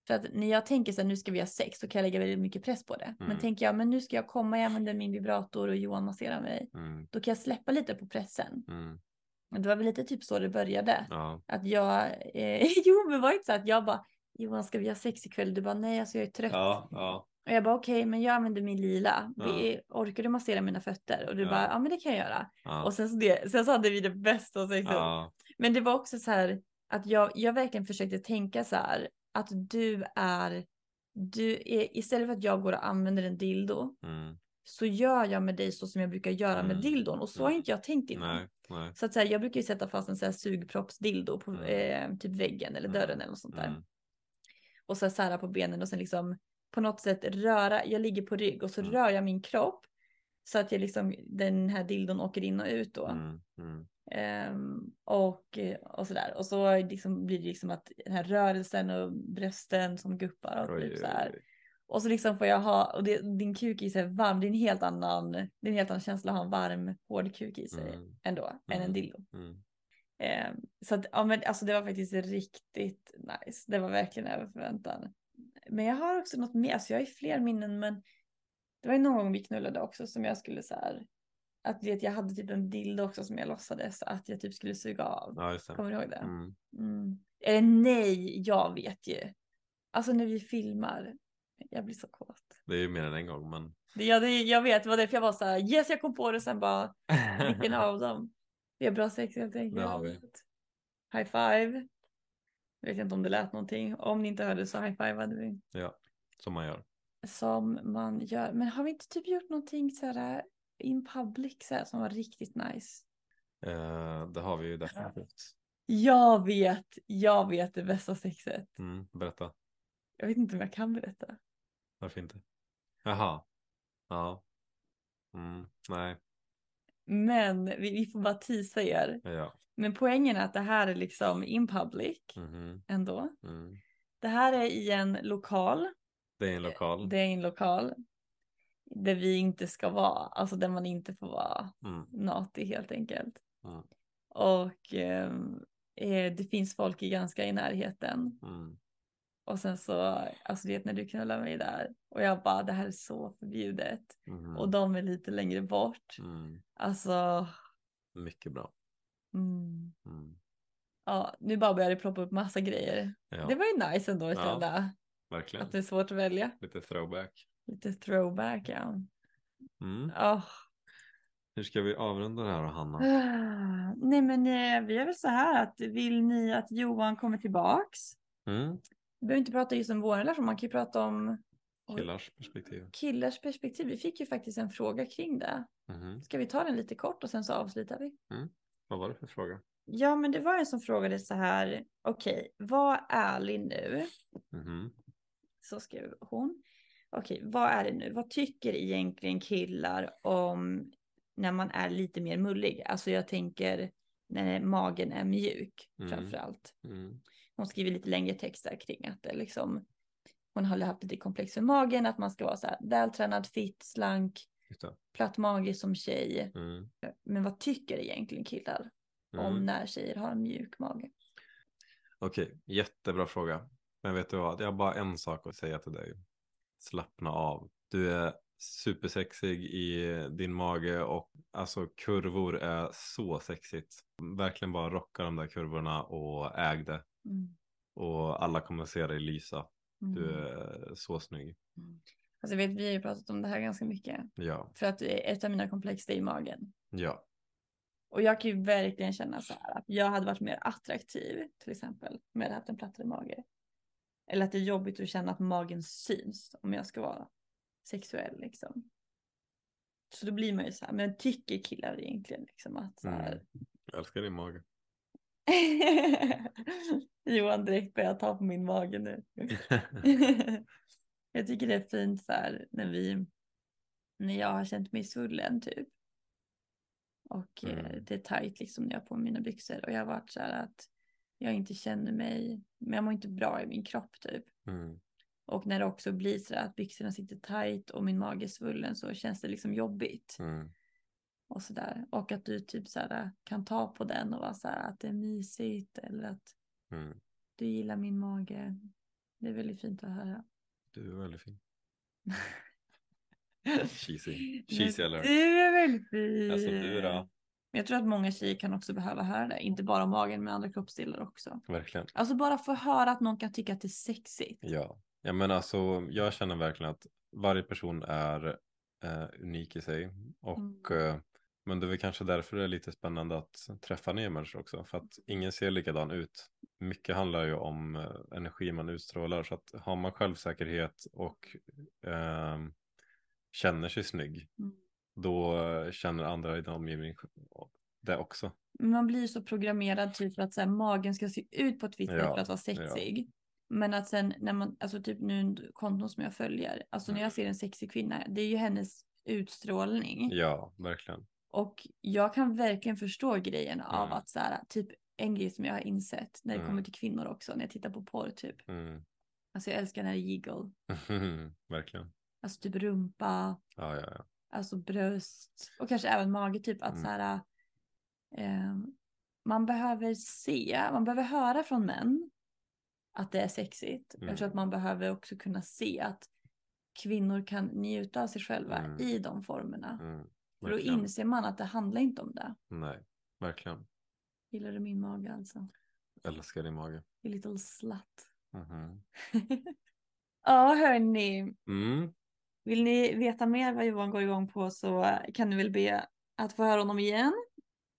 Speaker 1: För att när jag tänker så här, nu ska vi ha sex, då kan jag lägga väldigt mycket press på det. Men
Speaker 2: Mm.
Speaker 1: tänker jag, men nu ska jag komma, jag använder min vibrator och Johan masserar mig.
Speaker 2: Mm.
Speaker 1: Då kan jag släppa lite på pressen.
Speaker 2: Mm.
Speaker 1: Det var väl lite typ så det började.
Speaker 2: Ja.
Speaker 1: Att jag, eh, jo men var det inte så att jag bara, Johan ska vi ha sex ikväll? Du bara, nej alltså jag är trött.
Speaker 2: Ja, ja.
Speaker 1: Och jag bara okej, men jag använder min lila.
Speaker 2: Ja.
Speaker 1: Vi, orkar du massera mina fötter? Och du
Speaker 2: Ja.
Speaker 1: bara, ja men det kan jag göra.
Speaker 2: ja.
Speaker 1: Och sen så, det, sen så hade vi det bästa sexet.
Speaker 2: ja.
Speaker 1: Men det var också så här att jag, jag verkligen försökte tänka så här att du är, du är, istället för att jag går och använder en dildo
Speaker 2: Mm.
Speaker 1: så gör jag med dig så som jag brukar göra med
Speaker 2: Mm.
Speaker 1: dildon. Och så har
Speaker 2: Mm.
Speaker 1: inte jag tänkt innan.
Speaker 2: Nej, nej.
Speaker 1: Så att så här, jag brukar ju sätta fast en så här sugproppsdildo på
Speaker 2: Mm.
Speaker 1: eh, typ väggen eller
Speaker 2: Mm.
Speaker 1: dörren eller något sånt där
Speaker 2: Mm.
Speaker 1: och så här sära på benen och sen liksom på något sätt röra, jag ligger på rygg och så
Speaker 2: Mm.
Speaker 1: rör jag min kropp så att jag liksom, den här dildon åker in och ut då.
Speaker 2: Mm. Mm.
Speaker 1: Ehm, och, och sådär. Och så liksom blir det liksom att den här rörelsen och brösten som guppar och
Speaker 2: Oj,
Speaker 1: typ så här.
Speaker 2: oj, oj.
Speaker 1: Och så liksom får jag ha, och det, din kuk i sig är varm, det är en helt annan, det är en helt annan känsla att ha en varm, hård kuk i sig
Speaker 2: Mm.
Speaker 1: ändå, än en
Speaker 2: Mm.
Speaker 1: dildo.
Speaker 2: Mm.
Speaker 1: Ehm, så att, ja, men, alltså, det var faktiskt riktigt nice. Det var verkligen över förväntan. Men jag har också något mer, alltså, jag har ju fler minnen men det var ju någon gång vi knullade också som jag skulle så här, att du vet, jag hade typ en dildo också som jag låtsades att jag typ skulle suga av.
Speaker 2: Ja just det.
Speaker 1: Kommer du ihåg det? Eh,
Speaker 2: Mm.
Speaker 1: Mm. Eller nej, jag vet ju. Alltså när vi filmar. Jag blir så kåt.
Speaker 2: Det är ju mer än en gång men.
Speaker 1: Det, jag, det, jag vet, det var därför jag var så här, yes jag kom på det sen bara, vilken av dem? Vi har bra sex helt enkelt.
Speaker 2: Det har vi.
Speaker 1: High five. Jag vet inte om det lät någonting. Om ni inte hörde så high five hade vi.
Speaker 2: Som man gör.
Speaker 1: Som man gör. Men har vi inte typ gjort någonting så här eh, in public så här, som var riktigt nice?
Speaker 2: Eh, det har vi ju definitivt.
Speaker 1: Jag vet, jag vet det bästa sexet.
Speaker 2: Mm, berätta.
Speaker 1: Jag vet inte om jag kan berätta.
Speaker 2: Varför inte? Jaha. Ja. Mm, nej.
Speaker 1: Men vi, vi får bara tisa er.
Speaker 2: Ja.
Speaker 1: Men poängen är att det här är liksom in public
Speaker 2: Mhm,
Speaker 1: ändå.
Speaker 2: mm.
Speaker 1: Det här är i en lokal.
Speaker 2: Det är en lokal.
Speaker 1: Det är en lokal. Där vi inte ska vara. Alltså där man inte får vara
Speaker 2: Mm.
Speaker 1: natig helt enkelt.
Speaker 2: Mm.
Speaker 1: Och ehm, eh, det finns folk i ganska i närheten.
Speaker 2: Mm.
Speaker 1: Och sen så, alltså du vet när du knullar mig där. Och jag bara, det här är så förbjudet.
Speaker 2: mhm,
Speaker 1: Och de är lite längre bort.
Speaker 2: mm.
Speaker 1: Alltså,
Speaker 2: Mycket bra.
Speaker 1: mm.
Speaker 2: Mm.
Speaker 1: ja, nu bara börjar det ploppa upp massa grejer.
Speaker 2: Ja,
Speaker 1: Det var ju nice ändå att
Speaker 2: Ja,
Speaker 1: känna.
Speaker 2: verkligen.
Speaker 1: Att det är svårt att välja.
Speaker 2: Lite throwback.
Speaker 1: Lite throwback ja.
Speaker 2: Mm.
Speaker 1: Åh.
Speaker 2: Hur ska vi avrunda det här då, Hanna?
Speaker 1: Ah, Nej men eh, vi gör väl så här att vill ni att Johan kommer tillbaks?
Speaker 2: Mm.
Speaker 1: Vi behöver inte prata just om vår relation, man kan ju prata om Oj.
Speaker 2: Killars perspektiv.
Speaker 1: killars perspektiv. Vi fick ju faktiskt en fråga kring det.
Speaker 2: Mhm.
Speaker 1: Ska vi ta den lite kort och sen så avslutar vi?
Speaker 2: Vad var det för fråga?
Speaker 1: Ja men det var en som frågade så här, okej, var ärlig nu.
Speaker 2: Mhm.
Speaker 1: Så skrev hon. Okej, vad är det nu? Vad tycker egentligen killar om när man är lite mer mullig? Alltså jag tänker när magen är mjuk
Speaker 2: Mm.
Speaker 1: framför allt.
Speaker 2: Mm.
Speaker 1: Hon skriver lite längre texter kring att det liksom hon har haft lite komplex för magen, att man ska vara så här vältränad, fit, slank,
Speaker 2: Just det.
Speaker 1: platt mage som tjej.
Speaker 2: Mm.
Speaker 1: Men vad tycker egentligen killar om
Speaker 2: Mm.
Speaker 1: när tjejer har en mjuk mage?
Speaker 2: Okej, jättebra fråga. Men vet du vad? Jag har bara en sak att säga till dig. Slappna av. Du är supersexig i din mage och alltså kurvor är så sexigt. Verkligen bara rocka de där kurvorna och äg det.
Speaker 1: Mm.
Speaker 2: Och alla kommer se dig lysa. Du
Speaker 1: Mm.
Speaker 2: är så snygg.
Speaker 1: Alltså jag vet, vi har ju pratat om det här ganska mycket.
Speaker 2: Ja,
Speaker 1: För att ett av mina komplex det är i magen.
Speaker 2: ja.
Speaker 1: Och jag kan ju verkligen känna så här att jag hade varit mer attraktiv till exempel om jag hade haft en plattare mage. Eller att det är jobbigt att känna att magen syns om jag ska vara sexuell liksom. Så då blir man ju så här, men tycker killar egentligen liksom att så här.
Speaker 2: Mm. Jag älskar din mage.
Speaker 1: Johan direkt börjar ta på min mage nu. jag tycker det är fint så här när vi, när jag har känt mig svullen typ. Och eh,
Speaker 2: Mm.
Speaker 1: det är tajt liksom när jag har på mig mina byxor och jag har varit så här att jag inte känner mig, men jag mår inte bra i min kropp typ.
Speaker 2: Mm.
Speaker 1: Och när det också blir så där att byxorna sitter tajt och min mage är svullen så känns det liksom jobbigt.
Speaker 2: Mm.
Speaker 1: Och så där. Och att du typ så här kan ta på den och vara så här att det är mysigt eller att
Speaker 2: Mm.
Speaker 1: du gillar min mage. Det är väldigt fint att höra.
Speaker 2: Du är väldigt fin. Cheesy. Cheesy
Speaker 1: Men
Speaker 2: eller?
Speaker 1: Du är väldigt fin.
Speaker 2: Alltså, du då?
Speaker 1: Men jag tror att många tjejer kan också behöva höra det. Inte bara om magen men andra kroppsdelar också.
Speaker 2: Verkligen.
Speaker 1: Alltså bara få höra att någon kan tycka att det är sexigt.
Speaker 2: Ja, ja men alltså jag känner verkligen att varje person är eh, unik i sig. Och,
Speaker 1: Mm.
Speaker 2: eh, men det är väl kanske därför det är lite spännande att träffa nya människor också. För att ingen ser likadan ut. Mycket handlar ju om eh, energi man utstrålar. Så att har man självsäkerhet och eh, känner sig snygg.
Speaker 1: Mm.
Speaker 2: Då eh, känner andra i din omgivning det också.
Speaker 1: Men man blir ju så programmerad typ för att så här, magen ska se ut på ett visst sätt
Speaker 2: Ja,
Speaker 1: för att vara
Speaker 2: ja.
Speaker 1: sexig. Men att sen när man, alltså typ nu konton som jag följer, alltså
Speaker 2: Mm.
Speaker 1: när jag ser en sexig kvinna, det är ju hennes utstrålning.
Speaker 2: Ja, verkligen.
Speaker 1: Och jag kan verkligen förstå grejen av
Speaker 2: Mm.
Speaker 1: att så här, typ en grej som jag har insett när det
Speaker 2: Mm.
Speaker 1: kommer till kvinnor också, när jag tittar på porr typ.
Speaker 2: Mm.
Speaker 1: Alltså jag älskar när det är jiggle,
Speaker 2: verkligen.
Speaker 1: alltså typ rumpa,
Speaker 2: Ja, ja, ja.
Speaker 1: alltså bröst och kanske även mage typ att
Speaker 2: Mm.
Speaker 1: så här eh, man behöver se, man behöver höra från män att det är sexigt. Jag tror
Speaker 2: Mm.
Speaker 1: att man behöver också kunna se att kvinnor kan njuta av sig själva
Speaker 2: Mm.
Speaker 1: i de formerna.
Speaker 2: Mm.
Speaker 1: För då
Speaker 2: Verkligen.
Speaker 1: inser man att det handlar inte om det.
Speaker 2: Nej, verkligen.
Speaker 1: Gillar du min mage alltså?
Speaker 2: Älskar din mage.
Speaker 1: Mm-hmm. You little slut.
Speaker 2: Mhm.
Speaker 1: Åh, Ja, hörni.
Speaker 2: Mm.
Speaker 1: Vill ni veta mer vad Johan går igång på så kan ni väl be att få höra honom igen.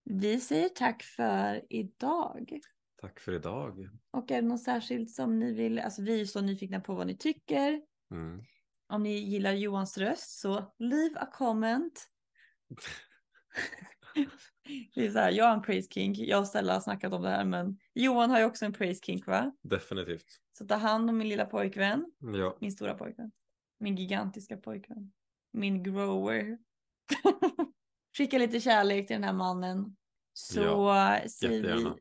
Speaker 1: Vi säger tack för idag.
Speaker 2: Tack för idag.
Speaker 1: Och är det något särskilt som ni vill, alltså vi är så nyfikna på vad ni tycker.
Speaker 2: Mm.
Speaker 1: Om ni gillar Johans röst så leave a comment. det är så här, jag har en praise kink, jag och Stella har snackat om det här men Johan har ju också en praise kink va?
Speaker 2: Definitivt.
Speaker 1: Så ta hand om min lilla pojkvän,
Speaker 2: Ja.
Speaker 1: min stora pojkvän, min gigantiska pojkvän, min grower. Skicka lite kärlek till den här mannen. Så säger
Speaker 2: jättegärna.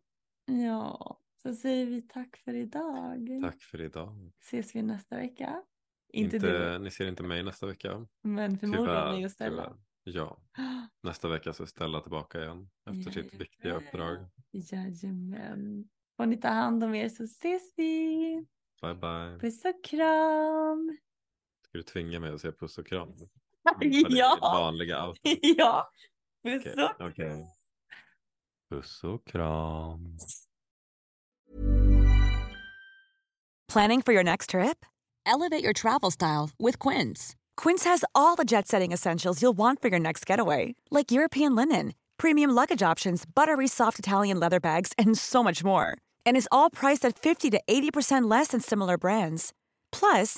Speaker 1: vi, ja, så säger vi tack för idag.
Speaker 2: Tack för idag.
Speaker 1: Ses vi nästa vecka? Inte,
Speaker 2: Inte
Speaker 1: du,
Speaker 2: Ni ser inte mig nästa vecka.
Speaker 1: men förmodligen mig och Stella.
Speaker 2: tyvärr. Ja. Nästa vecka så är Stella tillbaka igen. Efter sitt
Speaker 1: Jajamän.
Speaker 2: viktiga uppdrag.
Speaker 1: Jajamän. Får ni ta hand om er så ses vi.
Speaker 2: Bye bye.
Speaker 1: Puss och kram.
Speaker 2: Ska du tvinga mig att säga puss och kram? Mm, Det
Speaker 1: Ja,
Speaker 2: vanliga out.
Speaker 1: ja. Puss
Speaker 2: Okej.
Speaker 1: och kram.
Speaker 2: okej. Puss och kram.
Speaker 3: Planning for your next trip?
Speaker 4: Elevate your travel style with Quince.
Speaker 3: Quince has all the jet setting essentials you'll want for your next getaway, like European linen, premium luggage options, buttery soft Italian leather bags, and so much more. And is all priced at 50 to 80% less than similar brands. Plus,